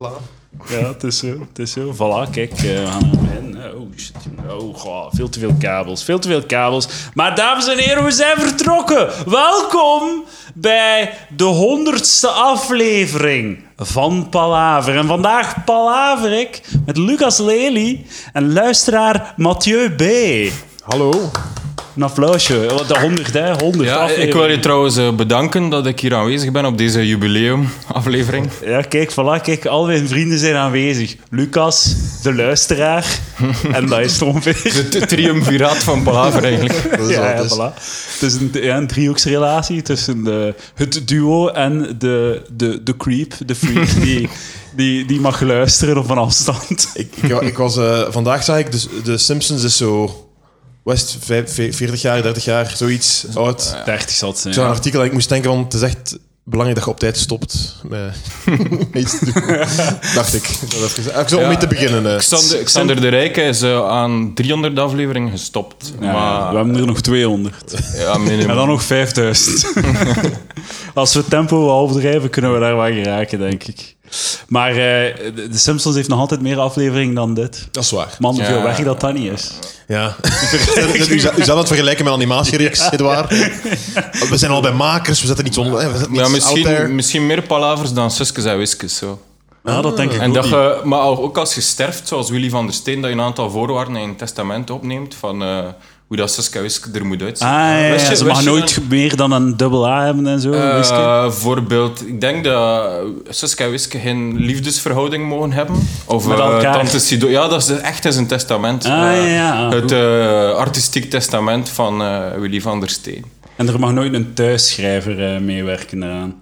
Voilà. Ja, het is zo. Het is zo. Voilà, kijk, eh, we gaan aan het begin. hè. Oh, shit. Oh, goh, veel te veel kabels. Veel te veel kabels. Maar dames en heren, we zijn vertrokken. Welkom bij de honderdste aflevering van Palaver. En vandaag palaver ik met Lucas Lely en luisteraar Mathieu B. Hallo. Een applausje. Wat, de 100, hè? 100 Ja, ik wil je trouwens eh, bedanken dat ik hier aanwezig ben op deze jubileumaflevering. Ja, kijk, voilà, kijk, al mijn vrienden zijn aanwezig. Lucas, de luisteraar, en dat is het ongeveer. De t- triumviraat van Palaver eigenlijk. Dat is ja, al, ja, dus. voilà. Het is een, ja, een driehoeksrelatie tussen de, het duo en de, de, de creep, de freak, die, die, die mag luisteren op een afstand. ik, ik, wa- ik was, eh, vandaag zag ik, dus, de Simpsons is zo... West, 40 jaar, 30 jaar, zoiets oud. 30 zal het zijn. Ik zag een artikel en ik moest denken, van het is echt belangrijk dat je op tijd stopt met met iets te doen. Dacht ik. Dat even gezegd. Ik zou om mee te beginnen. eh. Xander, Xander de Rijke is eh, aan 300 afleveringen gestopt. Ja, maar we hebben er nog 200. ja, En minimum. dan nog 5000. Als we het tempo wat overdrijven, kunnen we daar wel geraken, denk ik. Maar eh, de de Simpsons heeft nog altijd meer afleveringen dan dit. Dat is waar. Man, hoeveel Ja. werk dat dat niet is. Ja. U zou het vergelijken met een animatiereeks, Edouard. We zijn al bij makers, we zetten iets onder. eh, We zetten Ja, iets out there. misschien, misschien meer Palavers dan Suskes en Wiskes. Zo. Ja, dat denk ik En ook dat niet. je, maar al- ook als je sterft, zoals Willy van der Steen, dat je een aantal voorwaarden in een testament opneemt van eh, hoe dat Suske en Wiske er moet uitzien. Ah, ja, ja, Wist je- ze wist mag je nooit dan- meer dan een dubbel A hebben en zo. Eh, whisky. Bijvoorbeeld, ik denk dat Suske en Wiske geen liefdesverhouding mogen hebben. Of Met eh, elkaar. Tante Sido. Ja, dat is echt eens een testament. Ah, ja, Eh, ja. Het eh, artistiek testament van eh, Willy van der Steen. En er mag nooit een thuisschrijver eh, meewerken eraan.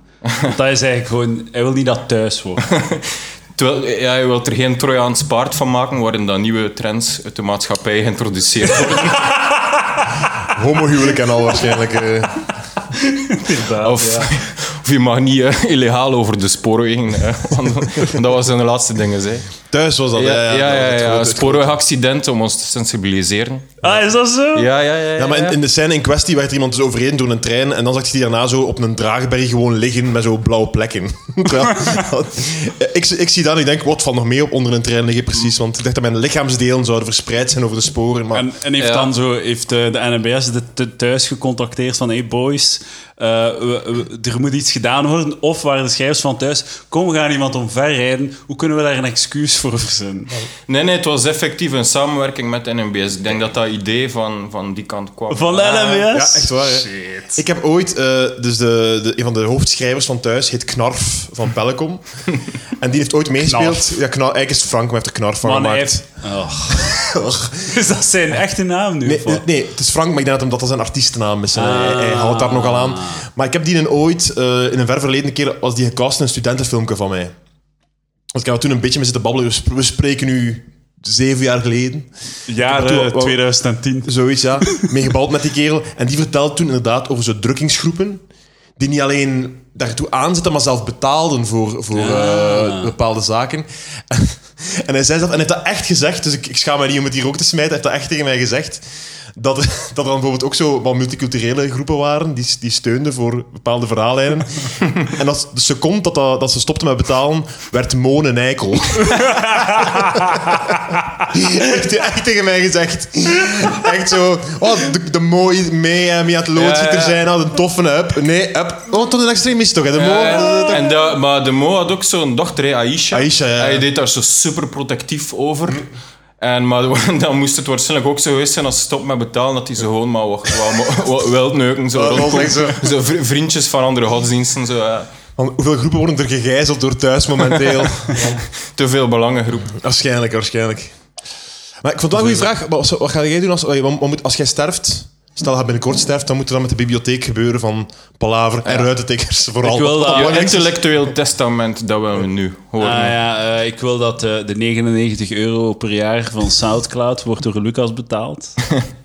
Want dat is eigenlijk gewoon... Hij wil niet dat thuis wordt. Terwijl, eh, ja, je wilt er geen Trojaans paard van maken waarin dan nieuwe trends uit de maatschappij geïntroduceerd worden. Homohuwelijk en al waarschijnlijk. eh. Of, of je mag niet eh, illegaal over de spoorwegen eh, wandelen. Want dat was een de laatste dingen, zei. Thuis was dat. Ja, ja, ja, ja, dat was het grote- het grote- spoorwegaccident om ons te sensibiliseren. Ah, is dat zo? Ja, ja, ja. Ja, maar ja. in, in de scène in kwestie werd er iemand dus overheen door een trein en dan zag ik die daarna zo op een draagberg gewoon liggen met zo blauwe plekken. Terwijl- ik, ik zie dat en ik denk, wat valt nog meer op onder een trein liggen precies? Want ik dacht dat mijn lichaamsdelen zouden verspreid zijn over de sporen, maar En, en heeft Ja. dan zo... Heeft eh, de NBS de, de thuis gecontacteerd van... Hey boys, eh, we- we- er moet iets gedaan worden. Of waren de schrijvers van thuis... Kom, we gaan iemand omverrijden. Hoe kunnen we daar een excuus voor verzinnen? Nee, nee, het was effectief een samenwerking met NMBS. Ik denk dat dat idee van, van die kant kwam. Van de NMBS? ja, echt waar. hè. Ik heb ooit, eh, dus de, de, een van de hoofdschrijvers van thuis heet Knarf van Pellecom. en die heeft ooit meegespeeld. Knarf. Ja, Knar- eigenlijk is het Frank, maar hij heeft er Knarf van Man, hij gemaakt. heeft... Och. Is dat zijn echte naam nu? Nee, of wat? nee, het is Frank, maar ik denk dat omdat dat zijn artiestennaam is. En hij, hij houdt daar nogal aan. Maar ik heb die een ooit, eh, in een ver verleden keer, was die gecast in een studentenfilmpje van mij. Want ik heb er toen een beetje mee zitten babbelen. We sp- We spreken nu zeven jaar geleden. Jaren 2010. Zoiets, ja. Meegebald met die kerel. En die vertelt toen inderdaad over zo'n drukkingsgroepen. Die niet alleen daartoe aanzetten, maar zelf betaalden voor, voor eh, bepaalde zaken. En hij zei dat, en hij heeft dat echt gezegd, dus ik, ik schaam mij niet om het hier ook te smijten, hij heeft dat echt tegen mij gezegd, dat, dat er dan bijvoorbeeld ook zo wat multiculturele groepen waren, die, die steunden voor bepaalde verhaallijnen. en dat de seconde dat, dat, dat ze stopten met betalen, werd Moon een eikel. echt, echt tegen mij gezegd. Echt zo, oh, de, de mooie mee, eh, mee aan het loodgieter Ja, ja. zijn, had een toffe up. Nee, up. Oh, tot een extremist toch, hè? De Oh, Moon. Ja, en de, maar de Mo had ook zo'n dochter, hè, Aisha. Aisha, ja. Hij deed daar zo super protectief over. En, maar dan moest het waarschijnlijk ook zo geweest zijn als ze stopt met betalen, dat hij ze gewoon maar wat, wat, wat wildneuken Ja, zou dat was rondkomen. echt zo. Zo vri- vriendjes van andere godsdiensten. Zo, ja. Want Hoeveel groepen worden er gegijzeld door thuis momenteel? Te veel belangengroep. Waarschijnlijk, waarschijnlijk. Maar ik vond wel een goede vraag. Wat, wat ga jij doen als, oei, wat- wat moet- als jij sterft? Stel dat je binnenkort sterft, dan moet er dan met de bibliotheek gebeuren van Palaver en ruitentikkers vooral. Ik wil dat- Op- op- Jouw op- intellectueel testament, dat willen we nu horen. dus- Ah, ja, eh, ik wil dat eh, de 99 euro per jaar van Soundcloud wordt door Lucas betaald.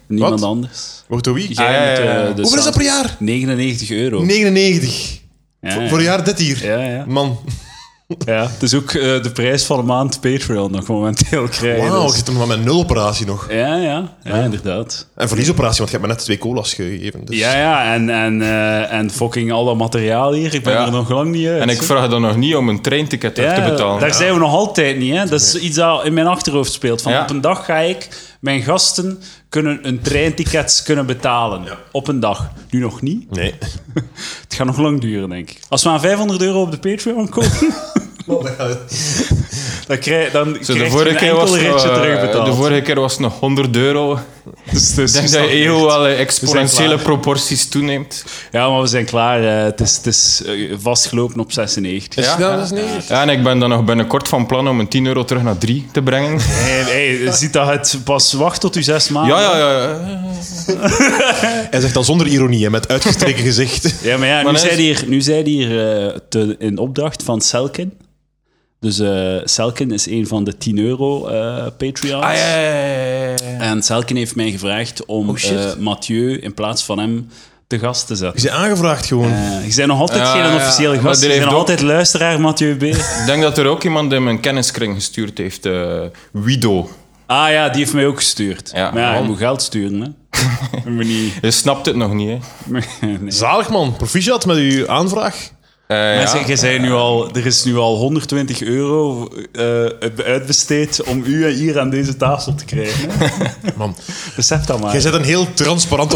Niemand Wat? anders. Wordt door wie? Jij Ah, ja, met, eh, ja, ja. de Hoeveel Hoeveel is dat Sound- per jaar? 99 euro. 99. Ja, Voor- ja. Voor een jaar dit hier. Ja, ja. Man. Ja, het is ook eh, de prijs van een maand Patreon nog momenteel krijgen. Wauw, ik dus- zit hem maar met nul operatie nog. Ja, ja, ja, inderdaad. En verliesoperatie, want je hebt me net twee colas gegeven. Dus. Ja, ja, en, en, eh, en fucking al dat materiaal hier. Ik ben Ja. er nog lang niet uit. En ik vraag dan nog niet om een treinticket Ja, terug te betalen. Daar zijn we nog altijd niet. Hè? Dat is iets dat in mijn achterhoofd speelt. Van Ja. op een dag ga ik, mijn gasten kunnen een treinticket kunnen betalen. Op een dag. Nu nog niet. Nee. Het gaat nog lang duren, denk ik. Als we aan 500 euro op de Patreon komen, dan krijg, dan Zo, krijg de, je vorige een keer enkel was het, ritje eh, terugbetaald. de vorige keer was het nog 100 euro. Dus- dus- Ik denk dus dat dat- je eeuw wel eh, exponentiële klaar. proporties toeneemt. Ja, maar we zijn klaar. eh, het is, het is eh, vastgelopen op 96. Ja, Ja, dat is niet. Ja, en ik ben dan nog binnenkort van plan om een 10 euro terug naar 3 te brengen. En, hey, je ziet dat het pas wacht tot u zes maanden. Ja, ja, ja. ja. Hij zegt dan zonder ironie, hè, met uitgestreken gezicht. Ja, maar ja, Maar nu dat zijn is- die hier, nu zijn die hier eh, te- in opdracht van Selkin. Dus eh, Selkin is een van de 10 euro eh Patreons. Ah, ja, Oh, ja, ja, ja, ja. En Selkin heeft mij gevraagd om shit. eh, Mathieu in plaats van hem te gast te zetten. Je bent aangevraagd gewoon. Eh, je zijn nog altijd Ja, geen ja, officiële maar gast. die Je bent heeft nog ook- altijd luisteraar, Mathieu B. Ik denk dat er ook iemand in mijn kenniskring gestuurd heeft. eh Wido. ah ja, die heeft mij ook gestuurd. Ja, maar ja, je waarom? moet geld sturen, hè. Je moet niet... Je snapt het nog niet, hè? nee. Zalig man, proficiat met uw aanvraag. Eh, ja. Maar zeg, jij zei nu al, er is nu al 120 euro eh, uitbesteed om u hier aan deze tafel te krijgen. hè? Man, Besef dat maar. jij bent een heel transparante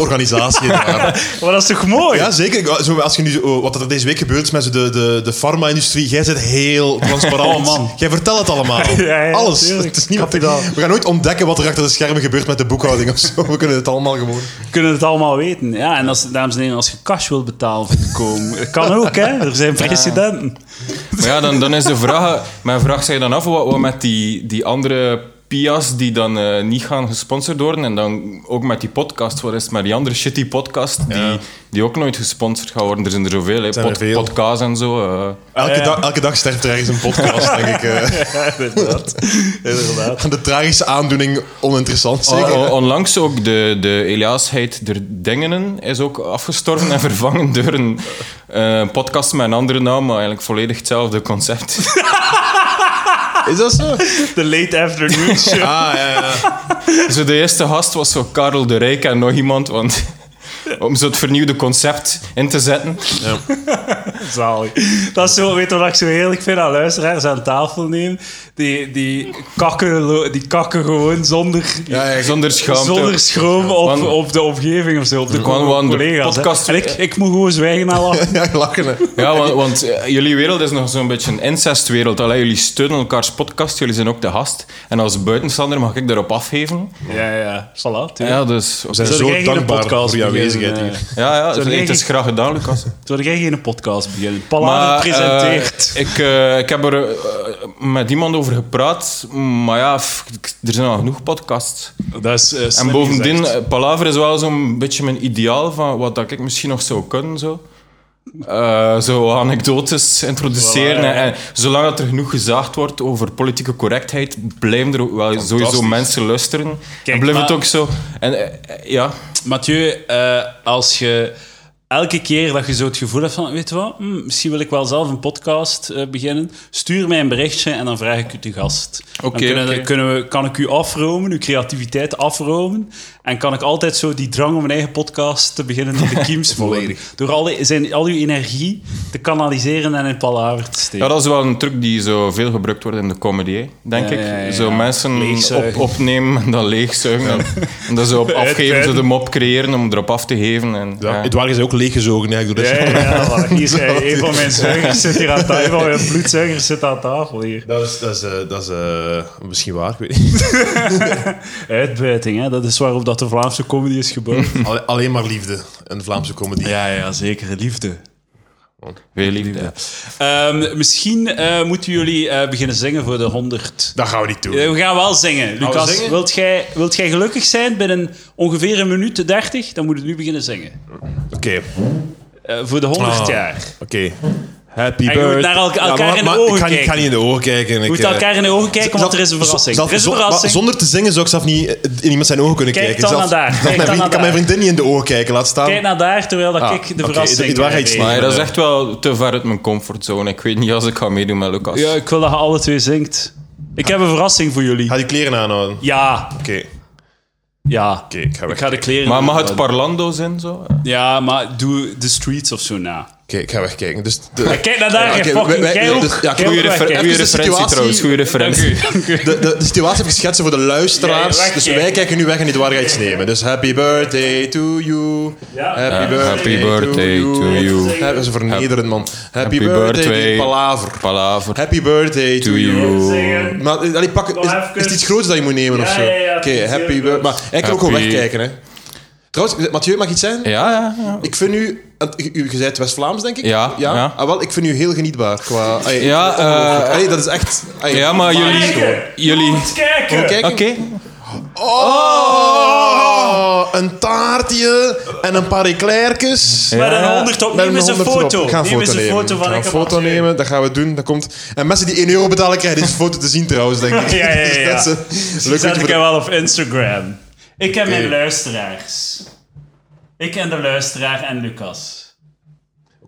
organisatie. daar. Maar dat is toch mooi? Ja, zeker. Ik- Zo, als je nu, zo- oh, wat er deze week gebeurd is met zo de, de, de farma-industrie, jij bent heel transparant. Oh, man. Jij vertelt het allemaal. Ja, ja, Alles. tuurlijk. Het is niemand- Kapitaal. We gaan nooit ontdekken wat er achter de schermen gebeurt met de boekhouding of zo. We kunnen het allemaal gewoon. We kunnen het allemaal weten. Ja, en als, dames en heren, als je cash wilt betalen voor te komen, dat kan ook, hè? Er zijn precedenten. Maar ja, dan, dan is de vraag... Mijn vraag zich dan af, wat, wat met die, die andere pias die dan eh, niet gaan gesponsord worden en dan ook met die podcast, wat is het maar die andere shitty podcast die, die ook nooit gesponsord gaan worden. Er zijn er zoveel, hè. Zijn er Pod- veel. podcasts en zo. eh. Elke, Ja. dag- elke dag sterft er ergens een podcast, denk ik. eh. Inderdaad. Inderdaad. Aan de tragische aandoening oninteressant, zeker. On- onlangs ook de, de Eliasheid der Dingenen is ook afgestorven en vervangen door een eh, podcast met een andere naam, maar eigenlijk volledig hetzelfde concept. oh. Is dat zo? De late afternoon show. Ah, ja, ja. Zo de eerste gast was zo Karel de Rijk en nog iemand, want om zo het vernieuwde concept in te zetten. Zalig. Dat is zo, weet je wat ik zo heerlijk vind aan luisteraars aan tafel nemen? Die, die, kakken, lo- die kakken gewoon zonder, ja, ja. Zonder schaamte. zonder schroom op, Want- op de omgeving of zo, op de Gewoon- gewoon de collega's. hè. podcast- En ik, ik moet gewoon zwijgen naar lachen. Ja, lachen. hè. Ja, want, want, eh, jullie wereld is nog zo'n beetje een incestwereld. Allee, jullie steunen elkaars podcast, jullie zijn ook de gast. En als buitenstander mag ik daarop afgeven. Ja, ja, voilà. tuurlijk. Ja, dus... We zijn Zodat zo jij geen dankbaar podcast voor je beginnen, aanwezigheid eh, hier. Ja, ja, Zo het negen- is graag gedaan, Lucas. Zodat jij geen podcast beginnen. Palade presenteert. eh, ik, eh, ik heb er eh, met iemand over gepraat, maar ja, f- ik- er zijn al genoeg podcasts. dat is, eh, slim En bovendien, gezegd. eh, Palaver is wel zo'n beetje mijn ideaal van wat dat ik misschien nog zou kunnen. Zo, Eh, zo anekdotes introduceren. Voilà, ja. en, en zolang dat er genoeg gezaagd wordt over politieke correctheid, blijven er ook wel sowieso Fantastisch. mensen luisteren. Kijk, en blijft het maar- ook zo. En eh, eh, ja, Mathieu, eh, als je elke keer dat je zo het gevoel hebt van, weet je wat, hm, misschien wil ik wel zelf een podcast eh, beginnen, stuur mij een berichtje en dan vraag ik u te gast. Dan Oké, kunnen, oké. kunnen we, kan ik u afromen, uw creativiteit afromen, en kan ik altijd zo die drang om een eigen podcast te beginnen in de kiem sporen. Volledig. Door al, die- zijn, al uw energie te kanaliseren en in palaver te steken. ja, dat is wel een truc die zo veel gebruikt wordt in de comedy, hè, denk Ja, ik. ja, ja, Zo ja. mensen Leegzuigen. op, opnemen en dan leegzuigen. En, en dan zo op afgeven, zo de mop creëren om erop af te geven. En, Ja. ja. Edouard is ook leeggezogen eigenlijk door dit. eh. Ja, ja, ja, voilà. hier is hij. een van mijn zuigers zit hier aan tafel. Een van mijn bloedzuigers zit aan tafel hier. Dat is, dat is, eh, dat is eh, misschien waar, ik weet niet. Uitbuiting, hè? dat is waarop dat de Vlaamse comedy is gebouwd. Alle- alleen maar liefde, een Vlaamse comedy. ja, ja, zeker. Liefde. Veel liefde. misschien eh, moeten jullie eh, beginnen zingen voor de 100. Dat gaan we niet doen. Eh, we gaan wel zingen. we Lucas, zingen? Wilt, jij, wilt jij gelukkig zijn binnen ongeveer een minuut 30? Dan moet je nu beginnen zingen. Oké, Eh, voor de 100 Ah. jaar. oké. Happy En je moet birthday. naar elka- Ja, elkaar maar- in de maar ogen ik ga, niet- kijken. ik ga niet in de ogen kijken. Je Ik, moet eh, elkaar in de ogen kijken, zelf- want er is een verrassing. zelf- er is een zo- maar verrassing. Zonder te zingen zou ik zelf niet eh, in iemand zijn ogen kunnen Kijk kijken. dan Zelf- naar daar, zelf kijk mijn dan vriend- naar ik kan mijn daar. vriendin niet in de ogen kijken, laat staan. Kijk naar daar, terwijl dat Ah, ik de oké, verrassing... dit waren iets eh, nieuws. Maar ja, dat is deed. echt wel te ver uit mijn comfortzone. Ik weet niet als ik ga meedoen met Lucas. Ja, ik wil dat je alle twee zingt. Ik heb een verrassing voor jullie. Ga die kleren aanhouden. Oké, Ja, oké, ja. ik ga weg. Ik ga de kleren... maar mag doen. het parlando zijn? Zo? Ja, maar doe de streets of zo na. Oké, ik ga wegkijken. Dus de- Kijk naar daar, Oké, je wij- fucking... wij- Jij ook. dus- ja, Jij goeie ook refer- wegkijken. Goede goeie de referentie situatie- trouwens, goede Dank referentie. u. De, de, de situatie even schetsen voor de luisteraars. Ja, ja, dus wegkijken. wij kijken nu weg en dit waar gaat iets nemen. Dus happy birthday to you. Ja. Happy, Ja, birthday, happy birthday to to you. you. Hebben ze vernederend, man. Happy, birthday, birthday. die palaver. Palaver. Happy birthday to, To you. you. Zingen. Maar eh, allee, pak, is, even. is het iets groots dat je moet nemen of Ja, zo? ja, ja, Oké, het is happy heel birthday. groot. Maar hij kan ook gewoon Happy- wegkijken, hè? Trouwens, eh, Mathieu, mag ik iets zijn? Ja, ja, ja. Ik vind u, want u, u u bent West-Vlaams, denk ik? Ja, ja. Ah, wel, ik vind u heel genietbaar. Qua, allee, Ja, ongelooflijk. eh, Allee, dat is echt... allee, Ja, maar jullie... Kijken. jullie... Goed kijken. Gewoon Oké. kijken. Oh, een taartje en een paar eclairtjes. Met Ja, een ja. 100 op. Met Neem eens een honderd erop. foto. Ik ga een Neem foto eens een nemen. foto ik van ga een ik heb foto wat gezien. nemen, dat gaan we doen. Dat komt. En mensen die 1 euro betalen krijgen deze foto te zien trouwens, denk ik. Ja, ja, ja, ja. Dat is Die een leuk zet weetje ik voor de- wel op Instagram. Ik heb mijn Oké. luisteraars. Ik en de luisteraar en Lucas.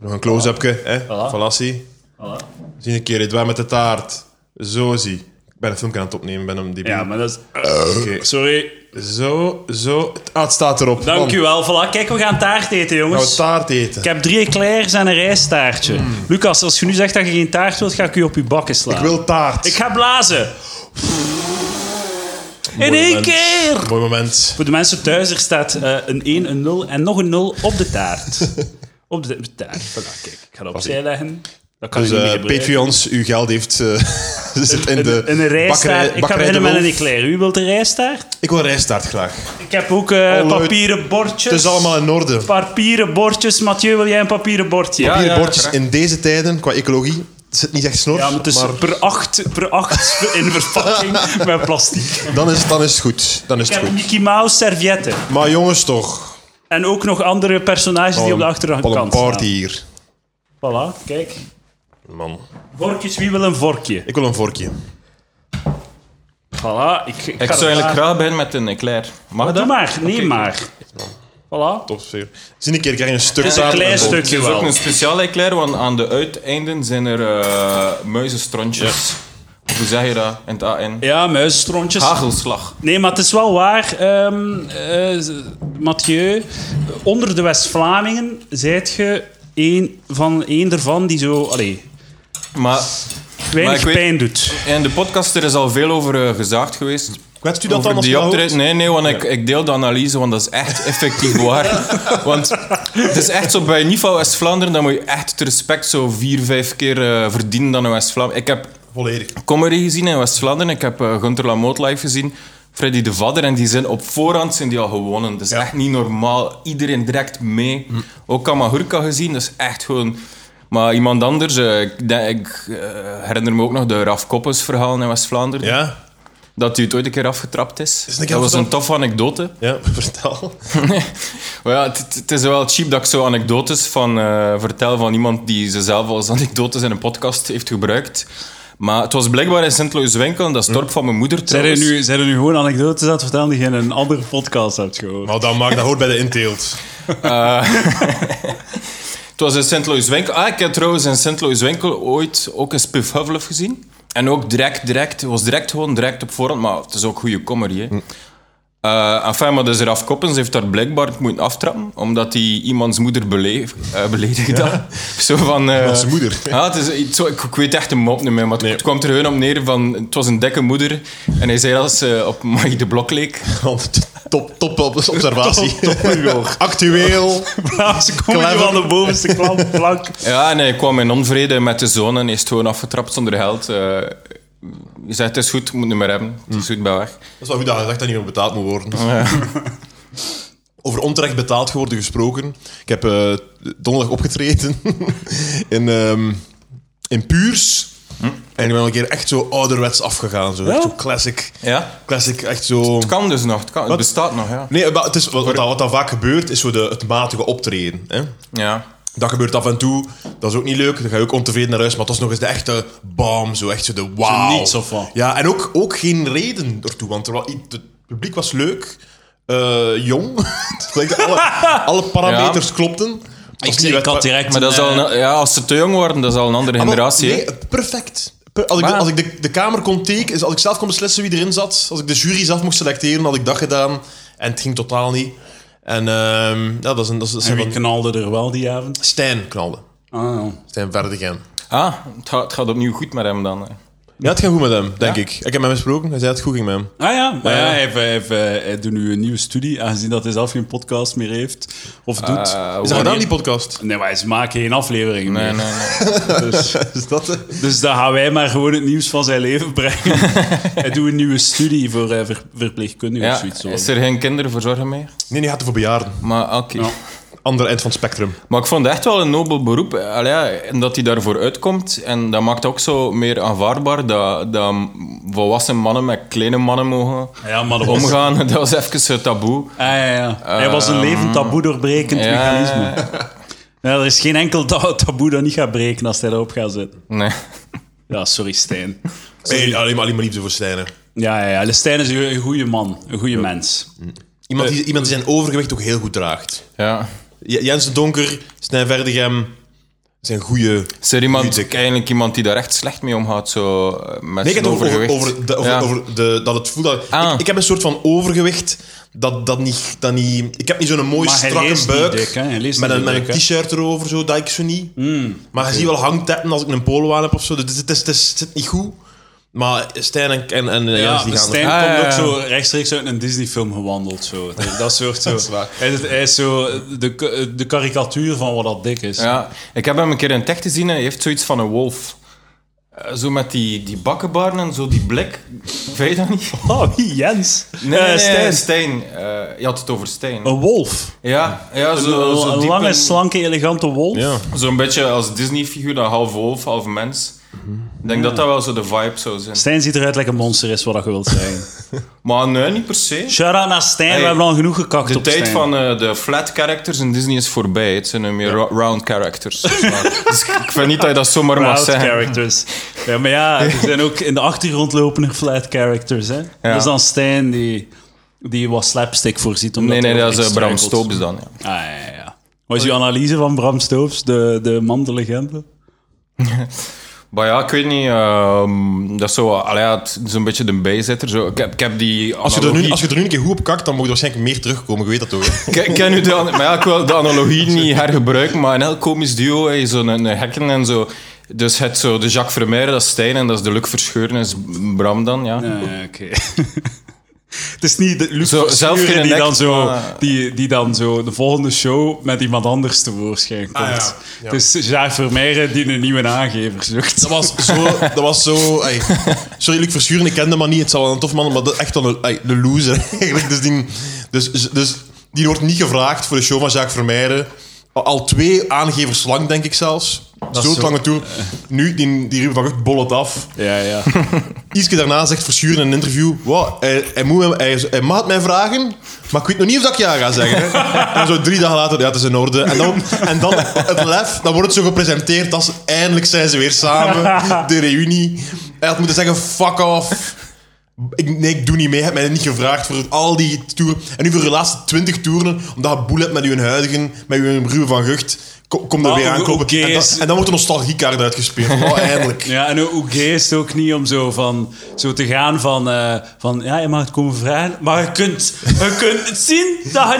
Nog een close-upje, hè? Van Lassie. Voilà. We Zien een keer dit waar met de taart. Zo zie. Ik ben een filmpje aan het opnemen, ben om die Ja, maar dat is... Sorry. Zo, zo. Ah, het staat erop. Dank Bam. u wel. Voilà. Kijk, we gaan taart eten, Gaan we jongens. taart eten? Ik heb drie eclairs en een rijstaartje. Lucas, als je nu zegt dat je geen taart wilt, ga ik u op uw bakken slaan. Hmm. Ik wil taart. Ik ga blazen. In Mooi één moment. keer. Mooi moment. Voor de mensen thuis, er staat eh, een 1, een 0 en nog een 0 op de taart. op de taart. Voilà, kijk. Ik ga dat opzij leggen. Dat kan Dus je niet meer eh gebruiken. Patreons, uw geld heeft, eh, zit in de Een, een rijstaart. bakkerij, ik ga bakkerij beginnen De met een Wolf. eclair. U wilt een rijstaart? Ik wil rijstaart graag. Ik heb ook eh, leuk. papieren bordjes. Het is allemaal in orde. Papieren bordjes. Mathieu, wil jij een papieren bordje? Ja. Papieren bordjes graag. in deze tijden, qua ecologie, het zit niet echt snor. Ja, maar het is maar per acht, per acht in verpakking met plastic. dan, is, dan is het goed. Dan is Ik het heb goed. Mickey Mouse servietten. Maar jongens toch. En ook nog andere personages die op de Wat Oh, een achterkant party staan. hier. Voilà, kijk. Man. Vorkjes, wie wil een vorkje? Ik wil een vorkje. Voilà, ik, ik, Ik ga zou het eigenlijk aan- graag beginnen met een eclair. Mag Doe dat? maar, neem maar. Voilà. Topsfeer. Zie eh, een keer, ik krijg een stuk is een taart klein en bol. stuk. Het is ook een speciaal eclair, want aan de uiteinden zijn er eh muizenstrontjes. Hoe zeg je dat in het AN? Ja, muizenstrontjes. Hagelslag. Nee, maar het is wel waar, ehm, eh, Mathieu. Onder de West-Vlamingen zijt je één van één ervan die zo allee, Maar weinig ik weet- pijn doet. in de podcast er is al veel over eh, gezaagd geweest. Kwetst u dat Over dan als je die dat optreden? hoort? Nee, nee, want ik, ik deel de analyse, want dat is echt effectief waar. Want het is echt zo, bij niveau West-Vlaanderen, dan moet je echt het respect zo vier, vijf keer eh, verdienen dan een West-Vlaanderen. Ik heb Volledig. comedy gezien in West-Vlaanderen, ik heb eh, Gunter Lamoot live gezien, Freddy de Vadder, en die zijn op voorhand zijn die al gewonnen. Dat is echt niet normaal, iedereen direct mee. Hm. Ook Kamahurka gezien, dat is echt gewoon... Maar iemand anders, eh, ik, denk- ik eh, herinner me ook nog de Raf Koppes verhaal in West-Vlaanderen Ja? dat hij het ooit een keer afgetrapt is. het een keer dat was een afgetrapt? toffe anekdote. Ja, vertel. Maar ja, het- het- het is wel cheap dat ik zo anekdotes van, eh, vertel van iemand die ze zelf als anekdotes in een podcast heeft gebruikt. Maar het was blijkbaar in Sint-Louis-Winkel, dat is het dorp van mijn moeder trouwens. zijn er nu gewoon anekdotes aan het vertellen die je in een andere podcast hebt gehoord? Maar Nou, dan mag, dat hoort bij de inteelt. Het was in Sint-Louis-Winkel. Ah, ik heb trouwens in Sint-Louis-Winkel ooit ook een Spiff Hufflepuff gezien. En ook direct, direct. Het was direct gewoon, direct op voorhand. Maar het is ook goede comedy, hè. Hm. Eh, enfin, maar dus Raf Koppens heeft daar blijkbaar moeten aftrappen, omdat hij iemands moeder beleef, eh, beledigd had. Zo van... eh, Iemands moeder. Ja, het is iets zo, ik, ik weet echt de mop niet meer, maar het, Nee. het kwam er gewoon op neer van... Het was een dikke moeder en hij zei dat ze op Maggie de Blok leek. Top, top observatie. Actueel. Ze komen Clever. van de bovenste klant plank. Ja, en hij kwam in onvrede met de zoon en is gewoon afgetrapt zonder geld. Eh, je zegt, het is goed, moet het niet meer hebben. Het is goed, bij weg. Dat is wel goed dat je zegt dat niet meer betaald moet worden. Over onterecht betaald geworden gesproken. Ik heb eh, donderdag opgetreden in, ehm, in Puurs. En ik ben al een keer echt zo ouderwets afgegaan. Zo, echt zo classic. Ja? Classic, echt zo... Het kan dus nog, het, kan, het bestaat nog, ja. Nee, maar het is, wat, wat, dan- wat dan vaak gebeurt, is zo de, het matige optreden. Hè? ja. Dat gebeurt af en toe. Dat is ook niet leuk. Dan ga je ook ontevreden naar huis. Maar dat is nog eens de echte bam. Zo echt zo de wow. niets of wat. Ja, en ook, ook geen reden ertoe. Want er wa- het publiek was leuk. eh, jong. Het lijkt alle, alle parameters klopten. Het was Ik, niet ik wet- had direct eh, Maar dat is een, al een- ja, als ze te jong worden, dat is al een andere Ah, wel, generatie. hè. Nee, perfect. Per- Als ik, de, Maar- als ik de, de kamer kon tekenen, als ik zelf kon beslissen wie erin zat, als ik de jury zelf mocht selecteren, had ik dat gedaan. En het ging totaal niet. En ehm, ja, dat is een... Dat is, dat eh, en zijn wie van- knalde er wel die avond? Stijn knalde. Ah, ja. Stijn Verdegem. Ah, het gaat, het gaat opnieuw goed met hem dan. hè. Ja, het gaat goed met hem, denk ik. Ik heb met hem gesproken, hij zei dat het goed ging met hem. Ah ja, maar Ja. ja, hij, heeft, hij, heeft, eh, hij doet nu een nieuwe studie, aangezien dat hij zelf geen podcast meer heeft of doet. Eh, Is dat wanneer- gedaan, die podcast? Nee, maar ze maken geen afleveringen Nee, meer. nee, nee. Dus, Is dat de... dus dan gaan wij maar gewoon het nieuws van zijn leven brengen. hij doet een nieuwe studie voor eh, ver- verpleegkundigen of Ja, zoiets. zo. is er geen kinderverzorger meer? Nee, die gaat er voor bejaarden. Maar oké. Ja. Ander eind van het spectrum. Maar ik vond het echt wel een nobel beroep. Allee, ja, en dat hij daarvoor uitkomt. En dat maakt ook zo meer aanvaardbaar dat, dat volwassen mannen met kleine mannen mogen Ja, maar dat was- omgaan. Dat was even het taboe. Ah, ja, ja. Hij was een Ehm, levend taboe doorbrekend mechanisme. Ja, Ja, er is geen enkel ta- taboe dat niet gaat breken als hij erop gaat zitten. nee. Ja, sorry Stijn. Nee, alleen maar, alleen maar liefde voor Stijn. hè. Ja, ja, ja. Stijn is een goede man, een goede mens. Iemand die, iemand die zijn overgewicht ook heel goed draagt. Ja. J- Jens de Donker, Stijn Verdegem, zijn goede... Is er iemand, Muziek. eigenlijk iemand die daar echt slecht mee omgaat? Zo, eh, met Nee, zijn ik heb het over, overgewicht? over, de, over, Ja. over de, dat het voelt. Dat, Ah. ik, ik heb een soort van overgewicht. Dat, dat niet, dat niet, ik heb niet zo'n mooie Maar hij strakke leest niet buik. dik, hè? Hij leest met niet een, met een dik, hè? Mm. t-shirt erover, zo, dat ik zo niet. maar je ziet wel hangtetten als ik een polo aan heb of zo. Dus het, is, het, is, het zit niet goed. Maar Stijn en, en, en Ja, Jens, die maar gaan Stijn er- Ah, komt ja, ook ja. zo rechtstreeks uit een Disney-film gewandeld. Zo. Dat soort zo. waar. Hij, is, hij is zo de, k- de karikatuur van wat dat dik is. Ja, ik heb hem een keer in tech gezien en hij heeft zoiets van een wolf. Eh, Zo met die, die bakkenbaarden en zo die blik. Weet je dat niet? Oh, wie? Jens? Nee, Eh, nee, nee, Stijn. Stijn. Eh, je had het over Stijn. Oh. Een wolf. Ja, ja zo, Een- zo een diep lange, en- slanke, elegante wolf. Ja. Zo'n beetje als Disney-figuur, dan half wolf, half mens. Ik denk dat dat wel zo de vibe zou zijn. Stijn ziet eruit like een monster is, wat dat je wilt zeggen. Maar nee, niet per se. Shout-out naar Stijn, Hey, we hebben al genoeg gekakt De op tijd Stijn. van eh, de flat characters in Disney is voorbij. Het zijn nu meer ro- round characters. dus ik vind niet dat je dat zomaar mag Proud zeggen. characters. Ja, maar ja, er zijn ook in de achtergrond lopen er flat characters. Hè? Dat is dan Stijn die, die wat slapstick voorziet. Omdat Nee, nee, hij dat is eh, struikelt. Bram Stoopes dan. Ja. Ah, ja, ja, ja. Wat is uw analyse van Bram Stoopes, de, de man, de legende? Maar ja, ik weet niet. ehm, dat is zo, wel- allee, ja, het is een beetje de bijzitter. Zo. Ik, heb, ik heb die Als je, er nu, analogie- als je er nu een keer goed op kakt, dan moet je waarschijnlijk meer terugkomen. Je weet dat toch? hè? Ik ken nu de, an- maar ja, ik wil de analogie niet hergebruiken, maar een heel komisch duo, hè, zo'n een hekken en zo. Dus het zo, de Jacques Vermeijden, dat is Stijn, en dat is de Luc Verscheuren, is Bram dan, ja. Ah, oké. Het is niet de Luc Zo, zelf geen Verschuren die, act, dan zo, maar- die, die dan zo de volgende show met iemand anders tevoorschijn komt. Ah, ja. Ja. Dus Jacques Vermeijden die een nieuwe aangever zoekt. Dat was zo. Dat was zo ey. Sorry, Luc Verschuren, ik kende maar niet. Het zal wel een tof man, maar dat, echt wel een, ey, de loser eigenlijk. Dus die, dus, dus die wordt niet gevraagd voor de show van Jacques Vermeijden. Al- Al twee aangevers lang, denk ik zelfs. Zo zo- lange tour. Nu, die, die Ruben van Gucht bollet af. Ja, ja. Ietske daarna zegt Verschuren in een interview... Wow, hij, hij, moet, hem- hij, hij mag het mij vragen, maar ik weet nog niet of dat ik ja ga zeggen. hè." en zo drie dagen later, ja, het is in orde. En dan, en dan het lef, dan wordt het zo gepresenteerd als... Eindelijk zijn ze weer samen, de reunie. Hij had moeten zeggen, fuck off. Ik, nee, ik doe niet mee, heb mij niet gevraagd voor al die toeren. En nu voor de laatste twintig toeren, omdat je boel hebt met uw huidigen, met uw Ruben van Gucht... Kom, kom er Maar weer hoe- aankopen. hoe gay en, dan, is- en dan wordt de nostalgiekaart uitgespeeld. Oh, eindelijk. Ja, en hoe gay is het ook niet om zo, van, zo te gaan van, eh, van... Ja, je mag het komen vragen, maar je kunt, je kunt het zien dat je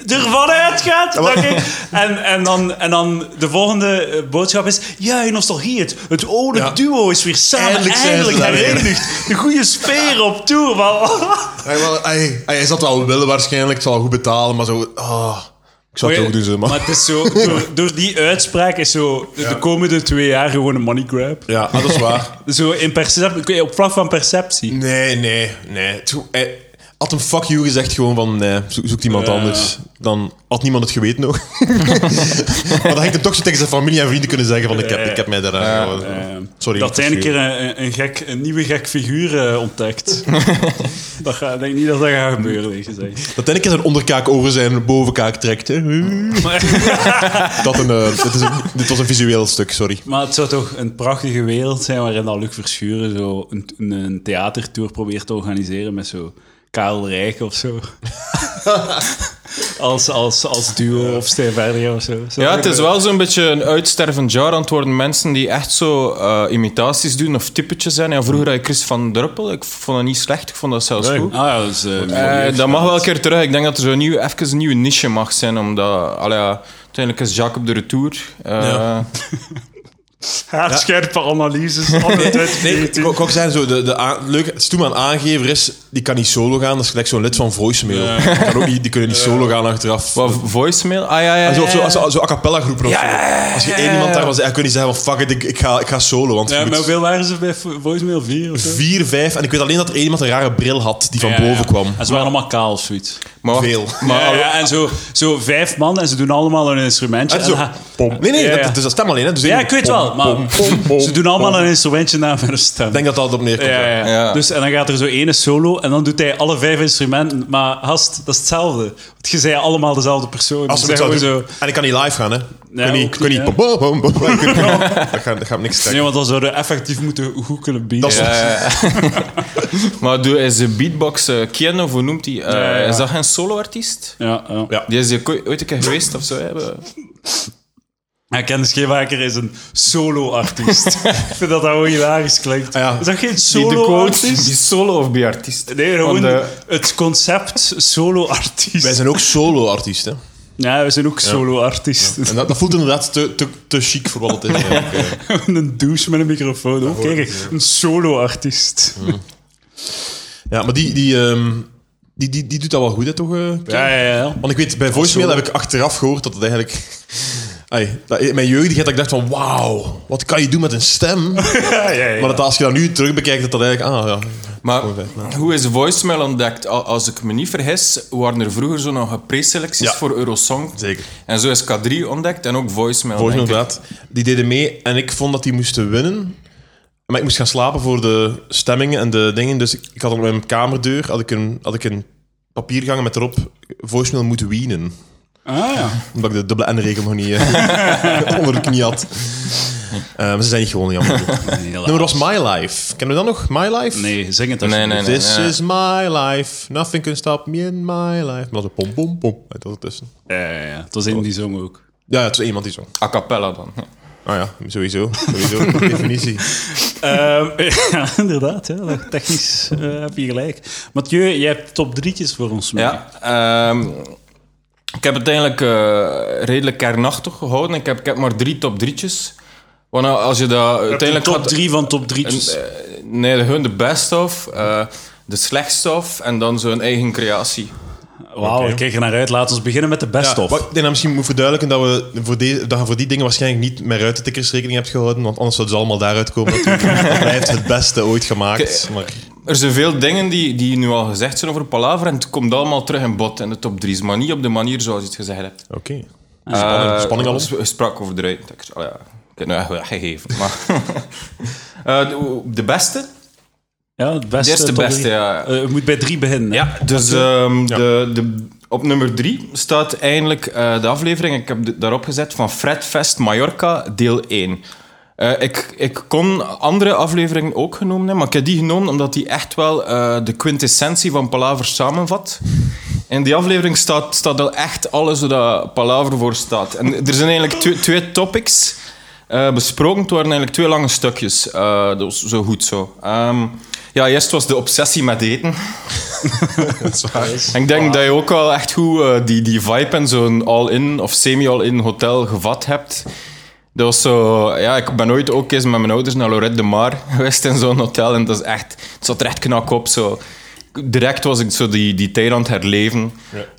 niet ervan uitgaat. Dat ik, en, en, dan, en dan de volgende eh, boodschap is... Ja, je nostalgie het. Het oude Ja. duo is weer samen Eindelijk eindelijk, zijn ze daar weer. herenigd. De goede sfeer op tour. Maar, Hij, wel, hij, hij zal het wel willen waarschijnlijk, het zal wel goed betalen, maar zo... ah, ik zou het ook doen, zeg maar. Maar het is zo, door, door die uitspraak is zo de- de komende twee jaar gewoon een money grab. Ja, ah, dat is waar. Zo in percep- op vlak van perceptie. Nee, nee, nee. Het is goed. Hij- had hem fuck you gezegd gewoon van nee, zo- zoekt iemand Ja. anders. Dan had niemand het geweten ook. maar dan had ik het toch zo tegen zijn familie en vrienden kunnen zeggen van ik heb, ik heb mij daar aan gehouden. Sorry. Eh, dat hij ik een keer een, een- een, gek, een nieuwe gek figuur eh, ontdekt. dat ga, ik denk niet dat dat gaat gebeuren, denk gezegd. Dat hij een keer zijn onderkaak over zijn bovenkaak trekt. Hè. Dat een, eh, dit, is een- dit was een visueel stuk, sorry. Maar het zou toch een prachtige wereld zijn waarin al Luc Verschuren zo een, een, een theatertour probeert te organiseren met zo Karel Rijk of zo. als, als, als duo of Stijn Verdier of zo. Zou Ja, dat het is gebeuren? wel zo'n beetje een uitstervend jaar aan het worden. Mensen die echt zo eh, imitaties doen of typetjes zijn. Ja, vroeger had ik Chris van Druppel. Ik vond dat niet slecht. Ik vond dat zelfs goed. Ah ja, dat is... eh, Eh, milieus- dat mag wel een keer terug. Ik denk dat er zo'n nieuw, even een nieuwe niche mag zijn. Omdat, allee, ja, uiteindelijk is Jacques op de retour. Eh, Ja. Haarscherpe analyses. altijd uit Nee, ik wou ik wou ook zeggen, zo, de, de aan, leuk, Stoeman aangever is, die kan niet solo gaan. Dat is gelijk zo'n lid van voicemail. Die, kan ook niet, die kunnen niet solo gaan achteraf. Wat, voicemail? Ah ja, ja. En ja, zo, of zo, ja. als- als- zo a cappella groepen of zo. Als je één iemand daar was, dan kun je niet zeggen van fuck it, ik, ik, ga, ik ga solo. Want je Ja, moet maar hoeveel waren ze bij vo- voicemail 4 of zo? vier, vijf. En ik weet alleen dat er één iemand een rare bril had die van Ja, boven ja. kwam. En ze waren allemaal kaal of zoiets. Maar wacht, Veel. Maar, ja, ja, en zo, zo vijf man en ze doen allemaal een instrumentje. En zo, En ha- pom. Nee, nee, Ja, ja. Dat, dus dat stem alleen. Hè. Dus ja, één- ik weet pom, wel, maar pom, pom, pom, ze doen allemaal pom. een instrumentje na met een stem. Ik denk dat dat op neerkomt. ja, ja, ja. Ja. Dus, en dan gaat er zo ene solo en dan doet hij alle vijf instrumenten. Maar gast, dat is hetzelfde. Want je zei allemaal dezelfde persoon. Als ze Dus dat zouden gewoon doen. En ik kan niet live gaan, hè. Ik Nee, kan ook niet... ik kan niet, niet hè. pom, pom, pom, pom. Ik kan niet- Dat gaat dat gaat niks Nee, trekken. want dan zouden we effectief moeten goed kunnen bieden. Dat is eh, maar doe is de beatbox eh, Ken, of hoe noemt hij? Ja, ja. Is dat geen soloartiest? Ja, ja. Ja. Die is hier ko- ooit een keer geweest of zo. hè? En Ken Scheewaker is een solo-artiest. Ik vind dat dat gewoon hilarisch klinkt. Ah, ja. Is dat geen Die de quotes, solo-artiest? die solo of B-artiest? Nee, gewoon Want, eh, het concept solo-artiest. Wij zijn ook solo-artiesten. Ja, we zijn ook solo-artiesten. En dat, dat voelt inderdaad te, te, te chic voor wat het is. eigenlijk, eh. een douche met een microfoon. Oh, kijk, een solo-artiest. Ja, maar die, die, ehm, die, die, die doet dat wel goed, hè, toch? eh, Ken? Ja, ja, ja. Want ik weet, bij voicemail heb ik achteraf gehoord dat het eigenlijk... Ai, dat, in mijn jeugdigheid dat ik dacht van, wauw, wat kan je doen met een stem? ja, ja, ja. Maar dat als je dat nu terug bekijkt, dat dat eigenlijk... Ah, ja. Maar Gewoon weg, hoe is voicemail ontdekt? Al- Als ik me niet vergis, waren er vroeger zo nog preselecties Ja. voor Eurosong. Zeker. En zo is K3 ontdekt en ook voicemail. Voicemail, denk ik. inderdaad. Die deden mee en ik vond dat die moesten winnen. Maar ik moest gaan slapen voor de stemmingen en de dingen. Dus ik, ik had op mijn kamerdeur had ik een, had ik een papier gehangen met erop... Voicemail moet wienen. Ah, ja. Omdat ik de dubbele N-regel nog niet eh, onder de knie had. Eh, maar ze zijn niet gewoon jammer. Nummer was My Life. Kennen we dat nog? My Life? Nee, zing het Nee, nee, nee. This nee. is my life. Nothing can stop me in my life. Maar dat is een pom pom pom. Dat was ertussen. Ja, ja, ja. Het was in die zong ook. Ja, het is iemand die zo. A cappella dan. Ah ja, sowieso. Sowieso. per definitie. Ehm. ja, inderdaad. Ja. Technisch eh, heb je gelijk. Mathieu, jij hebt top drietjes voor ons. mee. Ja. ehm, ik heb het eigenlijk eh, redelijk kernachtig gehouden. Ik heb, ik heb maar drie top drietjes. Want eh, als je dat uiteindelijk Uiteindelijk top gaat- 3 van top 3. Eh, nee, gewoon de best of, eh, de slechtst of en dan zo'n eigen creatie. Wauw, ik kijk er naar uit. Laten we beginnen met de best Ja, of. wat ik denk dat misschien moet verduidelijken dat, we voor deze, dat je voor die dingen waarschijnlijk niet met ruitentikkers rekening hebt gehouden. Want anders zouden ze allemaal daaruit komen. natuurlijk. Hij heeft het beste ooit gemaakt. Maar Er zijn veel dingen die, die nu al gezegd zijn over Palaver en het komt allemaal terug in bod in de top drie's, maar niet op de manier zoals je het gezegd hebt. oké. Spanning, Eh, spanning al op. sp- sprak over de ruitentekst. Oh ja, ik heb het nou echt wel gegeven. Maar Eh, de, de beste? Ja, het beste. Dit is de top beste, drie. ja. Eh, je moet bij 3 beginnen. hè? Ja, dus ehm, De, de, op nummer drie staat eindelijk eh, de aflevering, ik heb de- daarop gezet, van Fredfest Mallorca, deel 1. Eh, ik, ik kon andere afleveringen ook genomen hebben, maar ik heb die genomen omdat die echt wel eh, de quintessentie van Palaver samenvat. In die aflevering staat, staat al echt alles waar Palaver voor staat. En er zijn eigenlijk twee, twee topics eh, besproken. Het waren eigenlijk twee lange stukjes. Eh, dat was zo goed zo. Ehm, ja, eerst was de obsessie met eten. En ik denk dat je ook wel echt goed eh, die, die vibe en zo'n all-in of semi-all-in hotel gevat hebt. Dat was zo... Ja, ik ben ooit ook eens met mijn ouders naar Lorette de Mar geweest in zo'n hotel. En dat is echt... Het zat er echt knak op, zo... direct was ik zo die, die tijd aan het herleven.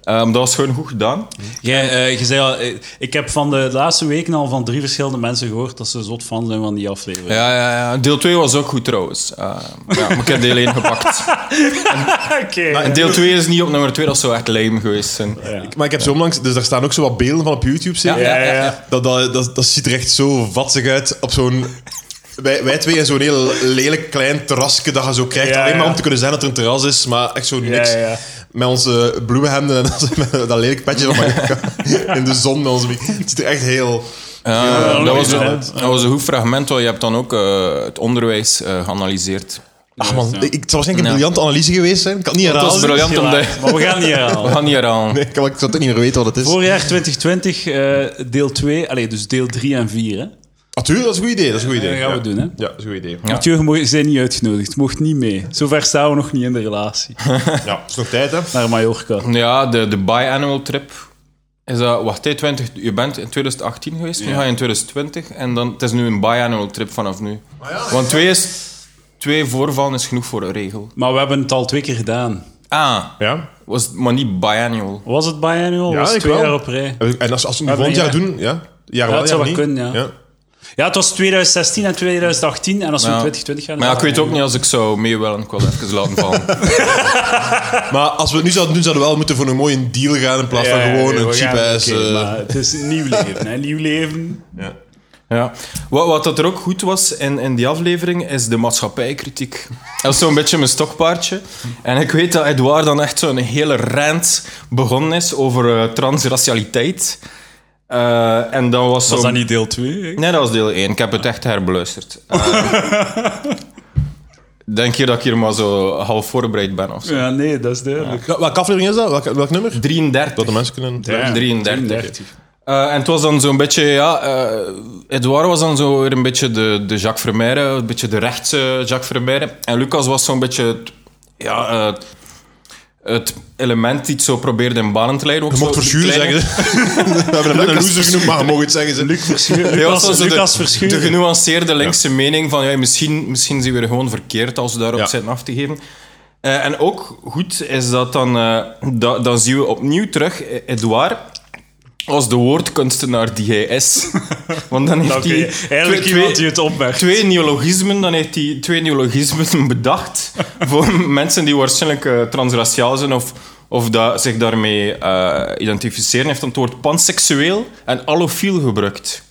Ehm, dat was gewoon goed gedaan. Jij, eh, je zei al, eh, ik heb van de laatste weken al van drie verschillende mensen gehoord dat ze zot fan zijn van die aflevering. Ja, ja, ja. Deel 2 was ook goed trouwens. Ehm, ja, maar ik heb deel 1 gepakt. Oké. En deel 2 is niet op nummer 2, dat zou echt lame geweest zijn. Maar ik heb zo onlangs... Dus daar staan ook zo wat beelden van op YouTube, zeker? Ja, ja, ja. Dat, dat, dat, dat ziet er echt zo vatsig uit op zo'n... Wij, wij twee in zo'n heel lelijk klein terrasje dat je zo krijgt. Ja, alleen maar ja. om te kunnen zijn dat er een terras is, maar echt zo niks. ja, ja. Met onze bloemenhemden en onze- met dat lelijk petje van Mallorca in de zon. Met onze, het ziet er echt heel... Ja, dat Eh, Ehm, dat, is was wel een, het. dat was een goed fragment, want je hebt dan ook eh, het onderwijs eh, geanalyseerd. Ach Ah, man, ja. ik, het zou waarschijnlijk een Ja. briljante analyse geweest zijn. Ik kan het niet Dat is herhalen. briljant om de... Maar we gaan niet herhalen. Oh. We gaan niet herhalen. Nee, ik, kan- ik zou het niet meer weten wat het is. Vorig jaar 2020, eh, deel 2, allee, dus deel 3 en 4. Hè? Natuurlijk, Ah, dat is een goed idee. Dat is een goed Dat idee. gaan we Ja. doen, hè? Ja, dat is een goed idee. Ja. Mathieu, je mo- je bent niet uitgenodigd, mocht niet mee. Zover staan we nog niet in de relatie. Ja, het is nog tijd, hè? Naar Mallorca. Ja, de, de biannual trip. Is dat, wacht, hè, 20, je bent in 2018 geweest, nu ga je in 2020. En dan, het is nu een biannual trip vanaf nu. Want twee, is, twee voorvallen is genoeg voor een regel. Maar we hebben het al twee keer gedaan. Ah, Ja. was, maar niet biannual. Was het biannual? Ja, was het ik twee wel. jaar op rij? En als, als we het Maar volgend jaar ben doen, ja? Ja, dat zou wel kunnen, ja. Ja, het was 2016 en 2018 en als we Ja. 2020 gaan... Maar ja, ik weet ook niet als ik zou mee willen. Ik wil even laten vallen. Maar Ah, als we het nu zouden doen, zouden we wel moeten voor een mooie deal gaan in plaats van gewoon een cheap ass. eh, Het is een nieuw leven, hè. Nieuw leven. Ja. Wat, wat dat er ook goed was in, in die aflevering, is de maatschappijkritiek. Dat is zo'n beetje mijn stokpaardje. En ik weet dat Edouard dan echt zo'n hele rant begonnen is over eh, transracialiteit. Eh, en dan was zo... Was dat niet deel 2? Nee, dat was deel 1. Ik heb het echt herbeluisterd. Eh, denk je dat ik hier maar zo half voorbereid ben of zo? Ja, nee, dat is duidelijk. Ja, welke aflevering is dat? Welk, welk nummer? 33. Dat de mensen kunnen... Ja, 33. Eh, en het was dan zo'n beetje, ja, eh Edouard was dan zo weer een beetje de, de Jacques Vermeire, een beetje de rechtse Jacques Vermeire. En Lucas was zo'n beetje het, ja, eh, het element die het zo probeerde in banen te leiden. Ook Je mocht zo die verschuren kleine- zeggen ze. We hebben hem net een loser genoemd, maar je mag het zeggen ze. Ja, Lucas, dat was zo Lucas de, Verschuren. De genuanceerde linkse mening van ja, misschien, misschien zien we er gewoon verkeerd als we daarop Ja. zitten af te geven. Eh, en ook goed is dat dan, eh, da- dan zien we opnieuw terug eh, Edouard als de woordkunstenaar die hij is. Want dan heeft Oké, hij eigenlijk twee- iemand die twee, het opmerkt. twee neologismen, dan heeft hij twee neologismen bedacht voor mensen die waarschijnlijk eh, transraciaal zijn of, of dat, zich daarmee eh, identificeren. Hij heeft dan het woord panseksueel en allofiel gebruikt.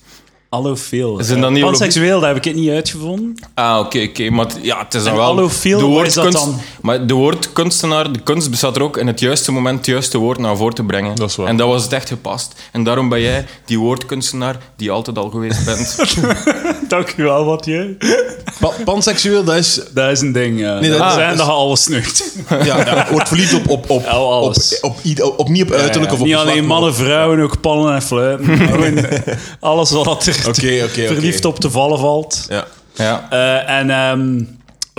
Allofiel. Zijn dat niet Panseksueel, dat heb ik het niet uitgevonden. Ah, oké, oké. Maar t- ja, het is dan En wel... allofiel, wat is dat woordkunst- dan? Maar de woord kunstenaar, de kunst bestaat er ook in het juiste moment het juiste woord naar voren te brengen. Dat is waar. En dat was het echt gepast. En daarom ben jij die woordkunstenaar die je altijd al geweest bent. Dank u wel, Mathieu. Pa- panseksueel, dat is... Dat is een ding. ja. dat- dat ah, zijn dat is- dat je alles snugt. Ja, ja, wordt verliefd op... op, op, Ja, alles. op, op, ieder- op, niet op uiterlijk of op Niet geslacht, alleen maar op- mannen, vrouwen, ook pannen en fluiten. Gewoon Nou, alles wat er Oké, oké, oké. verliefd op te vallen valt. Ja. ja. Eh, en ehm,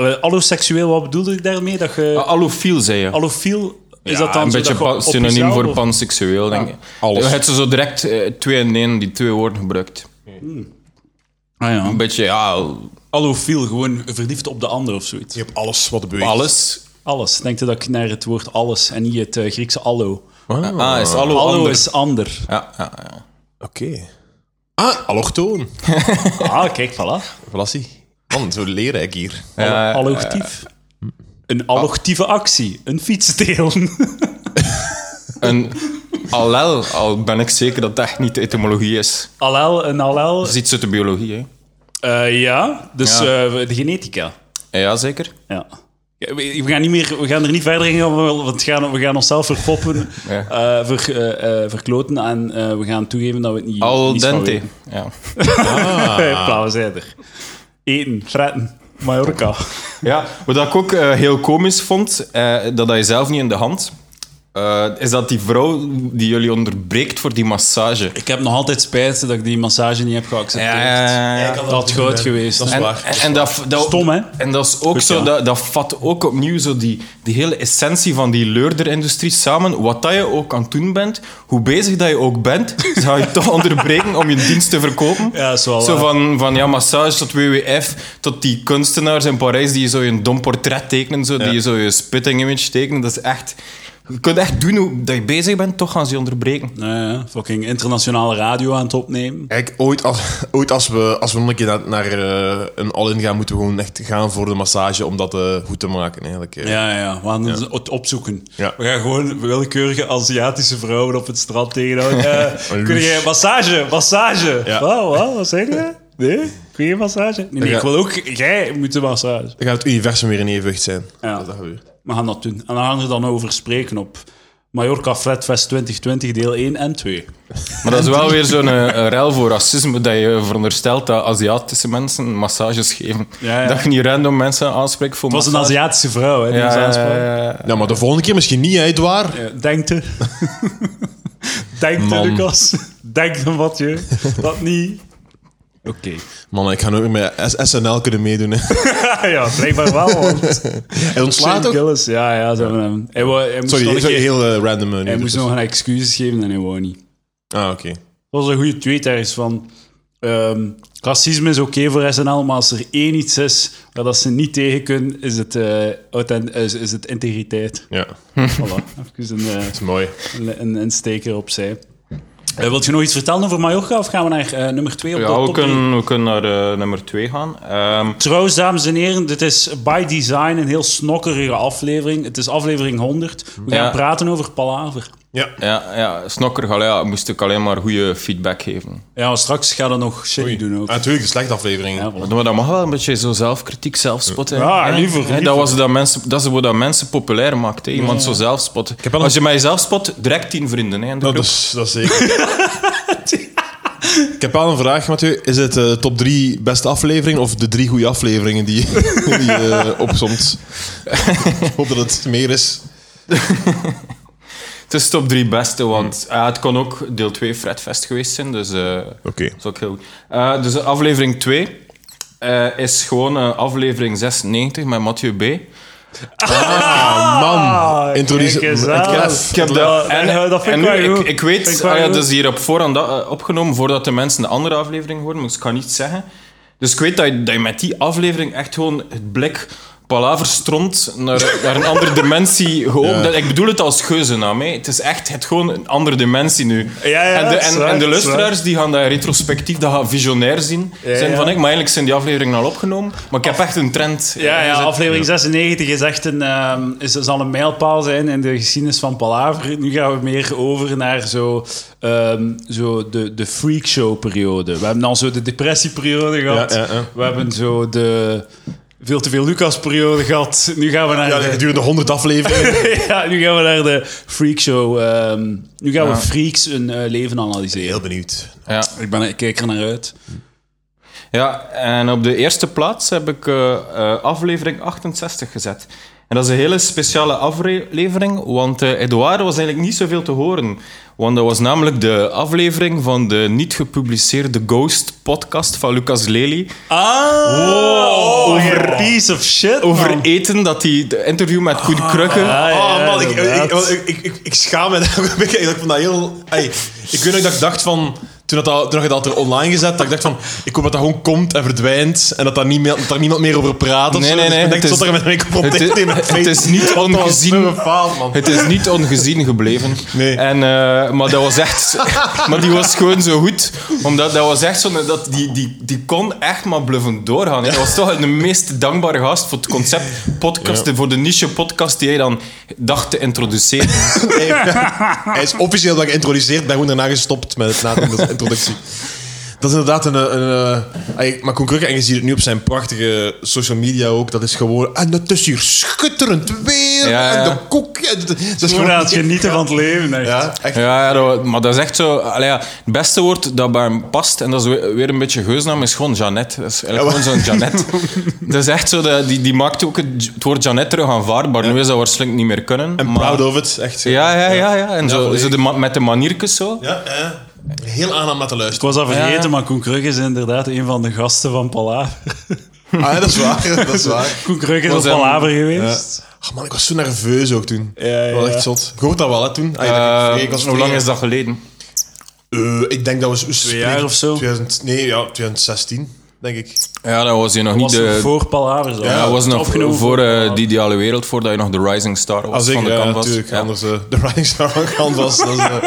eh, alloseksueel, wat bedoelde ik daarmee? Dat je Allofiel, zei je. allofiel, is Ja, dat dan een zo beetje dat je pa- op synoniem jezelf voor of- panseksueel, denk ik. alles. Je hebt ze zo direct eh, twee in één, die twee woorden gebruikt. Ah, ja. Een beetje, ja, Allofiel, gewoon verliefd op de ander of zoiets. Je hebt alles wat er beweegt. alles. Alles. Denk je dat ik naar het woord alles en niet het eh, Griekse allo. Ah, is allo, Allo ander. is ander. Ja, ja, ja. Oké. Ah, allochtoon. Ah, kijk, voilà. Vlassie. Man, zo leerrijk hier. Ja, Ah. Allochtief. Een allochtieve actie. Een fiets delen. Een allel, al ben ik zeker dat dat echt niet de etymologie is. Allel, een allel. Dat is iets uit de biologie, hè? Eh, ja, dus Ja. eh, de genetica. Ja, Ja, zeker. Ja. Ja, We, we gaan niet meer, we gaan er niet verder in gaan, want we gaan, we gaan onszelf verpoppen, Ja. eh, ver, eh, eh, verkloten en eh, we gaan toegeven dat we het niet Al niets van dente. weten. Ja. Ah. Hopla, we zijn er. Eten, fretten, Mallorca. ja, wat ik ook eh, heel komisch vond, eh, dat hij zelf niet in de hand. Eh, is dat die vrouw die jullie onderbreekt voor die massage? Ik heb nog altijd spijt dat ik die massage niet heb geaccepteerd. dat Dat had niet doen, goed hè. geweest. Dat is hè. En, waar, dat is en dat, dat, Stom, hè? En dat is ook Goed, zo, ja. dat, dat vat ook opnieuw zo die, die hele essentie van die leurderindustrie samen. Wat dat je ook aan het doen bent, hoe bezig dat je ook bent, ze gaan je toch onderbreken om je dienst te verkopen. Ja, dat is wel Zo waar. van, van ja, massage tot WWF, tot die kunstenaars in Parijs die je zo een dom portret tekenen, zo, die je zo je spitting image tekenen. Dat is echt... Je kunt echt doen hoe dat je bezig bent, toch gaan ze je onderbreken. Ja, ja, fucking internationale radio aan het opnemen. Eigenlijk, ooit als, ooit als we, als we nog een keer naar, naar eh, een all-in gaan, moeten we gewoon echt gaan voor de massage om dat eh, goed te maken. Eigenlijk. eh. Ja, ja, ja. We gaan het opzoeken. Ja. We gaan gewoon willekeurige Aziatische vrouwen op het strand tegenhouden. Eh, kun je massage? Massage! Oh, Ja. Wauw, wauw, wat zeg je? Nee? Kun je massage? Nee, nee, Ja. ik wil ook... Jij moet de massage. Dan gaat het universum weer in evenwicht zijn. Ja. Dat gebeurt. We gaan dat doen. En dan gaan we er dan over spreken op Mallorca Flatfest 2020 deel 1 en 2. Maar dat is wel weer zo'n eh, een ruil voor racisme, dat je veronderstelt dat Aziatische mensen massages geven. Ja, ja. Dat je niet random mensen aanspreekt voor Het was een massage. Aziatische vrouw, hè, die ons Ja, aansprak. ja, ja, ja. Ja, maar de volgende keer misschien niet, hè, Edouard? Ja, Denkte. Denkte, Man. Lucas. Denkte, Mathieu. Dat niet. Oké. Man, ik ga nooit meer met S- SNL kunnen meedoen. Hè. Ah, ja, blijkbaar wel. Want Hij ontslaat Shane ook. Gillis, ja, ja, ze hebben hem. Hij, wou- hij moest, nog, Sorry, een sorry keer- heel eh, random. eh, nu. hij moest nog een excuses geven en hij wou niet. Ah, oké. Dat was een goede tweet ergens van... ehm, racisme is oké voor SNL, maar als er één iets is waar dat ze niet tegen kunnen, is het, eh, authent- is, is het integriteit. Ja, dat Voilà. Even een, eh, is mooi. een, een, een steker opzij. Eh, wilt je nog iets vertellen over Mallorca of gaan we naar eh, nummer 2 op de Ja, we top drie? kunnen, we kunnen naar eh, nummer 2 gaan. Ehm, Trouwens, dames en heren, dit is by design een heel snokkerige aflevering. Het is aflevering 100. We gaan Ja. praten over Palaver. Ja. ja, ja, snokker, allee, ja, moest ik alleen maar goede feedback geven. Ja, maar straks gaan we nog shit Oei. doen ook. Ah, natuurlijk, de slechte aflevering. Ja, Ja, voilà. Maar dat mag wel een beetje zo zelfkritiek, zelfspot. hè. Ja, Hè? liever, Hè, liever. Dat, was dat, mensen, dat is wat dat mensen populair maakt. Hè? Iemand zo zelfspot. al Als je mij zelf spot, direct tien vrienden. Hè, in de dat, Nou, groep. is, dat is zeker. ik heb al een vraag, Mathieu. Is het eh, de top drie beste afleveringen of de drie goede afleveringen die die je opzomt? ik hoop dat het meer is. Het is top drie beste, want eh, het kon ook deel 2 Fredfest geweest zijn. Dus, eh, Oké. dat is ook heel goed. Eh, dus aflevering 2 is gewoon eh, aflevering 96 met Mathieu B. Man, introduceer Ah, kijk eens het aan. lef. Ik heb dat- en- eh, dat vind ik en wel nu, goed. ik, ik weet, Vind ik wel ah ja, goed. dat is hier op voorhand dat- eh, opgenomen voordat de mensen de andere aflevering horen, dus ik kan niet zeggen. Dus ik weet dat je, dat je met die aflevering echt gewoon het blik palaverstront naar, naar een andere dimensie geopend. hebt. Ik bedoel het als geuzennaam. hè. Het is echt het, gewoon een andere dimensie nu. Ja, ja, en de, dat is en, waar, en de dat is luisteraars die gaan dat retrospectief, dat gaan visionair zien. Ja, zijn ja. van, ik, maar eigenlijk zijn die afleveringen al opgenomen. Maar ik heb echt een trend. Ja, ja, ingezet. aflevering 96 is echt een, ehm, is, zal een mijlpaal zijn in de geschiedenis van Palaver. Nu gaan we meer over naar zo, ehm, zo de, de freakshow-periode. We hebben dan zo de depressieperiode gehad. Ja, ja, ja. We hebben zo de veel te veel Lucas-periode gehad. Nu gaan we naar Ja, de... gedurende 100 afleveringen. ja, nu gaan we naar de freakshow. ehm nu gaan we freaks hun eh, leven analyseren. Heel benieuwd. Ja. Ik, ben, ik kijk er naar uit. Ja, en op de eerste plaats heb ik eh, eh, aflevering 68 gezet. En dat is een hele speciale aflevering, want eh Edouard was eigenlijk niet zoveel te horen. Want dat was namelijk de aflevering van de niet gepubliceerde Ghost podcast van Lucas Lely. Ah! over- over piece of shit, Over man. eten, dat hij de interview met Koen Krukke. Oh. Ah, ja, Oh man, ik, inderdaad. ik, want ik, ik, ik, ik schaam me daar een beetje. Ik vond dat heel... Ey, ik weet nog dat ik dacht van... Toen, dat, al- toen had ik dat er online gezet, dat ik dacht van... Ik hoop dat dat gewoon komt en verdwijnt. En dat daar, niet meer, dat daar niemand meer over praat. of Nee, zo. nee, nee, Dus het Ik zat is- er met mijn kop op het is- tegen mijn het face. is niet Dat was ongezien. zo bepaald, man. Het is niet ongezien gebleven. Nee. En, eh, maar dat was echt... Maar die was gewoon zo goed. Omdat dat was echt zo... Dat, die, die, die kon echt maar bluffend doorgaan. hè. Dat was toch de meest dankbare gast voor het concept podcast. Voor de niche podcast die hij dan dacht te introduceren. Nee, Hij is officieel dat ik geïntroduceerd ben, gewoon daarna gestopt met het na de introductie. Dat Dat is inderdaad een... een, een ay, maar Koen Krukke, en je ziet het nu op zijn prachtige social media ook, dat is gewoon... En het is hier schitterend Ja, weer, ja. en de koek... en dat- dat is Gewoon gewoon- aan het genieten van het leven. Echt. Ja, echt. Ja, ja, dat- maar dat is echt zo. allee, ja, het beste woord dat bij hem past, en dat is we- weer een beetje geusnaam, is gewoon Janet. Dat is eigenlijk Ja, gewoon zo'n Janet. dat is echt zo, dat, die, die maakt ook het, het woord Janet terug aanvaardbaar. Nu is dat waarschijnlijk niet meer kunnen. En maar- proud of it, echt. Ja, ja, ja. ja. En zo, volledig. zo de ma- met de maniertjes zo. Ja, ja. Heel aan om naar te Ik luisteren. was al vergeten, Ja. maar Koen Krugge is inderdaad een van de gasten van Palaver. Ah, ja, dat is waar, dat is waar. Koen Krugge is Was op hem- Palaver geweest. Oh man, ik was zo nerveus ook toen. Ja, ja, Dat was echt ja. zot. Je hoort dat wel, hè, toen? Ah, ja, dat ik- Eh, ik was hoe lang vrij- is dat geleden? Eh, ik denk dat we... Twee jaar of zo? 2000, nee, ja, 2016, denk ik. Ja, dat was je nog Was niet de. voor Palaver zo. ja, dat was nog Opgenomen voor voor- eh, die ideale wereld, voordat je nog de Rising Star was Als ik, van de Ah, ja, canvas. natuurlijk. Ja. Anders, eh, de Rising Star van Canvas. dat is, eh,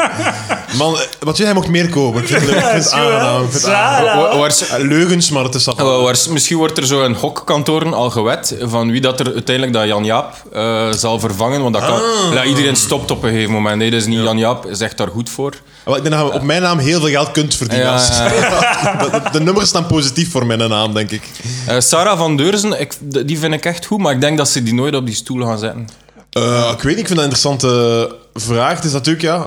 man, eh, wat je, hij mocht meer komen. Ik vind het- ik vind het is goed, hè? aangenaam. ik vind het aangenaam. Zalig. Wa- waars- Eh, Leugens, maar het is dat. Eh, wel, waars- misschien wordt er zo een hokkantoren al gewet van wie dat er uiteindelijk dat Jan Jaap eh, zal vervangen. Want dat kan, Ja, iedereen stopt op een gegeven moment. Nee, dat is niet Jan Jaap, is echt daar goed voor. Wel, Ik denk dat je op mijn naam heel veel geld kunt verdienen. Ja, als- ja, de, de- de nummers staan positief voor mijn naam, denk ik. Eh, Sarah van Deurzen, ik, d- die vind ik echt goed, maar ik denk dat ze die nooit op die stoel gaan zetten. Eh, ik weet niet, ik vind dat een interessante vraag. Het is natuurlijk, ja... hoe-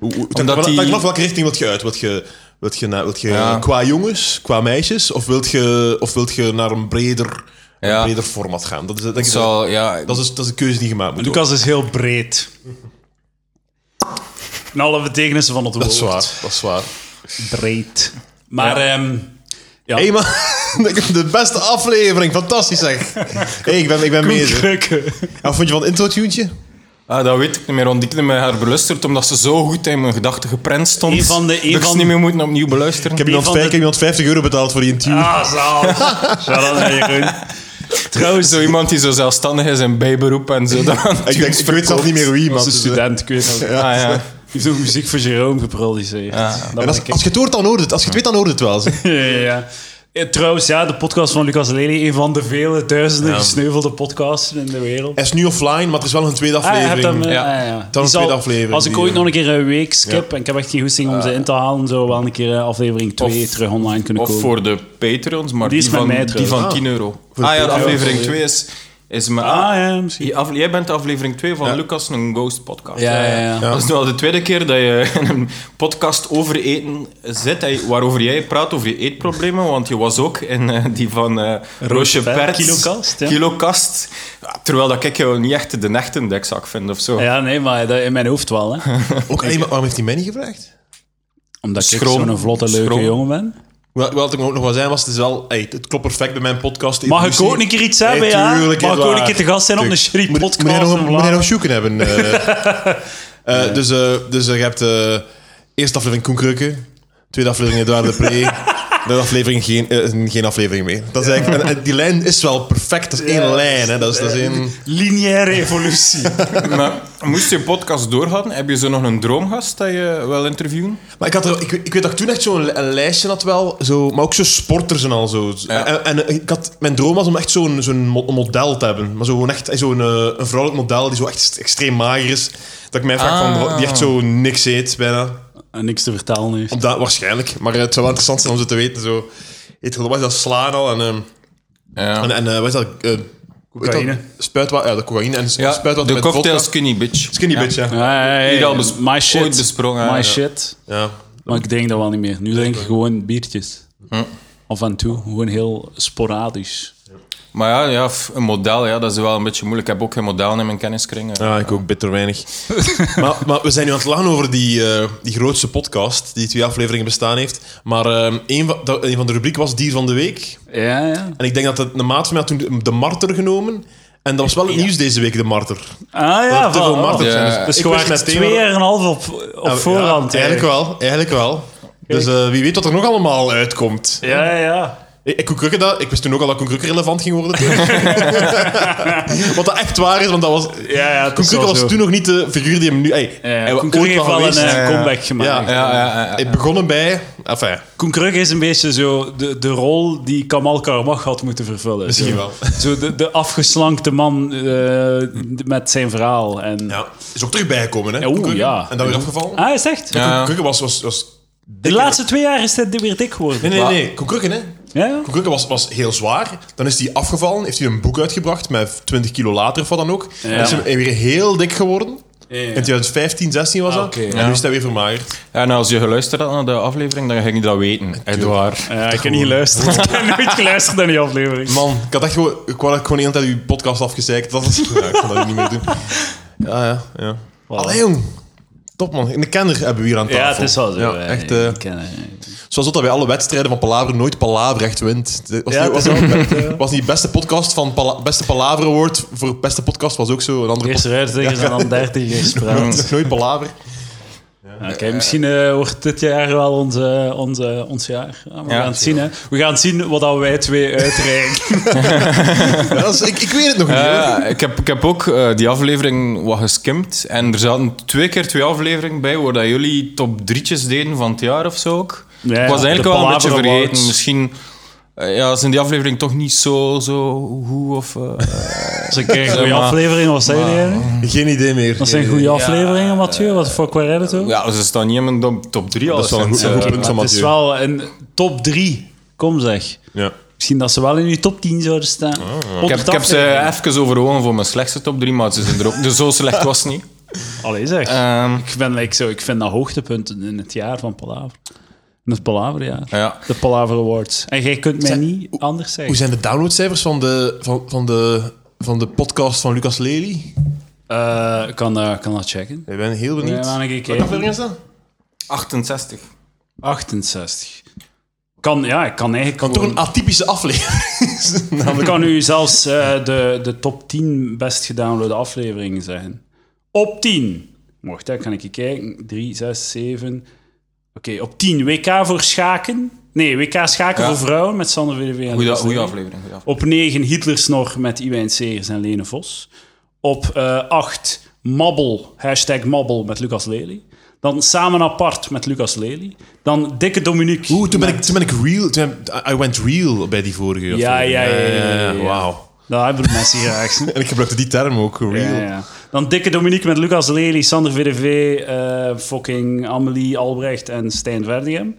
hoe- Het hangt Omdat vanaf- die- hangt vanaf welke richting wilt je uit? Wilt je, wilt je, na- wilt je Ja. qua jongens, qua meisjes? Of wilt je, of wilt je naar een breder, een Ja. breder format gaan? Dat is, eh, denk ik, dat, Zal, ja, dat is, dat is een keuze die gemaakt moet worden. Lucas is heel breed. In alle betekenissen van het woord. Dat is waar, dat is waar. Ah. Breed. Maar ehm, ja. Hé, man, de beste aflevering. Fantastisch, zeg. Hé, ik ben, ik ben Koen bezig. Krugge. En wat vond je van het intro-tuentje? ah, dat weet ik niet meer, want ik heb mij haar beluisterd omdat ze zo goed in mijn gedachten geprent stond. Een van de- dat een ik ze van- niet meer moeten opnieuw beluisteren. Ik heb Die iemand van vijf- de- ik heb iemand 50 euro betaald voor die intro. Ah, zalig. Shout-out naar Jeroen. Trouwens, zo iemand die zo zelfstandig is in bijberoep en zo. dat aan ik, denk, tunes ik weet zelf verkoopt. niet meer wie, maar... Dat is een student, het is, eh, ik weet het ook. Ah, ja. Die heeft ook muziek voor Jeroen geproduceerd. en Dat als, ben ik. als je het hoort, dan hoort het. Als je het weet, dan hoort het wel. zeg. Ja, ja, ja. Eh, Trouwens, ja, de podcast van Lucas Lely, een van de vele duizenden gesneuvelde podcasts in de wereld. Hij is nu offline, maar er is wel een tweede Ah, je aflevering. hebt hem, eh, Ja. ah, ja. Die een zal- tweede aflevering, Als ik die, ooit eh, nog een keer een week skip en ik heb echt geen goesting om ze in te halen, zo wel een keer eh, aflevering 2 Ah. Of- terug online kunnen Of komen. voor de Patreons, maar Die die, is met van, mij die trouwens. van Ah. 10 euro. de Ah ja, de Patreons. aflevering 2 is... is mijn, Ah ja, misschien. Die af- jij bent de aflevering 2 van Ja. Lucas een Ghost podcast. Ja, ja, ja. Dat is nu al de tweede keer dat je in een podcast over eten zit, dat je- waarover jij praat over je eetproblemen, want je was ook in eh, die van eh Roosje Ver- Perts. Kilokast, ja. Kilokast. Ja, Terwijl dat ik jou niet echt de nechtendekzak vind of zo. Ja, nee, maar dat in mijn hoofd wel. Hè. Ook, hey, maar waarom heeft hij mij niet gevraagd? Omdat Schroom. ik zo'n vlotte, leuke Schroom. jongen ben. Wel, wat ik ook nog wel zijn was, het, is wel, hey, het klopt perfect bij mijn podcast. de Mag ik evolutie. ook een keer iets Hey, hebben, ja? tuurlijk, Mag ik is ook een waar. keer te gast zijn op de Tuurlijk. Sherry Moet- podcast? Moet jij nog, en moet jij bla- nog zoeken hebben? eh. Eh, Dus, eh, dus eh, je hebt de eerste aflevering Koen Krukke, tweede aflevering Eduard de Pre, derde aflevering geen, eh, geen aflevering meer. Dat is eigenlijk, en- en die lijn is wel perfect, dat is één Ja, lijn. Hè. Dat is, dat is één... Lineaire evolutie. Maar moest je podcast doorgaan, heb je zo nog een droomgast dat je wil interviewen? Maar ik, had er, ik, weet- ik weet dat ik toen echt zo'n li- een lijstje had wel, zo, maar ook zo sporters en al zo. Ja. En, en ik had, mijn droom was om echt zo'n zo'n mo- een model te hebben. Maar zo'n echt zo'n eh, een vrouwelijk model die zo echt st- extreem mager is. Dat ik mij vraag Ah. van, die echt zo niks eet bijna. En niks te vertellen heeft. Om dat, waarschijnlijk, maar eh, het zou wel interessant zijn om ze te weten. Zo, eet je wat is dat slaan al en, ehm, Ja. en, en eh, wat is dat? eh, hoe heet Cocaïne. dat? Spuitwater, ja, de cocaïne en s- Ja, spuitwater de met cocktail vodka. Skinny Bitch. Skinny bitch, ja. ja. Ah, Ja, ja, ja, Die ja. al bes- my shit. ooit besprongen, My ja. shit. Maar ik denk dat wel niet meer. Nu denk ik gewoon biertjes. Af en toe. Gewoon heel sporadisch. Maar ja, ja, f- een model, ja, dat is wel een beetje moeilijk. Ik heb ook geen model in mijn kenniskring. eh. Ja, Ah, ik ook bitter weinig. maar, maar we zijn nu aan het lachen over die, eh, die grootste podcast die twee afleveringen bestaan heeft. Maar ehm, een, van, dat- een van de rubrieken was Dier van de Week. Ja, ja. En ik denk dat het, de maat van mij had toen de marter genomen. En dat was wel het nieuws deze week, de marter. Ah Dat ja, er te veel voilà. marters zijn. Ja. Dus ik je wist waart meteen twee wel- jaar en een half op, op Ja, voorhand. Ah, ja, eigenlijk wel, eigenlijk wel. Dus eh, wie weet wat er nog allemaal uitkomt. Ja, ja, ja. Ik, ik, Koen Krukke dat, ik wist toen ook al dat Koen Krukke relevant ging worden. wat dat echt waar is, want dat was... ja, ja Koen Krukke was toen nog niet de figuur die hem nu... Hey, hij Ja, Koen ooit Krugge heeft wel wel een geweest is. eh, ja. comeback gemaakt. Ja. Ja, ja, ja, ja. Ik begonnen bij. Enfin, Koen Krugge is een beetje zo de, de rol die Kamal Karmach had moeten vervullen. misschien Zo- wel. Zo de, de afgeslankte man eh, d- met zijn verhaal. En... Ja. Is ook terug bijgekomen, hè? oeh, Koen Krukke. ja. En dan weer afgevallen. Ah, is echt? Ja. Koen Krukke was, was, was De laatste twee jaar is dat weer dik geworden. Nee, nee, Maar- nee. Koekrukken, hè? Ja, ja. Koekrukken was, was heel zwaar. Dan is hij afgevallen, heeft hij een boek uitgebracht met 20 kilo later of wat dan ook. En is hij weer heel dik geworden. In 2015, 16 was dat. Ah, oké, en ja. nu is hij weer vermagerd. En nou, als je geluisterd had naar de aflevering, dan ging je dat weten. Echt waar. Ja, ik heb niet geluisterd. ik heb nooit geluisterd naar die aflevering. Man, ik had echt gewoon, ik wou dat ik gewoon de hele tijd uw podcast afgezeikt. Dat was, ja, ik kon dat niet meer doen. Ja, ja, ja. Allee, jong. Top, man. In de kenner hebben we hier aan tafel. ja, het is wel zo. Ja, eh, echt, eh, ik ken, eh, Zoals dat bij alle wedstrijden van Palaver nooit Palaver echt wint. Het Was, Ja, niet, was, het is wel echt, was niet beste podcast van Pala- beste Palaver Award voor beste podcast was ook zo een andere Eerst eruit tegen en dan dertig gespraat. podcast. Nooit Palaver. Oké, misschien eh, wordt dit jaar wel ons, eh, ons, eh, ons jaar. Ja, maar we Ja, gaan het zien, hè. We gaan zien wat dat wij twee uitreiken. Ja, dat is- ik, ik weet het nog niet. hoor. Eh, ik, heb, ik heb ook eh, die aflevering wat geskimd. En er zaten twee keer twee afleveringen bij waar dat jullie top drietjes deden van het jaar of zo ook. Ja, ja, ik was de eigenlijk wel een beetje Palaver vergeten. Awards. Misschien eh, ja, zijn die aflevering toch niet zo, zo hoe of... eh, Dat is een keer een goede maar- aflevering, wat zei jij? Geen idee meer. Dat zijn goede afleveringen, Mathieu. Wat voor qua het ook? ja, ze staan niet in mijn top- top drie. Dat is wel een goed, alleszins, een goed eh. punt van Het is Mathieu. wel een top 3. Kom zeg. Ja. Misschien dat ze wel in je top 10 zouden staan. Ik heb, ik heb ze even overwogen voor mijn slechtste top 3, maar ze zijn er ook. Dus zo slecht was het niet. Allee zeg. Ehm, ik, ben, like, zo, ik vind dat hoogtepunten in het jaar van Palaver. In het Palaverjaar. ja. De Palaver Awards. En jij kunt mij niet anders Hoe zeggen. zijn de downloadcijfers van de, van, van de, van de podcast van Lucas Lely? Eh, ik kan, eh, kan dat checken. Ik ben heel Ja, benieuwd. maar een keer Welke aflevering is dat? 68. 68. Kan, ja, ik kan eigenlijk Kan toch gewoon- een atypische aflevering. Ik kan u zelfs eh, de, de top 10 best gedownloade afleveringen zeggen. Op 10. Mocht, hè, kan ik je kijken. 3, 6, 7. Oké, op 10. WK voor schaken. Nee, WK schaken Ja. voor vrouwen met Sander VDV en Goeie, Lucas goeie Lely. aflevering. goeie aflevering. Op 9 Hitlersnor met Iwijn Segers en Lene Vos. Op eh 8 Mabbel, hashtag Mabbel met Lucas Lely. Dan Samen Apart met Lucas Lely. Dan Dikke Dominique. Oeh, toen ben, ik, toen ben ik real. Toen heb- I went real bij die vorige. Ja, aflevering. ja, ja, ja, ja, ja. Wauw. Daar hebben we mensen graag. hè. En ik gebruikte die term ook, real. Ja, ja. Dan dikke Dominique met Lucas Lely, Sander VDV, eh fucking Amelie Albrecht en Stijn Verdigem.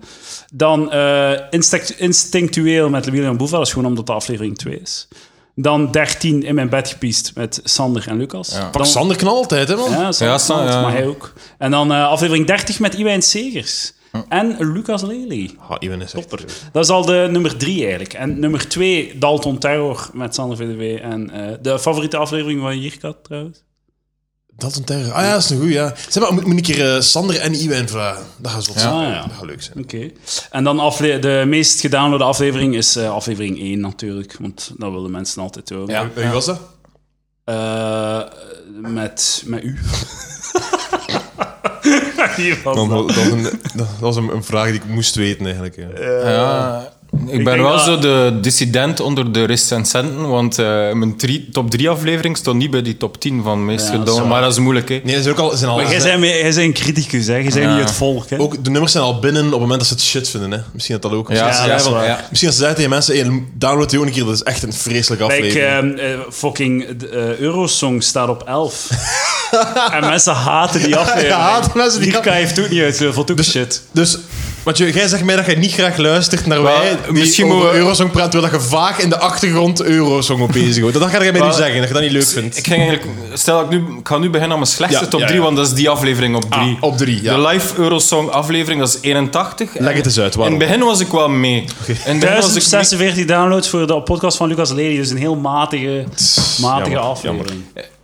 Dan eh, Instinct- Instinctueel met William Boeva, dat is gewoon omdat de aflevering 2 is. Dan 13 in mijn bed gepiest met Sander en Lucas. Ja. Pak Dan- Sander knal altijd, hè, man. Ja, Sander Ja, Sa- Knalt, ja. maar hij ook. En dan eh, aflevering 30 met Iwijn Segers. En Lucas Lely. Ah, Iwan is echt... Dat is al de nummer drie eigenlijk. En nummer twee, Dalton Terror met Sander VDW. En eh, de favoriete aflevering van Jirkat trouwens. Dat is een terror. Ah ja, dat is een goeie, ja. Zeg maar, moet, moet ik hier eh, Sander en Iwan vragen? Dat gaat zot zijn. Ah, ja. Dat gaat leuk zijn. Oké. En dan afle- de meest gedownloade aflevering is eh, aflevering 1 natuurlijk, want dat willen mensen altijd horen. Ja. Wie was dat? Eh, met, met u. Hier was Dan- dat. Dat was, een, dat was een, een vraag die ik moest weten, eigenlijk. Ja. Ja, ik ben denk wel dat- zo de dissident onder de recensenten, want eh, mijn drie- top 3 aflevering stond niet bij die top 10 van meest Ja, gedaan, dat is waar. maar dat is moeilijk. Hè. Nee, dat is ook al... Zijn al Maar jij zijn- bent, mee- jij bent een criticus, hè? Jij bent niet het volk, hè? ook, de nummers zijn al binnen op het moment dat ze het shit vinden, hè. Misschien dat dat ook... Ja, misschien, dat ja, is ja, waar. ja. misschien dat ze zeggen tegen mensen, hey, download die ook een keer, dat is echt een vreselijke aflevering. Kijk, eh, eh, fucking de, eh, Eurosong staat op 11. en mensen haten die aflevering. Ja, haten mensen die Jirka af- heeft ook niet uitgeleefd, ook shit. Dus, Mathieu, jij zegt mij dat jij niet graag luistert naar Wel, wij die misschien over moeten we- Eurosong praten, terwijl dat je vaak in de achtergrond Eurosong op bezig wordt. Dat ga jij mij nu Wel, zeggen, dat je dat niet leuk vindt. Ik ging eigenlijk, stel dat ik nu, ik ga nu beginnen aan mijn slechtste Ja, top ja, 3, ja. Ah, want dat is die aflevering op 3. op drie, ja. De live Eurosong aflevering, dat is 81. Leg het eens uit, waarom? In het begin was ik wel mee. In het begin was ik mee. 1046 downloads voor de podcast van Lucas Lely. Dus een heel matige, matige jammer, aflevering.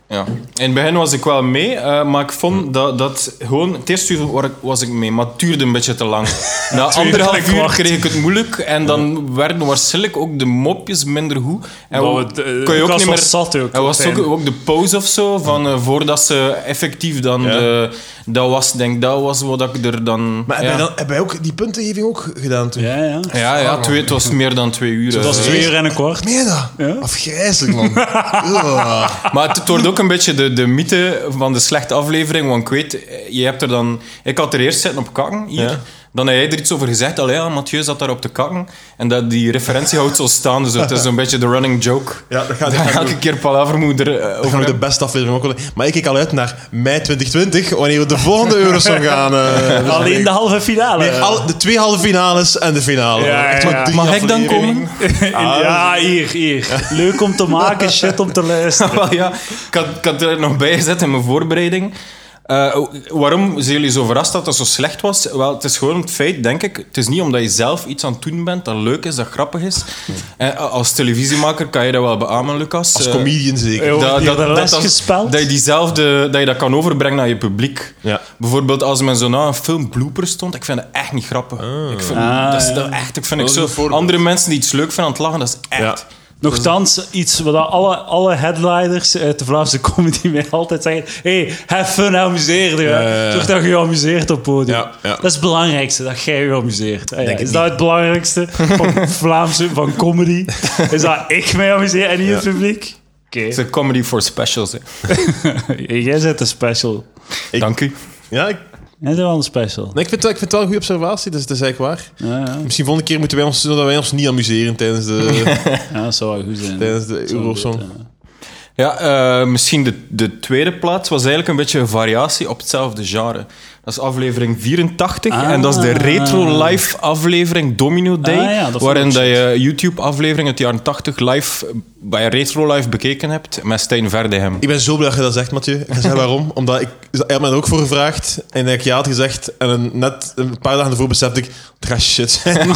Ja. In het begin was ik wel mee, eh, maar ik Hm. vond dat, dat gewoon... Het eerste uur wa- was ik mee, maar het duurde een beetje te lang. Na ik anderhalf uur wacht. kreeg ik het moeilijk en dan werden waarschijnlijk ook de mopjes minder goed. En Omdat we- we- eh, Lucas was zat ook, Er was Martijn. ook, ook de pauze of zo, van, eh, voordat ze effectief dan... De, dat was, denk ik, dat was wat ik er dan... Maar ja. hebben, wij dan, hebben wij ook die puntengeving ook gedaan toen? Ja, ja. ja, ja, twee, het was meer dan twee uur. Dat eh. is twee uur en een kwart. Meen je dat? Afgrijzelijk, man. Ugh. Maar het, het wordt ook een beetje de, de mythe van de slechte aflevering. Want ik weet, je hebt er dan... Ik had er eerst zitten op kakken hier. Dan heb jij er iets over gezegd. Allee, ja, Mathieu zat daar op te kakken. En dat die referentie houdt zo staan. Dus het is een beetje de running joke. Ja, dat gaat- dat Daar gaat elke doen. keer Palaver moet er, eh, Dan over gaan we de hebben. beste aflevering ook wel. Maar ik kijk al uit naar mei 2020, wanneer we de volgende Eurosong gaan. eh, Alleen de halve finale. Nee, al- de twee halve finales en de finale. Ja, Echt ja, maar ja. drie Mag ik dan afleveringen. komen? ja, hier, hier. Leuk om te maken, shit om te luisteren. Wel ja, ik had, ik had er nog bij gezet in mijn voorbereiding. Eh, waarom zijn jullie zo verrast dat dat zo slecht was? Wel, het is gewoon het feit, denk ik. Het is niet omdat je zelf iets aan het doen bent dat leuk is, dat grappig is. En als televisiemaker kan je dat wel beamen, Lucas. Als Eh, comedian zeker. Ja. Ja. Die hadden les dat- gespeeld. Dat je, diezelfde, dat je dat kan overbrengen naar je publiek. Ja. Bijvoorbeeld als men zo na een film blooper stond, ik vind dat echt niet grappig. Ik vind, Ah, dat is ja. dat echt, ik vind ik is een zo, voorbeeld. andere mensen die iets leuk vinden aan het lachen, dat is echt... Nochtans, iets wat alle, alle headliners uit de Vlaamse comedy mij altijd zeggen. hey, have fun, amuseer je. Ja, ja, ja. Zorg dat je je amuseert op het podium. Ja, ja. Dat is het belangrijkste, dat jij je amuseert. Ah, ja, Denk het Is dat het belangrijkste van Vlaamse, van comedy? Is dat ik mij amuseer en niet het publiek? Oké, Het is een comedy for specials. hè. jij bent de special. Dank u. ik, Jij bent wel een special. nee, ik, vind, het wel- ik vind het wel een goede observatie, dus het is eigenlijk waar. Ja, ja. Misschien volgende keer moeten wij ons, zodat wij ons niet amuseren tijdens de, Ja, dat zou wel goed zijn. tijdens de Zou Eurosong. goed, ja. Ja, eh, misschien de, de tweede plaats was eigenlijk een beetje een variatie op hetzelfde genre. Dat is aflevering 84 Ah. en dat is de retro live aflevering Domino Day, Ah, ja, dat vond waarin ik dat je YouTube aflevering uit de jaren 80 live eh, bij Retro Live bekeken hebt met Stijn Verdehem. Ik ben zo blij dat je dat zegt, Mathieu. Ik ga zeggen waarom. Omdat ik, hij had mij er ook voor gevraagd. En ik ja had gezegd. En een- net een paar dagen ervoor besefte ik, het gaat shit zijn. en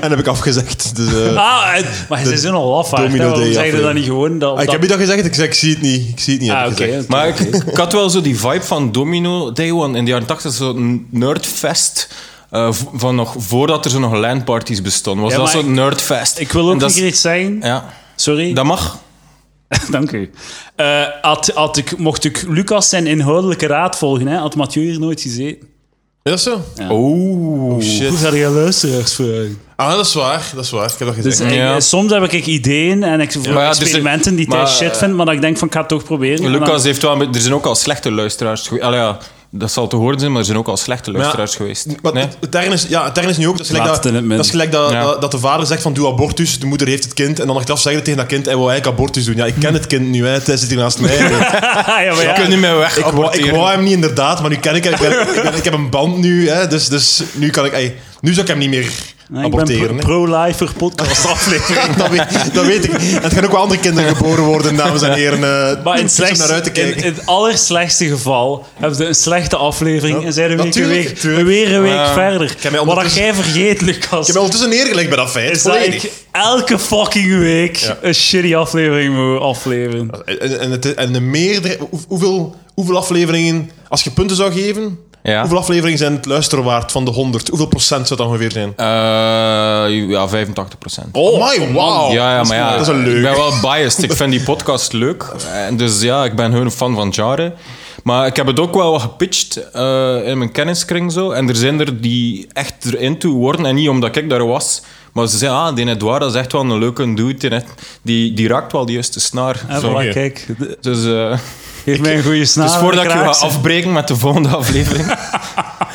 dat heb ik afgezegd. Dus, eh, Ah, en- maar ze zijn al af. Domino Waarom Day zeg je dat aflevering. niet gewoon? Dat, ah, ik dat- heb niet dat gezegd. Ik zei, ik zie het niet. Ik zie het niet. heb Ah, ik oké. gezegd. Maar ik, ik had wel zo die vibe van Domino Day One in de jaren 80, zo'n nerdfest. eh, v- van nog, voordat er zo nog landparties bestonden. Was Ja, dat maar zo'n nerdfest? Ik wil ook En dat niet is- iets zeggen. Ja, Sorry. dat mag. Dank u. Eh, had, had ik, mocht ik Lucas zijn inhoudelijke raad volgen, hè, had Mathieu hier nooit gezeten. Is dat zo? Oh, Shit. Hoe ga je luisteraars vragen? Ah, dat is waar. Dat is waar. Ik heb dat gezegd. Dus ik- Ja. soms heb ik ideeën en ik voor Maar ja, dus experimenten die er- maar, hij shit eh, vindt, eh, maar dat ik denk van ik ga het toch proberen. En Lucas heeft wel... een be- Er zijn ook al slechte luisteraars geweest. ja, dat zal te horen zijn, maar er zijn ook al slechte luisteraars geweest. Maar Nee? het, het ergste is, ja, het ergste is nu ook, dat is gelijk, Laat dat, het in het midden. dat, is gelijk dat, Ja. dat, dat de vader zegt van doe abortus, de moeder heeft het kind. En dan achteraf zeggen tegen dat kind, hij wil eigenlijk abortus doen. Ja, ik ken het kind nu, hè, hij zit hier naast mij. ik, dan- ja, maar ja. Ik kan niet meer weg wou, ik aborteren. wou hem niet inderdaad, maar nu ken ik hem. Ik, ben- ik, ben- ik heb een band nu, hè, dus, dus nu kan ik... ey, nu zou ik hem niet meer Nee, ik aborteren. ben hè. pro-lifer podcast aflevering. dat, weet, dat weet ik. En het gaan ook wel andere kinderen geboren worden, dames en heren. eh, Maar in het, iets om slechtste, naar uit te kijken. in, in het allerslechtste geval hebben ze een slechte aflevering Ja, en zijn we weer een natuurlijk, week, tuurlijk. weer een week Ja. verder. heb mij Wat dat ondertussen- jij vergeet, Lucas. ik heb me ondertussen neergelegd bij dat feit. is dat volledig. ik elke fucking week een shitty aflevering moet afleveren. En, en, het, en de meerdere, hoe- hoeveel, hoeveel afleveringen, als je punten zou geven, Ja. hoeveel afleveringen zijn het luisteren waard van de 100? Hoeveel procent zou dat ongeveer zijn? Eh, ja, 85 Oh, my wow! ja, ja, maar ja, dat is een ik leuk. ben wel biased. Ik vind die podcast leuk. En dus ja, ik ben hun fan van Jaren. Maar ik heb het ook wel wat gepitcht eh, in mijn kenniskring zo. En er zijn er die echt erin toe worden. En niet omdat ik daar was. Maar ze zeggen, ah, die Edouard dat is echt wel een leuke dude. Die, net- die, die raakt wel de juiste snaar. En Zo. voilà, kijk, de- Dus, Nou, eh, geef mij een goede snaar. dus voordat ik je ga kraak ze. afbreken met de volgende aflevering.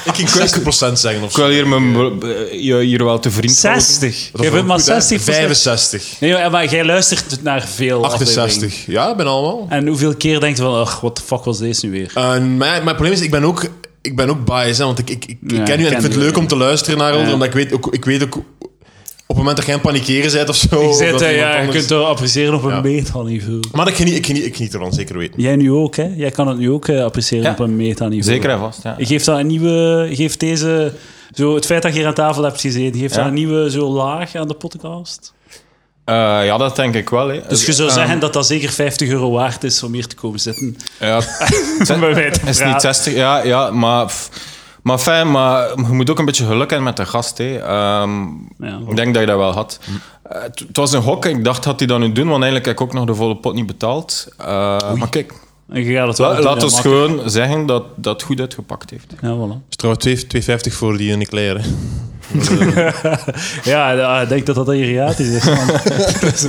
Ik ging 60% zeggen of ik zo. wil hier, mijn, be- be- je hier wel te vriend houden. 60. Dat is Je wel bent maar goed, hè? 60 65. Nee, maar- maar jij luistert naar veel afleveringen. 68. Ja, ben allemaal. En hoeveel keer denkt je van, ach, wat de fuck was deze nu weer? En mijn, mijn probleem is, ik ben ook, ik ben ook biased, hè, want ik, ik, ik, ik Ja, ken u en ik ik ken vind het u. leuk om te luisteren naar elkaar, Ja. omdat ik weet ook, ik weet ook op het moment dat jij aan het panikeren bent of zo. Ik of zei Oh, het, dat eh, iemand ja, je anders- kunt er appreciëren op een Ja. metaniveau. Maar ik geniet, ik, geniet, ik geniet ervan, zeker weten. Jij nu ook, hè? Jij kan het nu ook eh, appreciëren Ja. op een metaniveau. Zeker en vast, ja. Je geeft dat een nieuwe... je Geeft deze... Zo, het feit dat je hier aan tafel hebt gezeten, geeft Ja. dat een nieuwe zo laag aan de podcast? Eh, ja, dat denk ik wel. Hè. Dus je zou Ehm, zeggen dat dat zeker 50 euro waard is om hier te komen zitten. Ja, Om bij mij te is praten. niet 60, ja, ja maar, f- maar fijn, maar je moet ook een beetje geluk hebben met de gast. Hè. Ehm, Ja. Ik denk dat je dat wel had. Eh, Het het was een hok, ik dacht, had hij dat nu doen? Want eigenlijk heb ik ook nog de volle pot niet betaald. Eh, maar kijk, En je gaat het wel la- doen, laat ja, ons makkelijk. gewoon zeggen dat dat goed uitgepakt heeft. Ja, voilà. is trouwens 2,50 voor die nucleaire. ja, ja, eh, ik denk dat dat Ariatisch is. man. Dus,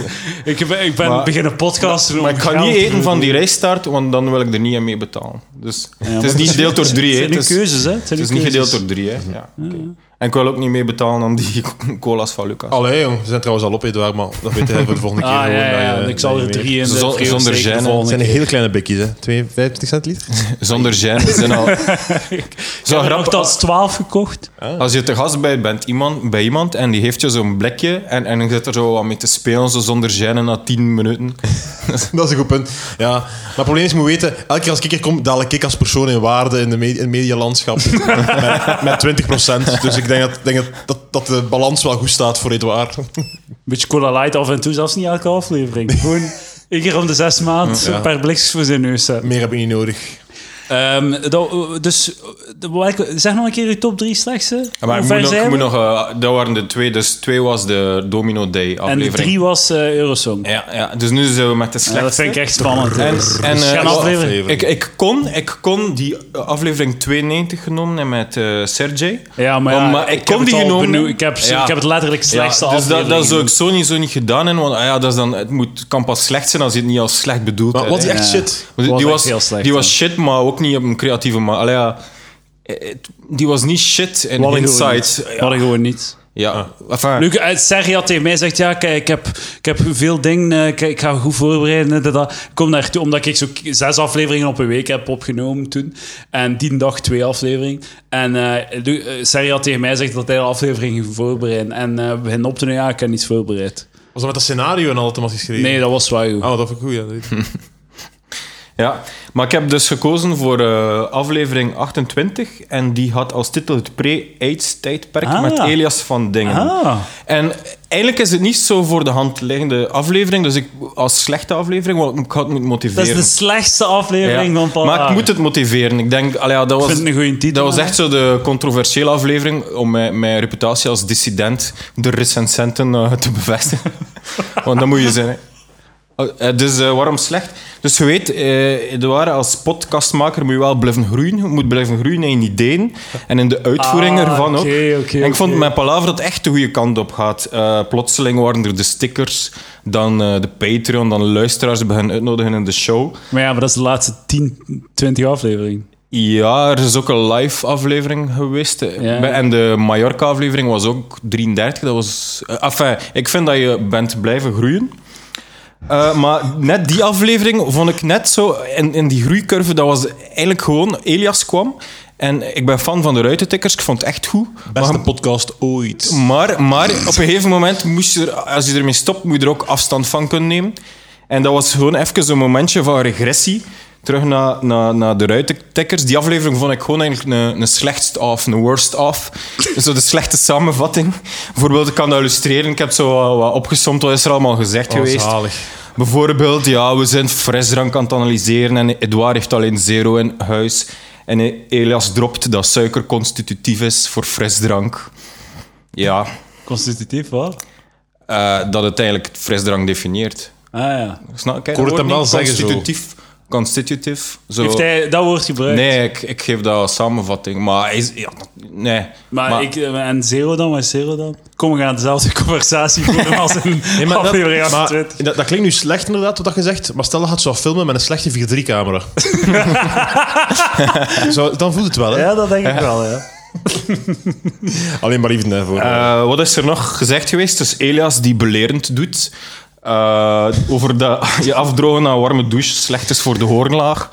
ik, ben- ik ben Maar- beginnen podcasten. Maar ik ga niet eten van die rijstaart, want dan wil ik er niet aan mee betalen. Dus het is niet gedeeld door drie. Het hè. zijn uw Het is- keuzes, hè? het is niet gedeeld door drie. Hè. Ja, oké. En ik wil ook niet mee betalen aan die cola's van Lucas. Allee, jong. Ze zijn trouwens al op, Edouard, maar dat weet hij voor de volgende Ah, keer. ja, gewoon ja, dat je- ja. Ik zal dat er je weet. drie in de Zon- geel zonder steken de gêne. Het volgende zijn keer. hele kleine bekjes, hè. 52 cent liter. Zonder zijn. Ze zijn al... Zo Ik heb grappig. nogthans 12 gekocht. Als je te gast bij bent iemand, bij iemand en die heeft je zo'n blikje en, en je zit er zo wat mee te spelen, zo zonder zijn na 10 minuten. Dat is een goed punt. Ja. Maar het probleem is, je moet weten, elke keer als ik er kom, daal ik als persoon in waarde in, de me- in het medialandschap met, met 20%. Dus ik denk, dat, denk dat, dat, dat de balans wel goed staat voor Edouard. Een beetje cola light af en toe, zelfs niet elke aflevering. Gewoon één keer om de zes maanden een paar blikjes voor zijn neus zetten. Meer heb ik niet nodig. Ehm, dat- dus eh, de- welke- zeg nog een keer je top drie slechtste. Ja, Hoe Maar ik ver moet nog, zijn ik we? moet nog, eh, dat waren de twee, dus twee was de Domino Day En de aflevering. drie was eh, Eurosong. ja, ja, dus nu zijn we met de Ja, dat slechtste. vind ik echt spannend. Dus En, en, eh, Geen aflevering. ik, ik, kon, ik kon die eh, aflevering 92 genomen hebben met eh Sergej. Ja, maar, ja, maar ik kon heb die het al genomen. benoemd. Ik heb, Ja. ik heb het letterlijk Ja, slechtste dus dat, dat aflevering zou ik zo niet, zo niet gedaan hebben, want ah ja, dat is dan, het moet, kan pas slecht zijn als je het niet als slecht bedoelt Maar hebt, wat hè. is echt Ja. shit? Want Was die, echt was, heel slecht, die ja. was shit, maar ook niet op een creatieve manier. Allee, ja, eh, het- die was niet shit in Wat ik gewoon hindsight. niet. Wat ik gewoon niet. Ja, enfin, Luc, eh, Sergi had tegen mij gezegd, ja, kijk, ik heb, ik heb veel dingen, eh, ik, ik ga goed voorbereiden. eh, dat, dat. Ik kom daartoe, omdat ik zo k- zes afleveringen op een week heb opgenomen toen. En die dag twee afleveringen. En eh Lu- eh, Sergi had tegen mij gezegd dat hij de aflevering ging voorbereiden. En eh, we beginnen op te nemen, ja, ik heb niets voorbereid. Was dat met dat scenario en al dat was geschreven? Nee, dat was waar, joh. Oh, dat vind ik goed, ja. Dat- ja. Maar ik heb dus gekozen voor eh, aflevering 28 en die had als titel het pre-AIDS-tijdperk Ah. met Elias van Dingen. Ah. En eigenlijk is het niet zo voor de hand liggende aflevering, dus ik, als slechte aflevering, want ik had het Dat moeten motiveren. is de slechtste aflevering Ja. van Paul Maar ik Hagen. moet het motiveren. Ik denk, allee, ja, dat Ik was, vind het een goede titel. dat hè. was echt zo de controversiële aflevering om mijn, mijn reputatie als dissident door recensenten eh, te bevestigen. Want dat moet je zijn. hè. Eh, eh, dus eh, waarom slecht? Dus je weet, eh Edouard, als podcastmaker moet je wel blijven groeien. Je moet blijven groeien in ideeën en in de uitvoering Ah, ervan ook. oké, oké, en ik oké. vond mijn palaver dat het echt de goede kant op gaat. Eh, plotseling waren er de stickers, dan eh, de Patreon, dan luisteraars beginnen uitnodigen in de show. Maar ja, maar dat is de laatste 10, 20 afleveringen. Ja, er is ook een live aflevering geweest. Ja. En de Mallorca-aflevering was ook 33. Dat was, eh, enfin, ik vind dat je bent blijven groeien. Eh, maar net die aflevering vond ik net zo... In, in die groeicurve, dat was eigenlijk gewoon... Elias kwam. En ik ben fan van de ruitentikkers. Ik vond het echt goed. Beste podcast ooit. Maar, maar op een gegeven moment moest je er, als je ermee stopt, moet je er ook afstand van kunnen nemen. En dat was gewoon even een momentje van regressie. Terug naar, naar, naar de ruitentikkers. Die aflevering vond ik gewoon eigenlijk een, een slechtst af, een worst af. Zo de slechte samenvatting. Bijvoorbeeld, ik kan dat illustreren. Ik heb zo wat, wat opgesomd, wat is er allemaal gezegd geweest. zalig. Bijvoorbeeld, ja, we zijn frisdrank aan het analyseren en Edouard heeft alleen zero in huis. En Elias dropt dat suiker constitutief is voor frisdrank. Ja, Constitutief, wat? eh, dat het eigenlijk frisdrank definieert. Ah ja. Snap ik? Ik hoor het hem wel zeggen, zo. Constitutief. Constitutief. Zo. Heeft hij dat woord gebruikt? Nee, ik, ik geef dat als samenvatting. Maar hij is, ja, nee. Maar, Maar- ik, eh, en Zero dan, wat is Zero dan? Kom, we gaan dezelfde conversatie voeren als in Nee, maar dat, aflevering maar 28. dat, dat klinkt nu slecht inderdaad, wat dat gezegd. Maar stel dat je het zou filmen met een slechte 4-3-camera. Zo, dan voelt het wel, hè? Ja, dat denk ik wel, ja. Alleen maar even daarvoor. Eh, wat is er nog gezegd geweest? Dus Elias die belerend doet. eh, over dat je afdrogen na een warme douche slecht is voor de hoornlaag.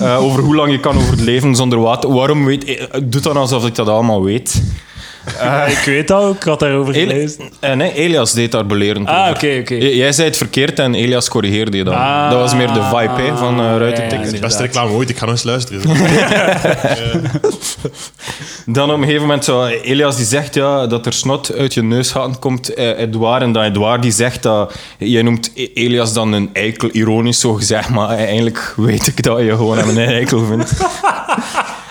Eh, over hoe lang je kan overleven zonder water. Waarom weet... eh, Doe dan alsof ik dat allemaal weet. ik weet dat ook, ik had daarover Eli- gelezen. eh, nee, Elias deed daar belerend Ah, over. oké, oké. Ah, J- Jij zei het verkeerd en Elias corrigeerde je dan. dat was meer de vibe hè, van eh Ja, Ruitentikkers. ja, ja. Beste reclame ooit, ik ga nog eens luisteren. Dan op een gegeven moment, zo, eh, Elias die zegt ja, dat er snot uit je neusgaten komt, eh, Edouard. En dan Edouard die zegt dat... Jij noemt E- Elias dan een eikel, ironisch zo gezegd. Maar eigenlijk weet ik dat je gewoon hem een eikel vindt.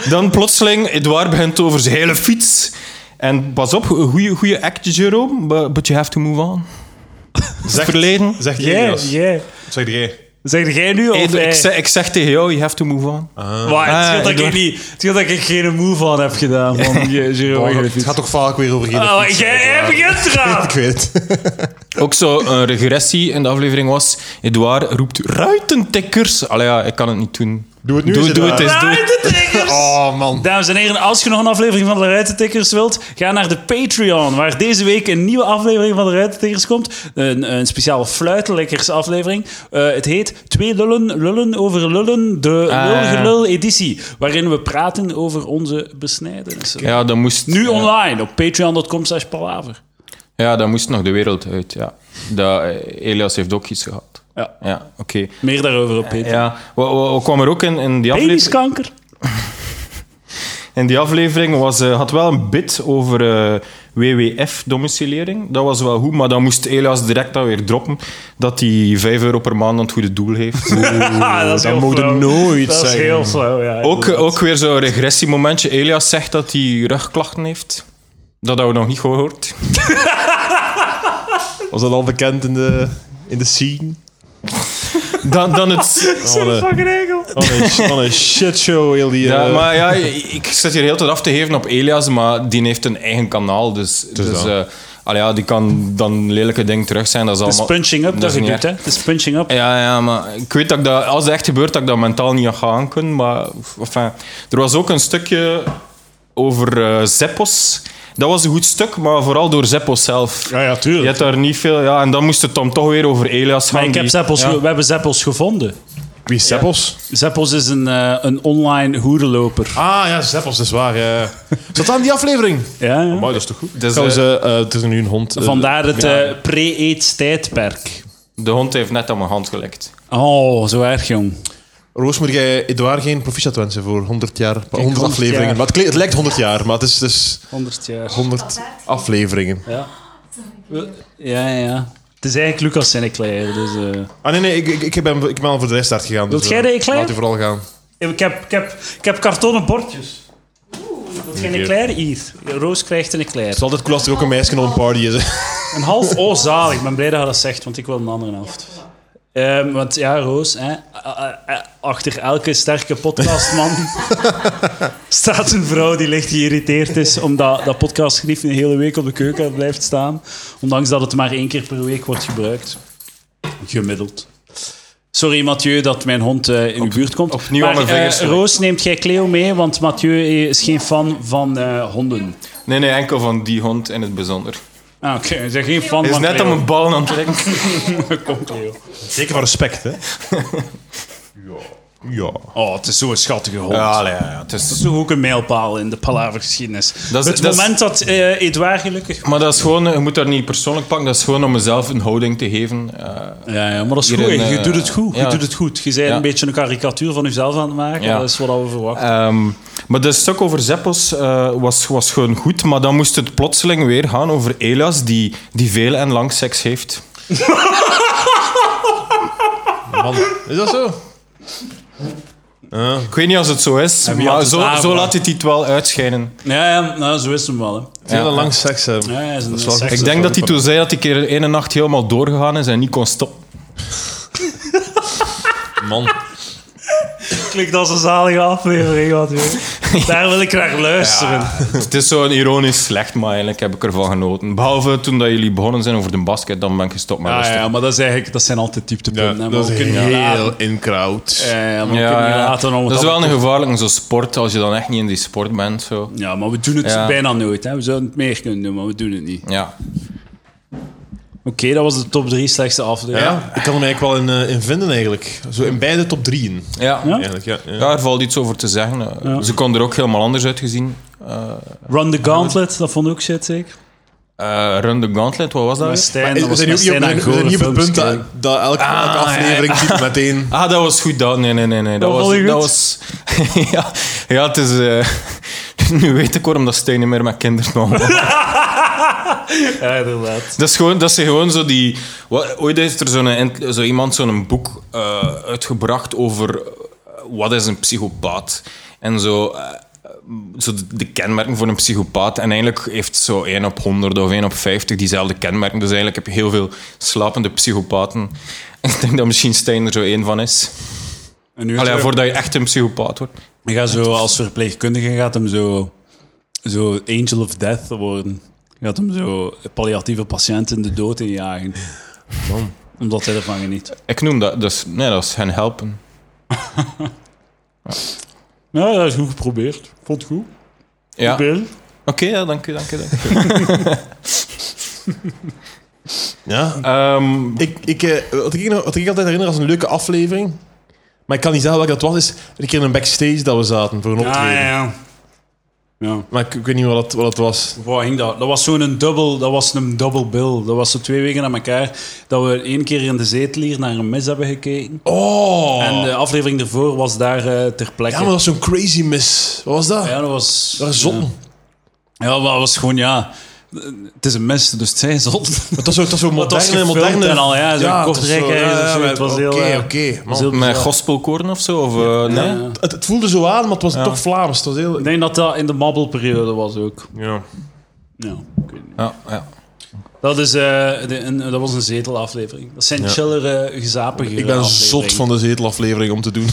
dan plotseling, Edouard begint over zijn hele fiets. En pas op, goede goede act, Jerome, bu- but you have to move on. Is het verleden? Zeg jij, Jij, Elias. jij. Zeg jij. Zeg jij nu of Edo, hij? ik, zeg, ik zeg tegen jou, you have to move on. Maar het scheelt Ah, dat ik, Eduard. niet, het scheelt dat ik geen move aan heb gedaan van je- Zero. Oh, Oh, het gaat toch vaak weer over geen fiets, jij jij Edouard. begint eraan. Ik weet het. Ook zo een regressie in de aflevering was. Edouard roept ruitentikkers. Allee, ja, ik kan het niet doen. Doe het nu Doe, eens, doe het Edouard. eens. Doe Draai het. de trigger, Ruitentikkers. Oh, man. Dames en heren, als je nog een aflevering van de Ruitentikkers wilt, ga naar de Patreon, waar deze week een nieuwe aflevering van de Ruitentikkers komt. Een, een speciaal fluitelikkers aflevering. Eh, het heet Twee lullen, lullen over lullen, de Ah, lulgelul editie, waarin we praten over onze besnijdenissen. Ja, dat moest... Nu ja. online op patreon.com slash palaver. Ja, dat moest nog de wereld uit, ja. Dat, eh, Elias heeft ook iets gehad. Ja. Ja, oké. Meer daarover op Patreon. Ja, wat, wat- wat kwam er ook in, in die aflevering? Peniskanker. In die aflevering was, eh, had wel een bit over eh, WWF-domicilering. Dat was wel goed, maar dan moest Elias direct dan weer droppen dat hij 5 euro per maand aan het goede doel heeft. Ah, dat is dat heel moet je flauw. nooit Dat is zeggen. heel flauw, ja. ook, ook weer zo'n regressiemomentje. Elias zegt dat hij rugklachten heeft. Dat hadden we nog niet gehoord. Was dat al bekend in de, in de scene? Dan, dan het... Wat een, Fucking regel. wat een, wat een shitshow, heel die... Ja, eh, maar ja, ik zit hier heel tijd af te geven op Elias, maar die heeft een eigen kanaal. Dus, dus, dat. eh, allee, ja, die kan dan lelijke dingen terug zijn. Dat is Het is allemaal... punching up dat, is je niet doet, hè. echt. Het is punching up. Ja, ja, maar ik weet dat ik dat, als dat echt gebeurt, dat ik dat mentaal niet aan ga aankunnen. Maar enfin, er was ook een stukje over eh, Zeppos. Dat was een goed stuk, maar vooral door Zeppos zelf. ja, ja, Je tuurlijk. hebt daar niet veel... Ja, en dan moest het dan toch weer over Elias gaan. Maar ik heb die- Zeppels ja. ge- we hebben Zeppels gevonden. Wie is Zeppels? Zeppels is een, eh, een online hoerenloper. Ah ja, Zeppels, dat is waar. ja. Zat dat aan die aflevering? Ja, ja. Mooi, dat is toch goed? Dus, Trouwens, eh, eh, eh, het is nu een hond. eh, Vandaar het eh, pre-aids tijdperk. de hond heeft net aan mijn hand gelekt. Oh, zo erg, jong. Roos, moet jij Edouard geen proficiat wensen voor 100 jaar, 100, 100 afleveringen. jaar. Maar het, kle- het lijkt 100 jaar, maar het is, het is 100 jaar. 100 afleveringen. Ja. Ja, ja. Het is eigenlijk Lucas en Eclair, dus... eh. Ah nee, nee, ik, ik, ik, ben, ik ben al voor de restart gegaan. Wilt dus, jij eh, de eclair? Laat u vooral gaan. Ik heb, ik heb, ik heb kartonnen bordjes. Dat is geen eclair hier. Roos krijgt een eclair. Het is altijd cool als er ook een meisje op een party is. hè. Een half oh zalig. Ik ben blij dat je dat zegt, want ik wil een andere helft. Ehm, want ja, Roos, hè, a- a- a- achter elke sterke podcastman staat een vrouw die licht geïrriteerd is omdat dat podcastgerief een hele week op de keuken blijft staan. Ondanks dat het maar één keer per week wordt gebruikt. Gemiddeld. Sorry Mathieu dat mijn hond eh, in uw buurt komt. opnieuw maar, aan mijn eh, vingers gelegd. Roos, neemt jij Cleo mee, want Mathieu is geen fan van eh, honden. Nee, nee, enkel van die hond in het bijzonder. Ah, oké, hij is geen fan Hij is van net aan Cleo. mijn ballen aan het lekken. Kom Cleo. Zeker van respect, hè? ja. Ja. Oh, het is zo'n schattige hond. Ja, allee, ja, ja, het is- Toch ook een mijlpaal in de palavergeschiedenis. Dat is- het dat is- moment dat eh Edouard gelukkig... Maar dat is gewoon, eh, je moet daar niet persoonlijk pakken, dat is gewoon om mezelf een houding te geven. eh, Ja, ja, maar dat is Hier goed. in, hè. je eh, doet het goed. Je ja. doet het goed. Je bent Ja. een beetje een karikatuur van jezelf aan het maken. Ja. Dat is wat we verwachten. Ehm, maar dat stuk over Zeppos eh, was, was gewoon goed, maar dan moest het plotseling weer gaan over Elias, die, die veel en lang seks heeft. Man, is dat zo? Ik weet niet als het zo is, wie maar had het zo, daar, zo maar- laat hij het wel uitschijnen. Ja, ja nou, zo is het hem wel. Hè. Veel Ja. en lang seks hebben. Ja, hij is een is wel- seks- Ik denk dat hij toen zei dat hij keer één nacht helemaal doorgegaan is en niet kon stoppen. Man. Klinkt als een zalige aflevering. Wat, joh. Daar wil ik naar luisteren. het is zo'n ironisch slecht, maar eigenlijk heb ik ervan genoten. Behalve toen dat jullie begonnen zijn over de basket, dan ben ik gestopt met Ah, luisteren. ja, maar dat, is eigenlijk, dat zijn altijd Ja, dieptepunten. hè, maar dat we is kunnen niet heel laten. inkraut. Ja, ja, maar we Ja, kunnen niet ja. laten om het dat is wel allemaal een te- gevaarlijke zo'n sport als je dan echt niet in die sport bent. Zo. Ja, maar we doen het Ja. bijna nooit. Hè. We zouden het meer kunnen doen, maar we doen het niet. Ja. Oké, dat was de top 3 slechtste aflevering. Ja, ik kan hem eigenlijk wel in, eh, in vinden, eigenlijk. Zo in beide top drieën. Ja. Ja? Eigenlijk, ja. ja. Ja, er valt iets over te zeggen. Eh, Ze kon er ook helemaal anders uitgezien. Run the Gauntlet, dat vond ik ook shit, zeker. Eh Run the Gauntlet, wat was dat? Maar weer? Stijn, dat Maar we was zijn met nu- we Stijn zijn aan we zijn gore nu op het films punt dat, kijken. dat elke, elke ja, aflevering typt meteen... Ah, dat was goed. Dat, nee, nee, nee. nee. Dat, Dat was... vond je Dat goed? was ja, ja, het is... eh, nu weet ik waarom dat Stijn niet meer met kinderen omgaat. Ja, inderdaad. dat, is gewoon, dat zijn gewoon zo die... Wat, ooit heeft er zo'n ent- zo iemand zo'n boek eh, uitgebracht over... eh, wat is een psychopaat? En zo... eh, zo de, de kenmerken voor een psychopaat. En eigenlijk heeft zo 1 op 100 of 1 op 50 diezelfde kenmerken. Dus eigenlijk heb je heel veel slapende psychopaten. Ik denk dat misschien Stijn er zo één van is. En nu Allee, zo- voordat je echt een psychopaat wordt. Hij gaat zo als verpleegkundige gaat hem zo, zo Angel of Death worden. Hij gaat hem zo palliatieve patiënten de dood injagen. Omdat hij ervan geniet. Ik noem dat dus... Nee, dat is hen helpen. Ja, dat is goed geprobeerd. Vond het goed. Ja. Oké, Bill. ja, dank u, dank u, dank u. Ja. Ehm, Ik, ik, eh, wat, ik, nog- wat ik altijd herinner als een leuke aflevering, maar ik kan niet zeggen welke dat was, is een keer in een backstage dat we zaten voor een optreden. Ah, Ja, ja, ja. ja. Maar ik, ik weet niet wat dat, wat dat was. Waar hing dat? Dat was zo'n dubbel, dat was een double bill. Dat was zo twee weken aan elkaar dat we één keer in de zetel hier naar een mis hebben gekeken. Oh! En de aflevering daarvoor was daar eh, ter ja, plekke. maar dat was zo'n crazy miss. Wat was dat? Ja, dat was... Dat was zon. Ja. Ja, maar dat was gewoon, ja... Het is een mis, dus het zijn zon. Het was zo, het was zo het was moderne, gefilmd moderne... en al, ja, zo'n het was Kortrijk ergens of zo, het was heel, Oké, eh, oké. man. heel Met bizar. gospelkoren of zo? Of, eh, nee? Ja. Het, het voelde zo aan, maar het was toch Vlaams. Het was heel... Ik denk dat dat in de mabbelperiode was ook. Ja. Ja, ik weet niet. Ja, ja. Dat, is, eh, de- een- dat was een zetelaflevering. Dat zijn eh, chillere, gezapige Ik ben zot van de zetelaflevering om te doen.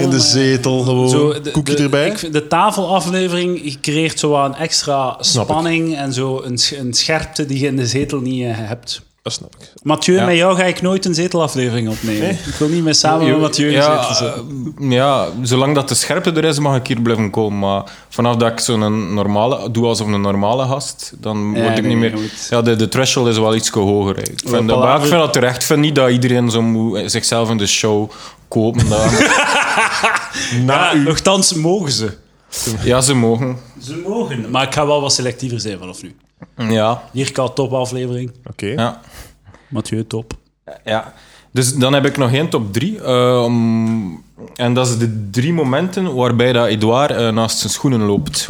In de zetel, gewoon. Oh Zo, de, Koekje de- erbij. ik vind- de tafelaflevering creëert zo wat een extra Snap ik. spanning en zo een, sch- een scherpte die je in de zetel niet eh, hebt. Dat snap ik. Mathieu, Ja. met jou ga ik nooit een zetelaflevering opnemen. Ik wil niet meer samen met Mathieu in de zetel ja, zitten. eh, ja, zolang dat de scherpte er is, mag ik hier blijven komen. Maar vanaf dat ik zo'n normale, doe alsof een normale gast, dan Ja, word ik nee, niet meer. goed. Ja, de, de threshold is wel iets hoger. hè. Ik vind, Wel, dat, maar ik palaver- vind dat terecht. Ik vind niet dat iedereen zo moet eh, zichzelf in de show kopen. Dat, Ja, nochtans mogen ze. ja, ze mogen. Ze mogen. Maar ik ga wel wat selectiever zijn vanaf nu. Ja, Jirka, topaflevering. Oké. ja. Mathieu, top. Ja. Dus dan heb ik nog geen top drie. Ehm, en dat is de drie momenten waarbij dat Edouard eh, naast zijn schoenen loopt.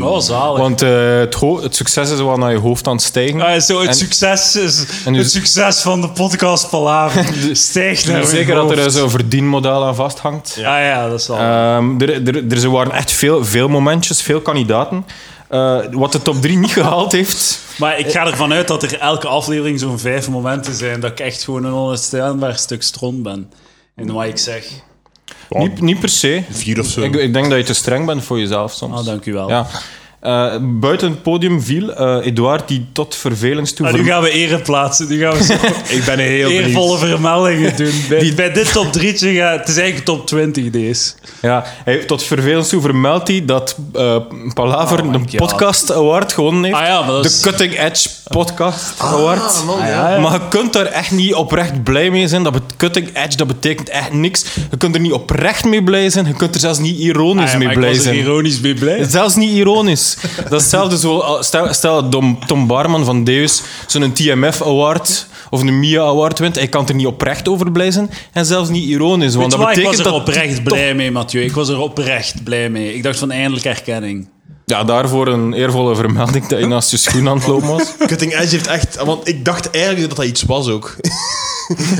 Oh, zalig. Want eh, het, ho- het succes is wel naar je hoofd aan het stijgen. Ah, zo, het, En- succes is, en nu- het succes van de podcast Palaver stijgt naar mijn Zeker dat er eh, hoofd. zo'n verdienmodel aan vasthangt. Ah ja, dat is al. Ehm, er, er, er, er waren echt veel, veel momentjes, veel kandidaten. Eh, wat de top 3 niet gehaald heeft. Maar ik ga ervan uit dat er elke aflevering zo'n vijf momenten zijn dat ik echt gewoon een onherstelbaar stuk stront ben. En wat ik zeg. Niet, niet per se. Vier of zo. Ik, ik denk dat je te streng bent voor jezelf soms. Ah, dank u wel. Ja. Eh, buiten het podium viel eh Edouard die tot vervelens toe... Ah, nu verm- gaan we ere plaatsen. Nu gaan we zo Ik ben heel eervolle vermeldingen doen. Bij, Die- bij dit top 3 gaat... Het is eigenlijk top 20 deze. Ja, hij heeft tot vervelens toe vermeldt hij dat eh, Palaver Oh my een God. podcast award gewonnen heeft. Ah ja, maar dat is- De Cutting Edge Podcast Award. man, ja. Ah, ja. Maar je kunt daar echt niet oprecht blij mee zijn. Dat bet- Cutting Edge, dat betekent echt niks. Je kunt er niet oprecht mee blij zijn. Je kunt er zelfs niet ironisch Ah ja, mee maar blij ik was er zijn. ironisch mee blij. Zelfs niet ironisch. Dat is hetzelfde zo... al- Stel, stel dat Dom- Tom Barman van Deus zo'n TMF Award of een MIA Award wint. Hij kan er niet oprecht over blij zijn. En zelfs niet ironisch. Want Weet je dat wat, ik betekent was er dat oprecht blij mee, Mathieu. Ik was er oprecht blij mee. Ik dacht van eindelijk erkenning. Ja, daarvoor een eervolle vermelding dat je naast je schoen aan het lopen was. Cutting Edge heeft echt... Want ik dacht eigenlijk dat dat iets was ook.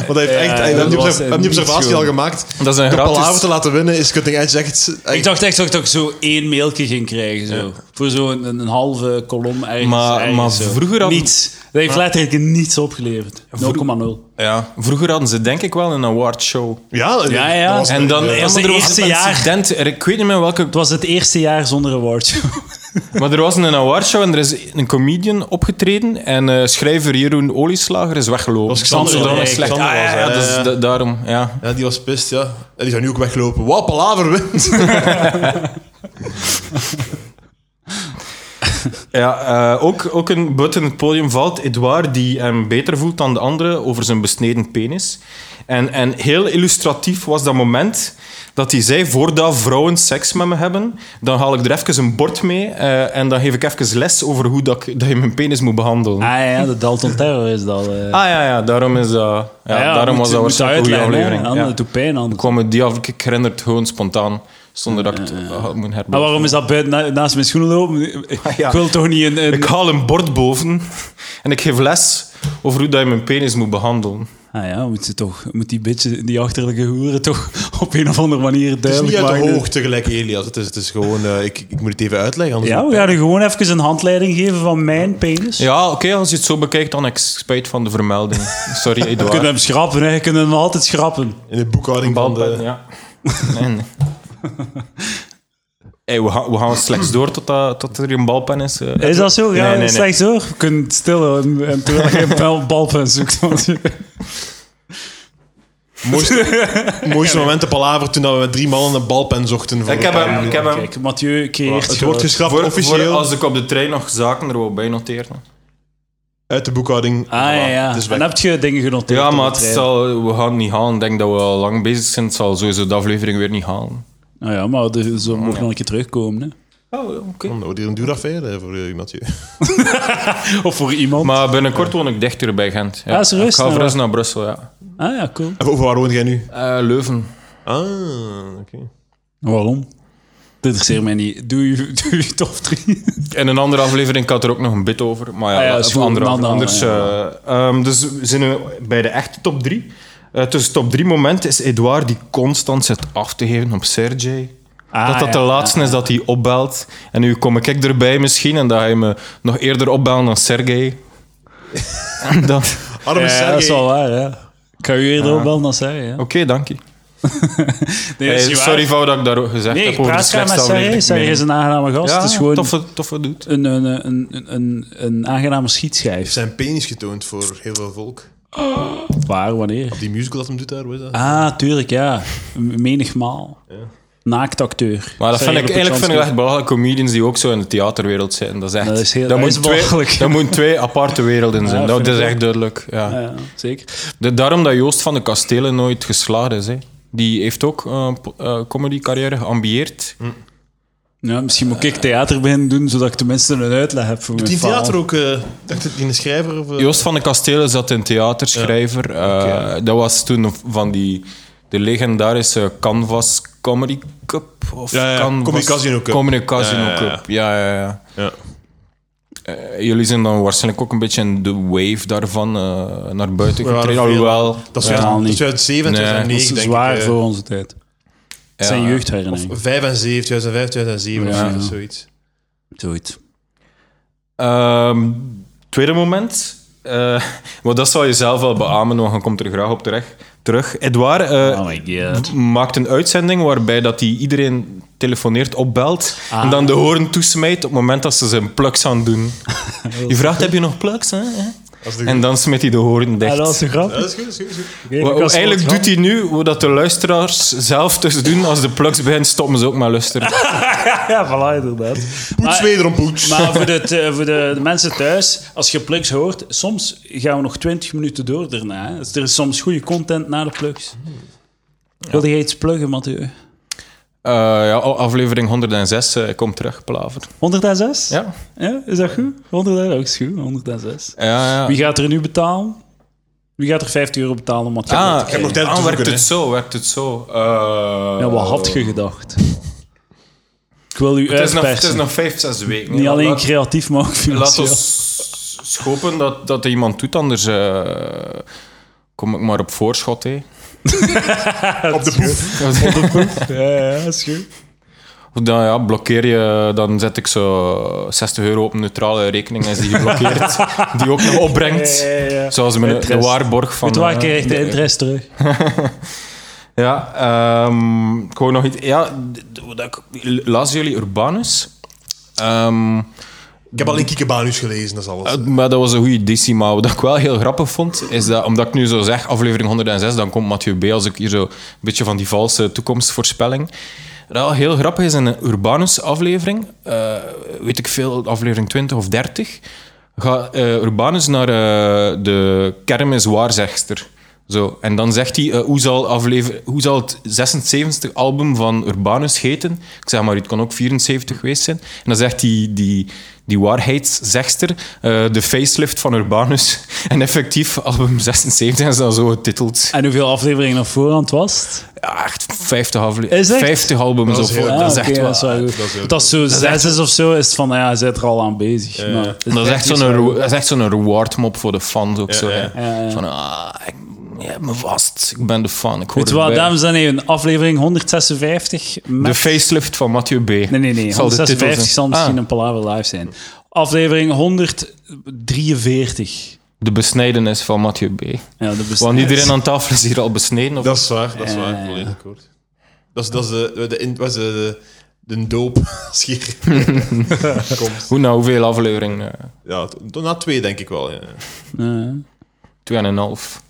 Want hij heeft echt... Hij dat heeft die was observ- hij heeft die niet observatie gewoon. al gemaakt. Dat is een Door gratis- Palaver te laten winnen is Cutting Edge echt... Ik dacht echt dat ik zo één mailtje ging krijgen. Zo. Voor zo'n een, een halve kolom ergens. Maar- ergens maar zo. vroeger hadden- Niets. Dat heeft letterlijk niets opgeleverd. 0,0. Ja. Vroeger hadden ze denk ik wel een awardshow. Ja, Ja, ja. dat was- En dan ja. ja, was maar de er eerste een jaar. incident. Er- Ik weet niet meer welke. Het was het eerste jaar zonder award. Maar er was een awardshow en er is een comedian opgetreden. En eh, schrijver Jeroen Olieslager is weggelopen. Dat was Xander, Amsterdam ja, is slecht. Xander Ah, ja, was, ja, ja, dat ja. is da- daarom. Ja. Ja, die was pist, ja. En die zou nu ook weglopen. Wauw, Palaver wint. Ja, eh, ook, ook een buiten het podium valt Edouard, die hem beter voelt dan de anderen over zijn besneden penis. En, en heel illustratief was dat moment dat hij zei, voordat vrouwen seks met me hebben, dan haal ik er even een bord mee eh, en dan geef ik even les over hoe dat, ik- dat je mijn penis moet behandelen. Ah ah ja, de Dalton Terror is dat. eh. ja, ja, daarom, is dat, ja, Ah ja, daarom moet- was dat moet waarschijnlijk een goede uitleggen, hè. aflevering. Anders Ja. het doet pijn anders. kwam die af, ik herinner het gewoon spontaan, zonder dat ik het ah, had moeten Maar herbeleven. waarom is dat buiten na- naast mijn schoenen lopen? Ik ja. wil toch niet een... een- Ik haal een bord boven en ik geef les over hoe dat je mijn penis moet behandelen. Ah ja, moet, ze toch, moet die beetje, die achterlijke hoeren toch op een of andere manier Het is duidelijk niet uit maken. de hoogte gelijk Elias. Het is, het is gewoon... eh, ik, ik moet het even uitleggen. Anders Ja, we gaan u gewoon even een handleiding geven van mijn penis. Ja, oké, als je het zo bekijkt, dan heb ik spijt van de vermelding. Sorry, Je kunt Eduard. hem schrappen, hè. je kunt hem altijd schrappen. In de boekhouding van de... Bandpen, ja. Nee, nee. Hey, we, gaan, we gaan slechts door tot, dat, tot er een balpen is. eh. Is dat zo? Nee, Ja, nee, nee. slecht hoor. Je kunt stil houden en terwijl je een bal- balpen zoekt. want je- Mooiste, mooiste moment op Palaver toen dat we met drie mannen een balpen zochten. Voor Ik heb een hem- paar ik minuten. heb hem- Kijk, Mathieu keert... Het wordt geschrapt Voor, officieel voor als ik op de trein nog zaken er wou bij noteren. uit de boekhouding. Ah ja, ja. Dus en weg. heb je dingen genoteerd? Ja, op maar de het trein? zal, we gaan het niet halen. Ik denk dat we al lang bezig zijn. Het zal sowieso de aflevering weer niet halen. Nou ja, maar de- ze mogen nog een keer terugkomen. Hè. Oh, oké. Nou, die een duurdag verder voor eh, iemand. hier. Of voor iemand. Maar binnenkort woon ik dichter bij Gent. Ja. Ah, serieus? Ik ga Nou, verhuizen naar Brussel, ja. Ah ja, cool. En Over waar woon jij nu? Eh, Leuven. Ah, oké. Waarom? Dit interesseert mij niet. Doe je, doe je top 3. In een andere aflevering had er ook nog een bit over. Maar ja, Ah ja, of is goed, andere een aflevering. anders. andere, eh, ehm, dus we zijn we bij de echte top 3. tussen top 3 moment is Edouard die constant zit af te geven op Sergej. Ah, dat dat de laatste is dat hij opbelt. En nu kom ik erbij misschien en dat hij me nog eerder opbelt dan Sergej. En dan- Oké, Arme Ja, Sergej. dat is wel waar, ja. Ik kan u eerder opbellen dan zij, ja. dank je. Nee, Hey, dat is niet waar. sorry Vouw dat ik daar ook gezegd Nee, heb ik over de praat graag slechtste met Sergej. aflevering. Sergej is een aangename gast. Ja, het is gewoon toffe, toffe dude. een, een, een, een, een, een aangename schietschijf. Zijn penis getoond voor heel veel volk. Waar, wanneer? Die musical dat hem doet daar, hoe is dat? Ah, tuurlijk, ja. M- Menigmaal. Naaktacteur. Maar dat Sergej vind ik, eigenlijk vind ik dat echt belachelijk. Comedians die ook zo in de theaterwereld zitten. Dat is echt... Dat is heel- dat dat moet is twee- belachelijk. dat moeten twee aparte werelden zijn. Ja, dat vind is ik echt ook. duidelijk. Ja. Ja, zeker. De- daarom dat Joost van de Kastelen nooit geslaagd is. Hè. Die heeft ook eh, po- eh comedy-carrière geambieerd. Ja, misschien moet ik theater beginnen doen, zodat ik tenminste een uitleg heb voor Doet mijn die in verhaal. theater ook? eh, dacht het die een schrijver? Of, eh? Joost van de Kastelen zat in theaterschrijver. Eh, Dat was toen van die... De legendarische Canvas Comedy Cup. Of Ja, ja, Canvas- Comedy Casino Cup. Comedy Casino Ja, ja, ja. Cup, ja, ja, ja. Eh, Ja. Jullie zijn dan waarschijnlijk ook een beetje in de wave daarvan eh, naar buiten We waren getreden. veel- Alhoewel, Dat is Ja, uit- niet. dat is uit 7, Nee, Dat 2009, is denk ik. zwaar eh. voor onze tijd. Het zijn Ja. jeugdherinneringen. 75, 2005, 2007 Ja. of zoiets. Zoiets. ehm, tweede moment. eh maar dat zal je zelf wel beamen, want je komt er graag op terecht, terug. Edouard eh, Oh my god. maakt een uitzending waarbij dat hij iedereen telefoneert, opbelt Ah. en dan de hoorn toesmijt op het moment dat ze zijn plugs aan doen. je vraagt, heb je nog plugs? Hè? Dat is de- En dan smijt hij de hoorn dicht. Ah, dat is een grap. Ja, dat is goed, dat is goed, dat is goed. Oké, Wa- dat was wel eigenlijk een grap. doet hij nu wat dat de luisteraars zelf dus doen. Als de plugs beginnen, stoppen ze ook met luisteren. Ja, voilà, inderdaad. Poets Maar- wederom poets. Maar voor, de, te- voor de, de mensen thuis, als je plugs hoort, soms gaan we nog 20 minuten door daarna. hè. Dus er is soms goede content na de plugs. Wilde jij iets pluggen, Mathieu? Eh, ja, aflevering 106 eh, komt terug, Plaver. 106? Ja. Ja, Is dat goed? 106 ook is goed, 106. ja, ja. Wie gaat er nu betalen? Wie gaat er 50 euro betalen om Mathieu Ah, heb nog tijd ah, om te werkt zoeken, het hè. zo, werkt het zo. Eh, Ja, wat had je gedacht? Ik wil u Het is, nog, het uitpersen. is nog vijf, zes weken. Niet Laat- alleen laat- creatief, maar ook Laat financieel. ons schopen dat, dat er iemand doet, anders eh, kom ik maar op voorschot. Hè. Op de poef. Ja, ja, is goed. Of Dan ja, blokkeer je, dan zet ik zo 60 euro op een neutrale rekening is die geblokkeerd, die ook nog opbrengt. Ja, ja, ja. Zoals mijn, de Interest. waarborg van... Goed waar, eh, krijg je eh, de de- interesse terug. Ja, ehm, ik wou nog iets. Ja, d- d- wat ik- las jullie Urbanus? Ehm, Ik heb alleen Kikebanus gelezen, dat is alles. eh, maar dat was een goede editie. Maar wat ik wel heel grappig vond, is dat omdat ik nu zo zeg, aflevering 106, dan komt Mathieu B. als ik hier zo een beetje van die valse toekomstvoorspelling. Dat wel heel grappig is in een Urbanus-aflevering, eh, weet ik veel, aflevering 20 of 30, gaat eh, Urbanus naar eh, de kermiswaarzegster. Zo, en dan zegt hij, eh, hoe, zal aflever, hoe zal het 76 album van Urbanus heten? Ik zeg maar, het kon ook 74 geweest zijn. En dan zegt die, die, die waarheidszegster, eh, de facelift van Urbanus. En effectief, album 76 is dan zo getiteld. En hoeveel afleveringen op voorhand was het? Ja, echt 50, Is albums echt? 50 albums Dat of is zo. heel- Ah, dat is oké, echt wel... dat is wel goed. dat is heel Want als het zo zes is of zo, is het van, nou ja, hij zit er al aan bezig. maar het Dat is echt niet zo'n zo re- goed. dat is echt zo'n reward mop voor de fans ook. zo, hè. ja. Ja, ja. Van, ah, ik je hebt me vast. Ik ben de fan. Ik hoor Weet je wat, erbij. dames en heren, aflevering 156 met... De facelift van Mathieu B. Nee, nee, nee, Zal de titel 156 zijn. zal misschien Ah. een palaver live zijn. Aflevering 143. De besnijdenis van Mathieu B. Ja, de best- Want iedereen aan tafel is hier al besneden. Of... Dat is waar, dat is Ja, ja, waar. ja. Volledig akkoord. Dat is, dat is de, de, in- wat is de, de, de doop schier. Komt. Hoe nou, hoeveel afleveringen? Eh, Ja, t- na twee denk ik wel. Ja. Ja. Twee en een half.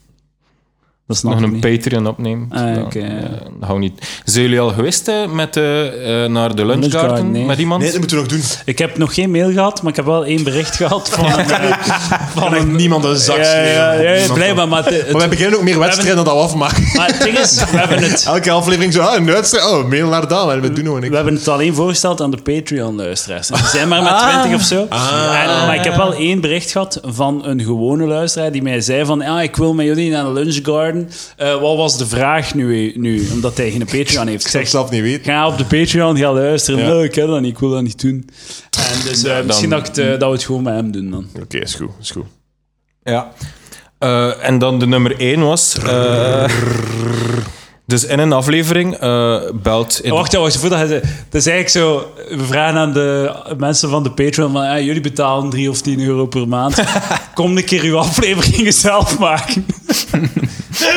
Dat snap nog ik een niet. Patreon opnemen. Ah, Dan, oké, ja. eh, dat gaan we niet. Zijn jullie al geweest hè, met, eh, eh, naar de lunch Lunch Garden, garden nee. met iemand? Nee, dat moeten we nog doen. Ik heb nog geen mail gehad, maar ik heb wel één bericht gehad van... eh, Van echt niemand een zak ja, ja, smeren. ja, ja, Niemand. blijkbaar, maar... het- het- Maar we beginnen ook meer wedstrijden dan dat we afmaken. maar het ding is, we hebben het... Elke aflevering zo, ah, een wedstrijd. Oh, mail naar Daan. En we doen nog We niks. hebben het alleen voorgesteld aan de Patreon-luisteraars. Er zijn maar maar Ah. twintig of zo. Ah. En, maar ik heb wel één bericht gehad van een gewone luisteraar die mij zei van... Ah, ik wil met jullie naar de Lunch Garden. Eh, wat was de vraag nu, nu? Omdat hij geen Patreon heeft. Ik Ik zou zeg, het zelf niet weten. ga op de Patreon, ga luisteren. Ja. Nee, ik heb dat niet, ik wil dat niet doen. En dus eh, misschien dat, ik het, eh, dat we het gewoon met hem doen dan. Oké, is goed. Is goed. Ja. Eh, en dan de nummer 1 was. eh, dus in een aflevering eh, belt. in- Oh, Wacht, ja, wacht, voordat hij... Het is eigenlijk zo... We vragen aan de mensen van de Patreon van... ja, jullie betalen 3 of 10 euro per maand. Kom een keer uw afleveringen zelf maken.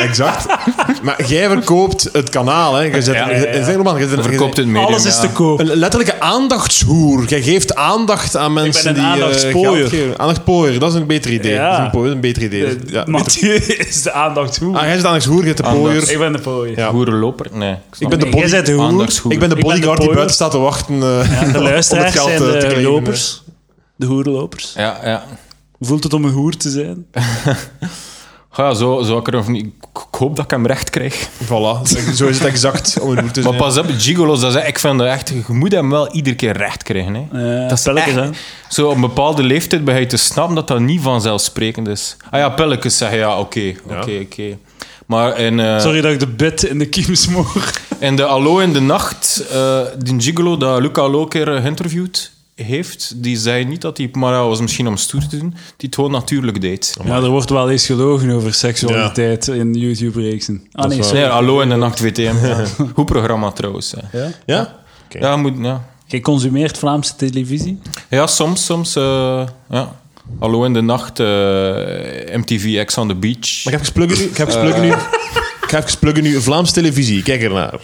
Exact. maar jij verkoopt het kanaal, hè. Je zet, Ja, ja, ja, ja. verkoopt het medium. Alles is ja. te koop. Een letterlijke aandachtshoer. Jij geeft aandacht aan mensen een die... eh, aandachtspooier. geld geven. Aandachtspooier, dat is een beter idee. Ja. Eh, Dat is een, pooier, een beter idee. Dus, De- ja, beter- Mathieu is de aandacht hoe. Ah, jij zit aandachtshoer, jij bent de Aandachts- pooier. ik ben de pooi. Ja. Hoerenloper? Nee. Ik, snap Ik ben de het. Nee, jij body- bent de hoer. Aandachtshoer. Ik ben de Ik ben de bodyguard die pooier. buiten staat te wachten. eh, De luisteraars geld, zijn eh, te de claimen, lopers. De hoerlopers. Ja, ja. Voelt het om een hoer te zijn? Ja, zo, zo ik, er nog niet, ik ik hoop dat ik hem recht krijg. Dus Voilà, zo is het exact om een hoer te Maar zijn. pas op, gigolo's, dat is, ik vind dat echt... Je moet hem wel iedere keer recht krijgen. Hè. Eh, dat is spelletjes, echt- hè? Zo op een bepaalde leeftijd begin je te snappen dat dat niet vanzelfsprekend is. Ah ja, pilletjes zeggen, ja, oké, oké, oké. Maar in, eh, Sorry dat ik de bed in de kiem smoor. in de Allo in de Nacht, eh die gigolo dat Luca Allo een keer eh, geïnterviewd heeft, die zei niet dat hij... Maar ja, was misschien om stoer te doen, die het gewoon natuurlijk deed. Ja, er wordt wel eens gelogen over seksualiteit in YouTube-reeksen. Ah nee, sorry. Nee, Allo in de Nacht WTM. Ja. Goed programma trouwens. hè. Ja, Ja? je moet... Ja. Jij consumeert Vlaamse televisie? Ja, soms, soms. eh, ja. Hallo in de nacht, eh, MTV X on the Beach. Maar ik heb even pluggen nu. Ik heb even pluggen nu. Ik ga even pluggen nu. Vlaams televisie, kijk ernaar.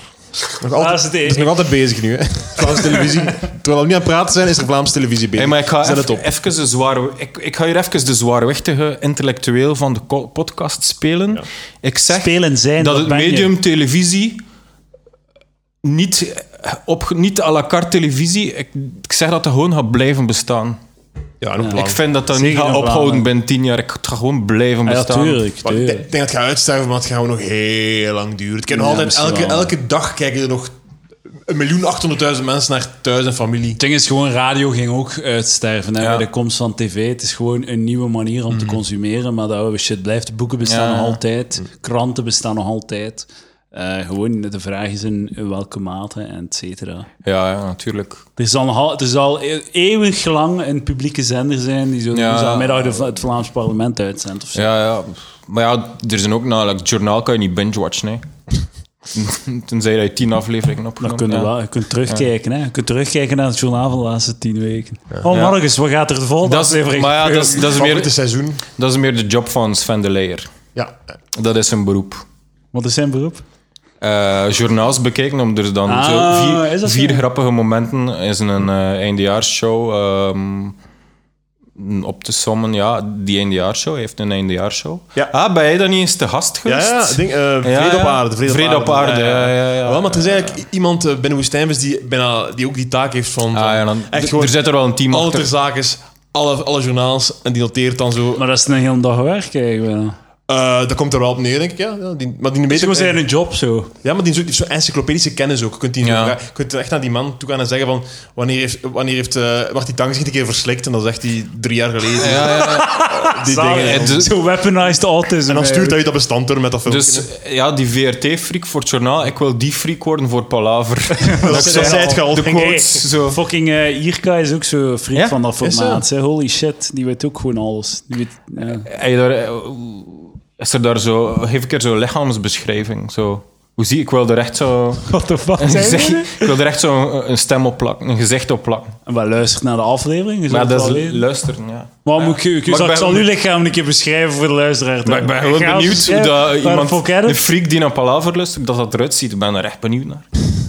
Nog altijd, is het dat is nog altijd bezig nu, hè. Vlaams televisie. Terwijl we nu aan het praten zijn, is er Vlaams televisie bezig. Hey, maar ik ga Zet het even, op. even de zware, ik, ik ga hier even de zwaarwichtige intellectueel van de ko- podcast spelen. Ik zeg Spelen zijn, dat dat het ben je. medium televisie niet, eh, op, niet à la carte televisie, ik, ik zeg dat dat gewoon gaat blijven bestaan. Ja, nog Ik lang. vind dat dat Zeker niet gaat in ophouden Vlaanderen. binnen tien jaar. Ik, het gaat gewoon blijven Ah, ja, bestaan. tuurlijk. Maar ik denk tuurlijk. ik denk dat het gaat uitsterven, maar het gaat gewoon nog heel lang duren. Het kan nog Ja, altijd, misschien elke, wel. elke dag kijken er nog 1.800.000 mensen naar thuis en familie. Het ding is gewoon, radio ging ook uitsterven hè, Ja. bij de komst van tv. Het is gewoon een nieuwe manier om te consumeren, maar dat oude shit blijft. Boeken bestaan Ja. Mhm. nog altijd, kranten bestaan nog altijd. Eh, gewoon, de vraag is in welke mate, en et cetera. Ja, ja, natuurlijk. Er zal, nog al, er zal e- eeuwig lang een publieke zender zijn die zo Ja. middag de, het Vlaams parlement uitzendt of zo. Ja, ja. Maar ja, er zijn ook nou, het journaal kan je niet binge-watchen, hè. Tenzij dat je tien afleveringen Dat opgenomen kun je, ja. wel, je kunt terugkijken, hè. Je kunt terugkijken naar het journaal van de laatste tien weken. Oh, morgens, wat gaat er de volgende Dat is, aflevering? maar ja, dat is, dat, is het meer, seizoen. dat is meer de job van Sven de Leijer. Ja. Dat is zijn beroep. Wat is zijn beroep? Eh, journaals bekijken om er dan Ah, zo is vier, dat vier zo? grappige momenten is een eh, eindejaarsshow ehm, op te sommen. Ja, die eindejaarsshow heeft een eindejaarsshow. Ja. Ah, ben jij dan niet eens te gast Ja, geweest? ja, het ding, eh, vrede Ja, ja. op aarde. Vrede, Vrede op aarde, ja, ja, ja. Wel, maar er is eigenlijk iemand eh, binnen Woestijnvis die, bijna, die ook die taak heeft van... Ah, ja, dan, echt d- gewoon er zit er wel een team alle achter. terzakens, alle, alle journaals en die noteert dan zo. Maar dat is een hele dag werk, eigenlijk wel. Eh, dat komt er wel op neer, denk ik. Ja. Ja, die, maar die weet Het ook- is gewoon zijn job zo. Ja, maar die heeft zo'n encyclopedische kennis ook. Je kunt, die Ja. zo- je kunt echt naar die man toe gaan en zeggen van... Wanneer, heeft, wanneer heeft, eh wordt die tangenschiet een keer verslikt? En dan zegt hij drie jaar geleden. Ja, ja, ja. Die Zalig. dingen. En de- Zo weaponized autism. En dan stuurt eigenlijk. hij dat bestand door met dat filmpje. Dus ja, die VRT-freak voor het journaal, ik wil die freak worden voor Palaver. dat ik dat zo- zei het geal. de Henk. quotes, Hey. zo. Fucking eh Jirka is ook zo vriend Ja? van dat Is formaat. hè. Holy shit, die weet ook gewoon alles. Die weet, ja. Heb je daar, eh, is er daar zo, geef een keer zo'n lichaamsbeschrijving. Zo. Hoe zie ik, wil er echt zo... What the fuck een gezicht- ik wil er echt zo een, een stem op plakken, een gezicht op plakken. Maar luister naar de aflevering. Je Maar zult dat het wel is weten. luisteren, ja. Maar moet ik, ik, Maar zal, ik ik ben- zal uw lichaam een keer beschrijven voor de luisteraar. Maar ik ben gewoon ga benieuwd hoe beschrijven dat waar iemand, voor kennen. een freak die naar Palaver luistert, dat dat eruit ziet. Ik ben er echt benieuwd naar.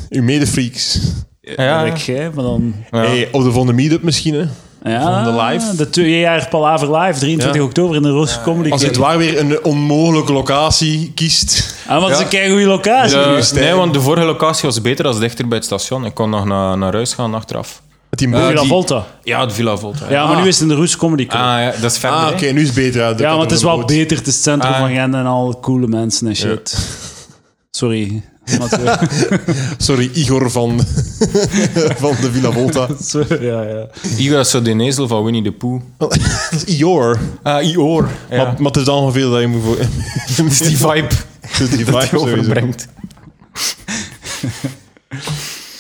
Uw medefreaks. Ja, Dat ben ik jij, maar dan... ja. Hey, op de volgende meetup misschien, hè? Ja, Van de live. De twee jaar Palaver Live, 23 Ja. oktober in de Roze Comedy Als het Club. waar weer een onmogelijke locatie kiest. Ah, want Ja. ze kijken goede locatie. Ja, juist, hè. nee, want de vorige locatie was beter als dichter bij het station. Ik kon nog naar, naar huis gaan achteraf. Met die Ja, boog. Villa Eh, die- Volta. Ja, het Villa Volta. Ja, maar nu is het in de Roes Comedy Club. Ah, ja, dat is verder. Ah, oké, hè. nu is het beter. Ja, dat ja, had want het nog is wel nooit. beter. Het is het centrum Ah. van Gent en al coole mensen en shit. Sorry. Mathieu. Sorry, Igor van, van de Villa Volta. Sorry, ja, ja. Igor is zo de nezel van Winnie de Pooh. dat is Ior. Ah, Ior. Ja. Maar, maar het is dan ongeveer dat je moet voor... Het is die vibe Het is die die vibe hij sowieso. overbrengt.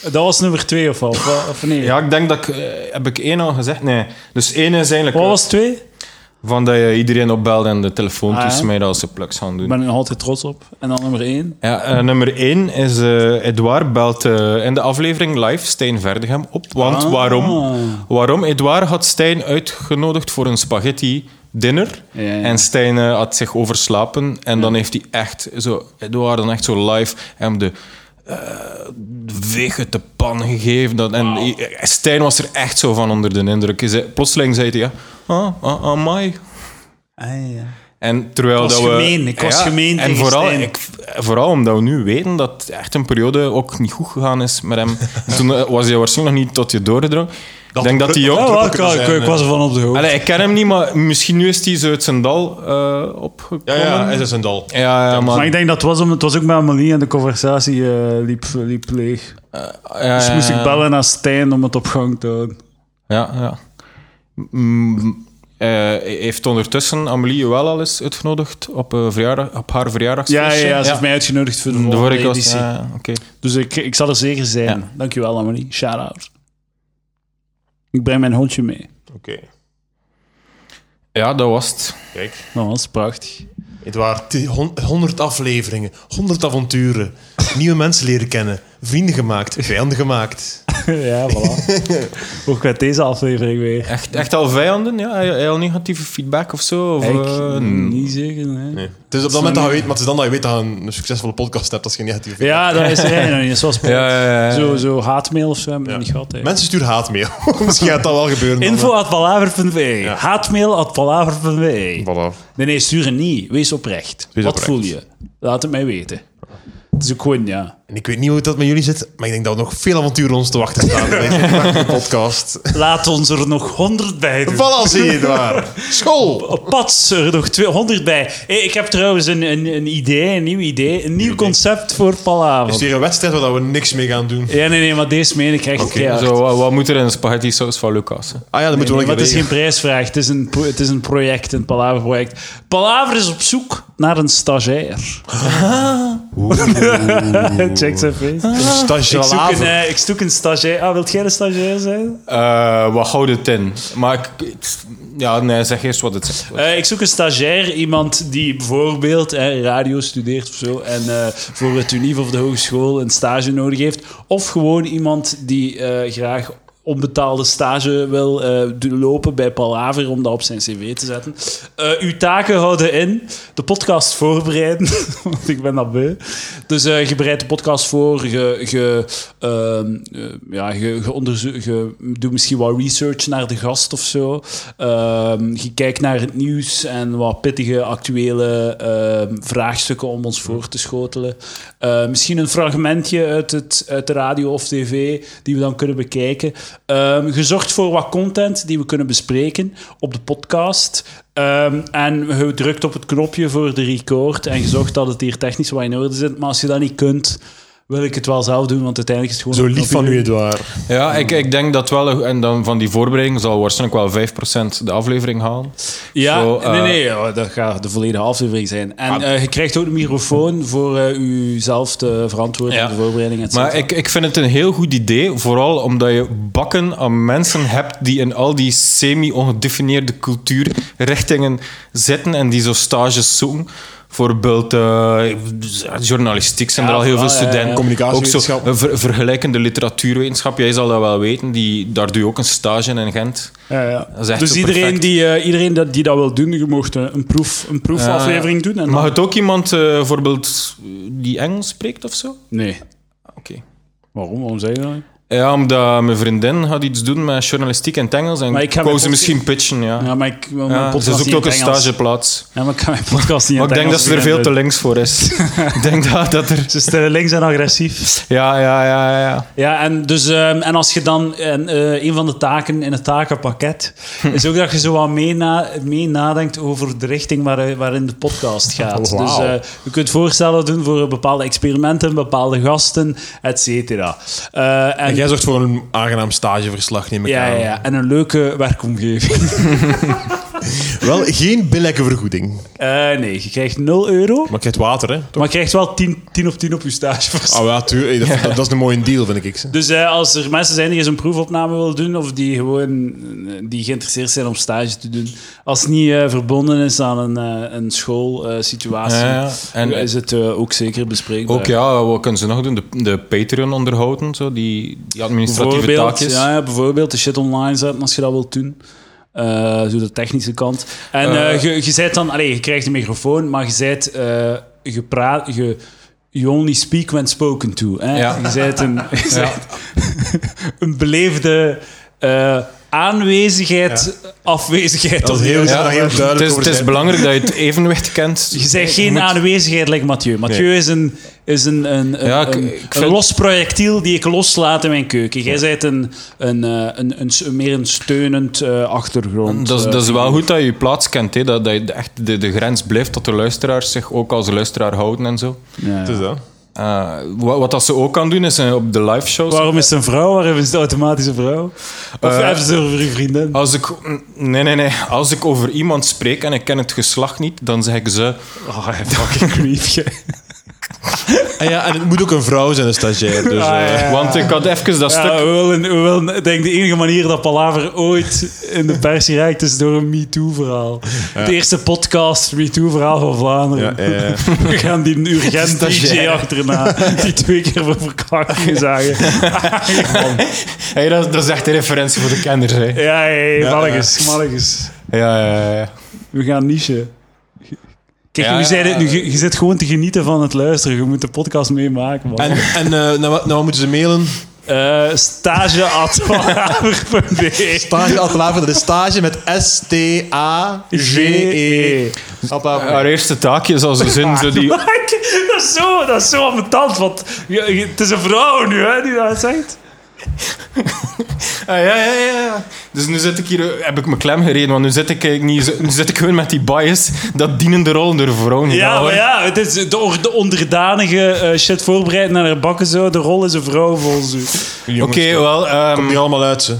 Dat was nummer twee of wat? Of, wat- of nee? Ja, ik denk dat ik... eh, heb ik één al gezegd? Nee. Dus één is eigenlijk Wat eh, was twee? van dat je iedereen opbelt en de telefoon Ah, ja. tussen mij als ze plugs gaan doen. Ik ben er nog altijd trots op. En dan nummer één. Ja, eh, nummer 1 is eh Edouard belt eh, in de aflevering live Stijn Verdegem op. Want Ah. waarom? Waarom? Edouard had Stijn uitgenodigd voor een spaghetti dinner. Ja, ja. En Stijn eh, had zich overslapen. En dan heeft hij echt zo, Edouard dan echt zo live hem de eh, vegen te pan gegeven. Dat, en eh, Stijn was er echt zo van onder de indruk. Hij zei- Plotseling zei hij, ja, ah, ah, amai. Ah, ja. En terwijl Ik was dat we, gemeen, ik was gemeen En tegen vooral, Stijn. ik, vooral omdat we nu weten dat echt een periode ook niet goed gegaan is met hem. Toen eh, was hij waarschijnlijk nog niet tot je doorgedrongen. Ik denk dat hij dat jong... druk- wel, ook ik, kunnen ik- zijn, ik was ervan op de hoogte. eh. Allee, ik ken hem niet, maar misschien nu is hij zo uit zijn dal eh opgekomen. Ja, ja, hij is een dal. ja, ja, maar... Maar ik denk dat het was, om, het was ook met Amelie en de conversatie eh, liep, liep leeg. ja, Dus ja, moest ik ja. bellen naar Stijn om het op gang te houden. Ja, ja. Mm, eh, heeft ondertussen Amelie wel al eens uitgenodigd op, eh, verjaardag, op Ja, haar ja, verjaardagsfeestje? ja, ze heeft mij Oh, uitgenodigd voor de Mm, De volgende vorige was... editie. ja, oké. Dus ik, ik zal er zeker zijn. Ja. Dankjewel, Amelie. Shout-out. Ik breng mijn hondje mee. Oké, Ja, dat was het. kijk. Dat was prachtig. Het waren 100 afleveringen, 100 avonturen, nieuwe mensen leren kennen, vrienden gemaakt, vijanden gemaakt. ja, voilà. Ook met deze aflevering weer. Echt, echt al vijanden? Ja, Hij- hij al negatieve feedback of zo? Of, eh, Ik, niet zeker, nee. Het is op dat moment dat je weet, maar het is dan dat je weet dat je een succesvolle podcast hebt als je negatief vindt. Ja, dat is hij nog niet. Zoals Ja, ja, ja, ja. Zo, zo haatmail of zo hebben we nog niet gehad. hè. Mensen sturen haat mee. Misschien gaat dat wel gebeuren. dan, Info at palaver.be. Ja. Haatmail at palaver.be. hè. Voilà. Nee, nee, sturen niet. Wees oprecht. Wees Wat oprecht. voel je? Laat het mij weten. Het is ook gewoon, ja. En ik weet niet hoe het dat met jullie zit, maar ik denk dat er nog veel avonturen ons te wachten staan. in deze prachtige podcast. Laat ons er nog honderd bij doen. Voilà, zie je het waar. School! Op pad er nog 200 bij. Hé, ik heb trouwens een, een, een idee, een nieuw idee. Een nieuw concept voor Het is Palaver. weer een wedstrijd waar we niks mee gaan doen. Ja, nee, nee, maar deze meen ik echt keihard. Zo, wat, wat moet er in de spaghetti saus van Lucas? hè? Ah ja, dat moeten we Nee, wel maar het is even geen prijsvraag. Het is een, pro- het is een project, een Palaver-project. Palaver is op zoek naar een stagiair. Check zijn face. Een Ik zoek, een, stagiair. eh, ik zoek een stagiair. Ah, wilt jij een stagiair zijn? Eh, wat houdt het in? Maar ik, ik- ja, nee, zeg eerst wat het is. Eh, ik zoek een stagiair, iemand die bijvoorbeeld eh, radio studeert of zo en eh, voor het unief of de hogeschool een stage nodig heeft. Of gewoon iemand die eh, graag onbetaalde stage wil eh, do- lopen bij Palaver om dat op zijn cv te zetten. Eh, uw taken houden in de podcast voorbereiden, want ik ben dat beu. Dus eh, je bereidt de podcast voor, je, je, ehm, eh, ja, je, je, onderzoek- je doet misschien wat research naar de gast of zo. Ehm, je kijkt naar het nieuws en wat pittige actuele ehm, vraagstukken om ons voor te schotelen. Eh, misschien een fragmentje uit, het, uit de radio of tv die we dan kunnen bekijken. Ehm je zorgt voor wat content die we kunnen bespreken op de podcast. Ehm, en je drukt op het knopje voor de record en je zorgt dat het hier technisch wat in orde zit. Maar als je dat niet kunt, wil ik het wel zelf doen, want uiteindelijk is het Zo gewoon... een lief van knopje. u, Edouard. Ja, ik, ik denk dat wel, en dan van die voorbereiding zal waarschijnlijk wel 5% de aflevering halen. Ja, Zo, eh, Ah. nee, nee, ja, dat gaat de volledige aflevering zijn. En eh, je krijgt ook een microfoon voor eh uzelf te verantwoorden Ja. voor de voorbereiding. et Maar cetera. ik, ik vind het een heel goed idee, vooral omdat je bakken aan mensen hebt die in al die semi-ongedefinieerde cultuurrichtingen zitten en die zo stages zoeken. Bijvoorbeeld eh, journalistiek zijn Ja, er al heel vooral, veel ja, ja. studenten. Communicatiewetenschap. Ook zo eh, ver- vergelijkende literatuurwetenschap, jij zal dat wel weten, die, daar doe je ook een stage in in Gent. Ja, ja. Dat is echt Dus zo iedereen, perfect. die, eh, iedereen dat, die dat wil doen, je mocht eh, een, proef, een proefaflevering doen. En Mag dan- het ook iemand eh, bijvoorbeeld die Engels spreekt of zo? Ah, Nee. Oké. Waarom? Waarom zeg je dat? Ja, omdat mijn vriendin had iets doen met journalistiek en het Engels. En Maar ik ik ga wou mijn ze podcast- misschien pitchen, ja. Ja, maar ik wil mijn Ja, ze podcast zoekt niet ook een in het Engels. stageplaats. Ja, maar ik kan mijn podcast niet in Maar ik het denk dat Engels ze er doen. veel te links voor is. ik denk dat, dat er... Ze stellen links en agressief. Ja, ja, ja, ja. Ja, en, dus, ehm, en als je dan... En, eh, een van de taken in het takenpakket is ook dat je zo wat mee, na- mee nadenkt over de richting waar, waarin de podcast gaat. Oh, Wauw. Dus eh, je kunt voorstellen doen voor bepaalde experimenten, bepaalde gasten, et cetera. Eh, En en, jij zorgt voor een aangenaam stageverslag, neem ik ja, ja, aan. ja, en een leuke werkomgeving. Wel, geen billijke vergoeding. Eh, nee, je krijgt 0 euro, Maar je krijgt water, hè? maar je krijgt wel 10, 10 op 10 op je stageverslag. Oh ja, tuurlijk. Dat, dat is een mooie deal, vind ik. ze. Dus eh, als er mensen zijn die eens een proefopname willen doen, of die gewoon eh, die geïnteresseerd zijn om stage te doen, als het niet eh, verbonden is aan een, eh, een schoolsituatie, Ja, ja. En- is het eh, ook zeker bespreekbaar. Ook ja, wat kunnen ze nog doen? De, de Patreon onderhouden, zo, die, die administratieve bijvoorbeeld, taakjes. ja, ja, bijvoorbeeld de shit online zetten als je dat wilt doen. Eh, zo de technische kant. En Eh. eh, je, je zijt dan, allee, je krijgt een microfoon, maar je zijt, eh, je praat, je, you only speak when spoken to. Hè? Ja. Je zijt een, je zijt een beleefde eh, aanwezigheid, afwezigheid. Dat is heel, Ja, daar heel het is- duidelijk het, over is, zijn. belangrijk dat je het evenwicht kent. Je bent geen moet- aanwezigheid, like Mathieu. Mathieu is een, is een, een, een, Ja, ik- een, ik een vind- los projectiel die ik loslaat in mijn keuken. Jij bent een, een, eh, een, een, een- meer een steunend eh, achtergrond. Dat is, eh. dat is wel goed dat je je plaats kent, hè. Dat, dat je de- echt de, de grens blijft dat de luisteraars zich ook als luisteraar houden en zo. Ja. Het is dat. Eh, wat, wat dat ze ook kan doen, is eh, op de live shows. Waarom is het een vrouw? Waarom is het automatisch een vrouw? Of Eh, Ah, hebben ze het over je vriendin? Als ik, nee, nee, nee. Als ik over iemand spreek en ik ken het geslacht niet, dan zeg ik ze. Oh, hij fucking creepje. En, ja, en het moet ook een vrouw zijn, een stagiair. Dus, Ah, eh, ja. Want ik had even dat Ja, stuk. we willen, we willen, ik denk de enige manier dat Palaver ooit in de pers reikt is door een MeToo-verhaal. De eerste podcast MeToo-verhaal van Vlaanderen. Ja, ja, ja. We gaan die een urgent DJ Stagiair. achterna, die twee keer voor verkrachting zagen. Hey, dat, dat is echt een referentie voor de kenners. Hè. Ja, hé, ja. malliges, malliges. Ja, ja, ja. We gaan niche. Kijk, Ja, hoe zei ja, dit nu? ja. Je, je zit gewoon te genieten van het luisteren. Je moet de podcast meemaken, man. En, en eh, nou, wat- nou, wat moeten ze mailen? Eh, stage at palaver.be. Stage Atelaver, dat is stage met E. S-T-A-G-E. E. Haar eerste taakje is als een zin zo die. Kijk, dat is zo, dat is zo ambetant, want je- je- het is een vrouw nu hè, die dat zegt. Ah, ja, ja, ja. Dus nu zit ik hier, heb ik mijn klem gereden, want nu zit ik, eigenlijk niet, zo- nu zit ik gewoon met die bias dat dienende rol door vrouwen Ja, gedaan maar wordt. ja, het is de, or- de onderdanige eh, shit voorbereid naar haar bakken zo. De rol is een vrouw volgens u. Oké, wel. ehm, Komt niet allemaal uit, ze.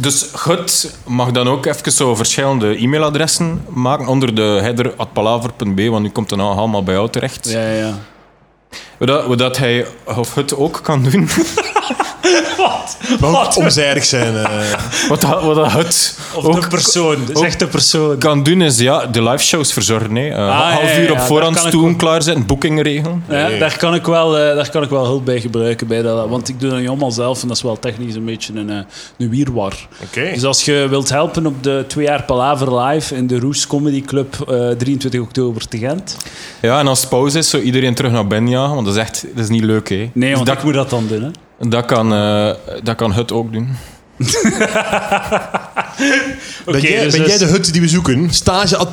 Dus goed, mag dan ook even zo verschillende e-mailadressen maken onder de header atpalaver.b, want nu komt het nou allemaal bij jou terecht. Ja, ja. Wat, dat, wat dat hij of het ook kan doen. Wat? Maar ook Wat? omzijdig zijn. eh. wat, dat, wat dat het Of ook de persoon, ook- zegt de persoon. kan doen is ja, de live shows verzorgen. Hè. Eh, Ah, ja, half ja, ja, uur op daar kan voorhand ik toen klaarzetten, boekingen regelen. Ja, daar, kan ik wel, eh, daar kan ik wel hulp bij gebruiken. Bij dat, want ik doe dat niet allemaal zelf en dat is wel technisch een beetje een, eh, een wierwar. Oké. Dus als je wilt helpen op de twee jaar Palaver Live in de Roes Comedy Club eh, 23 oktober te Gent. Ja, en als het pauze is, zo iedereen terug naar Ben jagen, want dat is echt dat is niet leuk. Hè. Dus Nee, want dat, ik moet Dus dat dan doen. Hè? dat, kan, eh, dat kan het ook doen. Oké, Ben, jij, dus ben dus- jij de hut die we zoeken?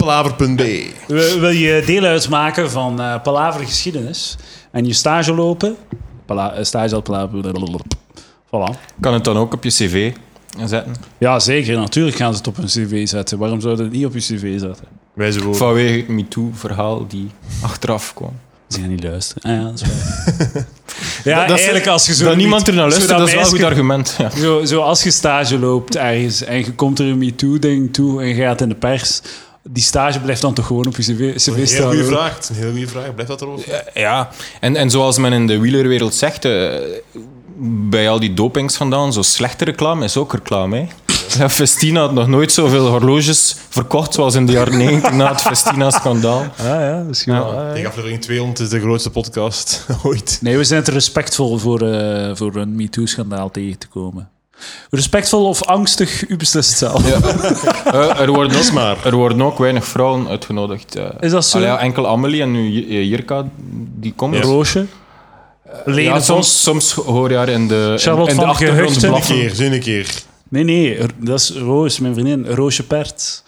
Stageatpalaver.be. Wil wil je deel uitmaken van eh Palaver Geschiedenis en je stage lopen? Pala eh, stage al Palaver. blablabla. Voilà. Kan het dan ook op je cv zetten? Ja, zeker. Natuurlijk gaan ze het op hun cv zetten. Waarom zouden ze het niet op je cv zetten? Wijze woorden. Vanwege het MeToo-verhaal die achteraf kwam. Ze gaan niet luisteren. Ah, ja, dat is waar. ja, Dat- dat is- eigenlijk als je zo... dat niet- niemand er naar zo luistert, dat is wel een goed meisje- argument. Ja. Zo, zo als je stage loopt ergens en je komt er een MeToo-ding toe en je gaat in de pers, die stage blijft dan toch gewoon op je cv, cv Heel staan? goede hoor. vraag. Het is een heel goede vraag. Blijft dat erover? Eh, Ja, en, en zoals men in de wielerwereld zegt, eh, bij al die dopings vandaan, zo slechte reclame is ook reclame. Hè? Ja, Festina had nog nooit zoveel horloges verkocht zoals in de jaren 90 na het Festina-schandaal. Ah, ja, misschien Ja. wel. Ah, ja. Tegen aflevering 200 is de grootste podcast ooit. Nee, we zijn te respectvol voor, eh, voor een MeToo-schandaal tegen te komen. Respectvol of angstig, u beslist zelf. Eh, er, worden ook, maar. er worden ook weinig vrouwen uitgenodigd. eh. Is dat zo? Allee, ja, enkel Amelie en nu J- eh, Jirka, die komt. Roosje. Lene Ja, Vos. soms, soms hoor je haar in de, in- Charlotte in de van achtergrond Gehuchten. Een blaffen. keer, zin een keer. Nee, nee, r- dat is Roos, mijn vriendin. Roosje Pert.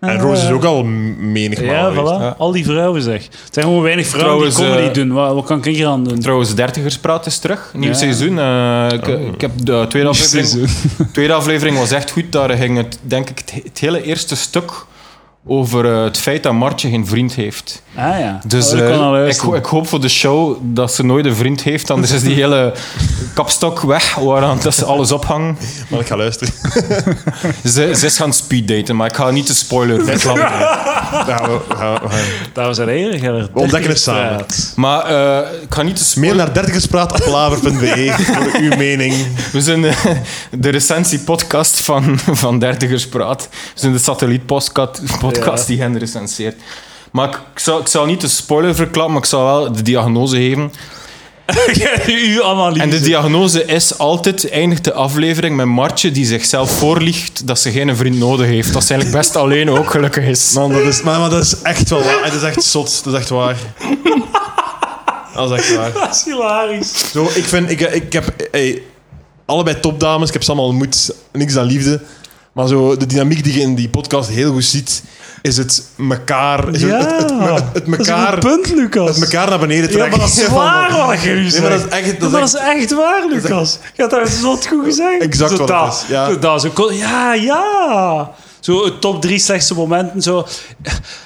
En Roos is ook al m- menigmaal Ja, geweest. voilà. Al die vrouwen, zeg. Het zijn gewoon weinig vrouwen die Trouwens, comedy eh, doen. Wat, wat kan ik hier aan doen? Trouwens, Dertigerspraat is terug. Nieuw Ja. Oh. seizoen. eh, ik, ik heb de tweede aflevering... tweede aflevering was echt goed. Daar ging het, denk ik, het, he- het hele eerste stuk over eh, het feit dat Martje geen vriend heeft. Ah ja. Dus Oh, dat eh, kan al ik, luisteren. ho- ik hoop voor de show dat ze nooit een vriend heeft. Anders is die hele kapstok weg waaraan dat ze alles ophangen. Maar ik ga luisteren. Ze, ze is gaan speeddaten, maar ik ga niet de spoiler verklappen. Ja, we- we gaan- we gaan- Dames en heren, Gerrit. We ontdekken het samen. Dertigerstraat. Maar eh, ik ga niet de Mail spoiler... naar dertigerspraat.laver.be voor uw mening. We zijn eh, de recensiepodcast van, van Dertigerspraat. We zijn de satellietpodcast podcast die hen recenseert. Maar ik, ik zal, ik zal niet de spoiler verklappen, maar ik zal wel de diagnose geven. Uw analyse. En de diagnose is altijd, eindigt de aflevering met Martje die zichzelf voorliegt dat ze geen vriend nodig heeft. Dat ze eigenlijk best alleen ook gelukkig is. Man, dat is, maar, maar dat is echt wel waar. Het is echt zot. Dat is echt waar. Dat is echt waar. Dat is hilarisch. Zo, ik vind... Ik, ik heb... ey, allebei topdames. Ik heb ze allemaal ontmoet. Niks dan liefde. Maar zo, de dynamiek die je in die podcast heel goed ziet, is het mekaar... is Ja. het, het, het, het- het Dat is een mekaar... goed punt, Lucas. Het mekaar naar beneden Ja, trekken. maar dat is Van- waar wat je nu Nee, zegt. maar dat is echt... Ja, Dat is maar echt- dat is echt waar, Lucas. Je hebt dat zot goed gezegd. Exact Zo wat het dat. is, ja. Zo dat, zo kon- ja, ja. Zo het top drie slechtste momenten. Zo.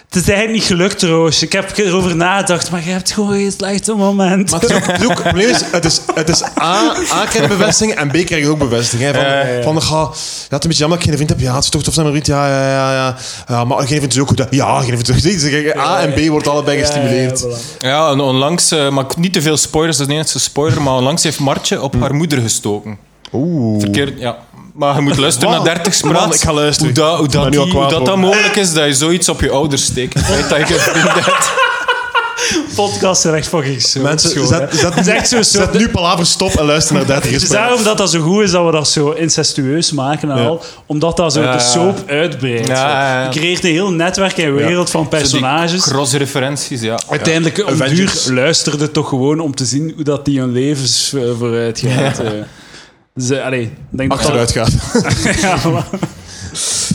Het is eigenlijk niet gelukt, Roos. Ik heb erover nagedacht, maar je hebt gewoon geen slechte moment. Maar het is ook, het is ook- het is- het is, het is A, A krijg je bevestiging en B krijg je ook bevestiging. Hè, van, van ga, ja, het is een beetje jammer dat ik geen vriend heb. Ja, het is toch tof zijn met een vriend. Ja, ja, ja, ja. Ja, maar geen vriend is ook goed. hè. Ja, geen vriend is ook goed. Dus kijk, A en B wordt allebei gestimuleerd. Ja, ja, Ja, en onlangs, eh, maar ik- niet te veel spoilers, dat is niet eens een spoiler, maar onlangs heeft Martje op haar moeder gestoken. Oeh. Verkeerd, ja. Maar je moet luisteren Man, naar 30 spraat. man, ik ga luisteren. Hoe, dat- hoe, Ik ben dat, nu al die- kwaad hoe dat, dat worden. mogelijk is dat je zoiets op je ouders steekt. Het feit dat je geen vriend hebt. voilà. Podcasts zijn echt fucking zo. Mensen, schoon, hè. zet, zet, Het is echt zo, zo- zet nu palaver stop en luister naar 30 Het is daarom dat dat zo goed is dat we dat zo incestueus maken en al. Omdat dat zo Ja, de ja. soap uitbreidt. Ja, zo. ja, ja. Je creëert een heel netwerk en wereld van personages. Cross referenties, ja. Uiteindelijk, om Avengers. duur, luisterde toch gewoon om te zien hoe dat die hun levens eh, vooruit gaat. eh. Dus, eh, allee, ik denk dat achteruit gaat. Dat, ja, voilà.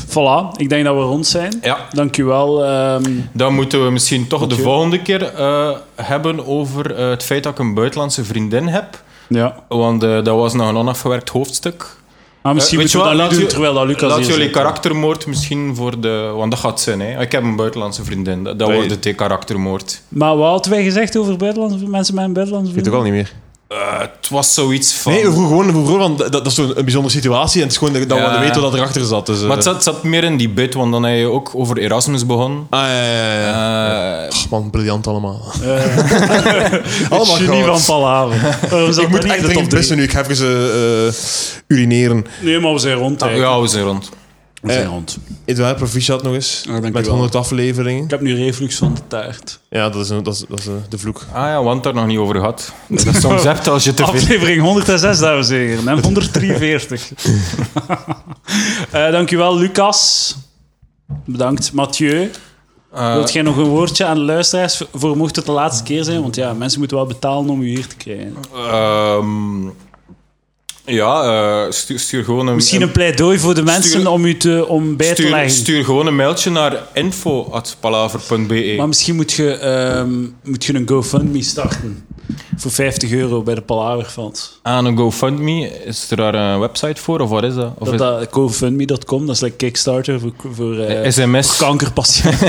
Voilà, ik denk dat we rond zijn. Ja. Dankjewel. ehm Dan moeten we misschien toch de volgende keer eh, hebben over eh, het feit dat ik een buitenlandse vriendin heb. ja. Want eh, dat was nog een onafgewerkt hoofdstuk. Maar misschien Eh, weet moeten we dat je wat, niet laat doen, ju- terwijl dat Lucas Laat hier jullie zit. karaktermoord misschien voor de... Want dat gaat zijn, hè. Ik heb een buitenlandse vriendin. Dat, dat Nee. wordt het hè, karaktermoord. Maar wat hadden wij gezegd over buitenlandse mensen met een buitenlandse Weet ook al niet meer. Eh, het was zoiets van... Nee, we vroegen gewoon, we vroegen gewoon, want dat, dat is zo'n een bijzondere situatie en het is gewoon dat, dat Ja. we weten wat erachter zat. Dus, eh, Maar het zat, het zat meer in die bit, want dan heb je ook over Erasmus begonnen. ah, ja, ja, ja, ja. Eh, Ach, man, briljant allemaal. Allemaal Eh. Genie goud. van Palaver. Waarom zat dat Oh Ik moet niet in de echt top dringend drie? pissen nu. Ik ga even eh, eh, urineren. Nee, maar we zijn rond. hè. Ah, ja, we zijn rond. We zijn Eh, rond. Edouard, proficiat nog eens. Ah, dank je met wel. 100 afleveringen. Ik heb nu reflux van de taart. Ja, dat is, een- dat is, dat is eh, de vloek. Ah ja, want daar nog niet over gehad. Dat je soms hebt als je te veel... Aflevering 106, dames en heren. En 143. Eh dankjewel, Lucas. Bedankt, Mathieu. Eh, Wilt jij nog een woordje aan de luisteraars voor mocht het de laatste keer zijn? Want ja, mensen moeten wel betalen om u hier te krijgen. ehm, ja, eh, stuur, stuur gewoon een... Misschien een pleidooi voor de mensen Stuur- om u te, om bij te stuur, leggen. stuur gewoon een mailtje naar info.palaver.be. Maar misschien moet je, ehm, moet je een GoFundMe starten. Voor 50 euro bij de Palaverveld. Aan een GoFundMe, is er daar een website voor of wat is dat? Of Dat, is- dat, GoFundMe.com, dat is like Kickstarter voor, voor eh, SMS. kankerpatiënten.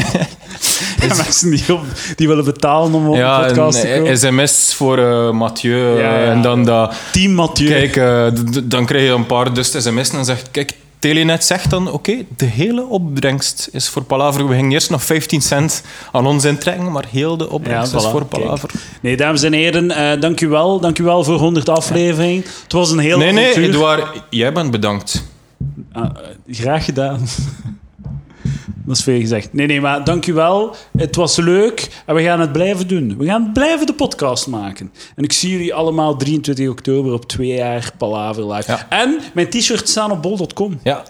en mensen die, op, die willen betalen om op Ja, een een podcast te komen. SMS voor eh, Mathieu. eh, Ja, ja. En dan dat... Team Mathieu. Kijk, eh, d- d- dan krijg je een paar dus sms'en en zegt... Kijk, Telenet zegt dan... Oké, de hele opbrengst is voor Palaver. We gingen eerst nog 15 cent aan ons intrekken, maar heel de opbrengst Ja, is voilà, voor kijk. Palaver. Nee, dames en heren, eh dank u wel. Dank u wel voor 100 aflevering. Het was een heel Nee, nee, avontuur. Edouard, jij bent bedankt. Ah, eh, graag gedaan. Dat is veel gezegd. Nee, nee, maar dank u wel. Het was leuk en we gaan het blijven doen. We gaan blijven de podcast maken. En ik zie jullie allemaal 23 oktober op twee jaar Palaver Live. Ja. En mijn t-shirts staan op bol.com. Ja,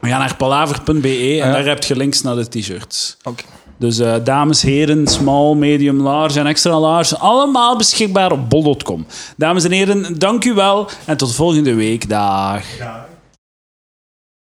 We gaan naar palaver.be E en Ja. daar heb je links naar de t-shirts. oké. Dus eh, dames, heren, small, medium, large en extra large, allemaal beschikbaar op bol.com. Dames en heren, dank u wel en tot volgende week. Dag. Ja.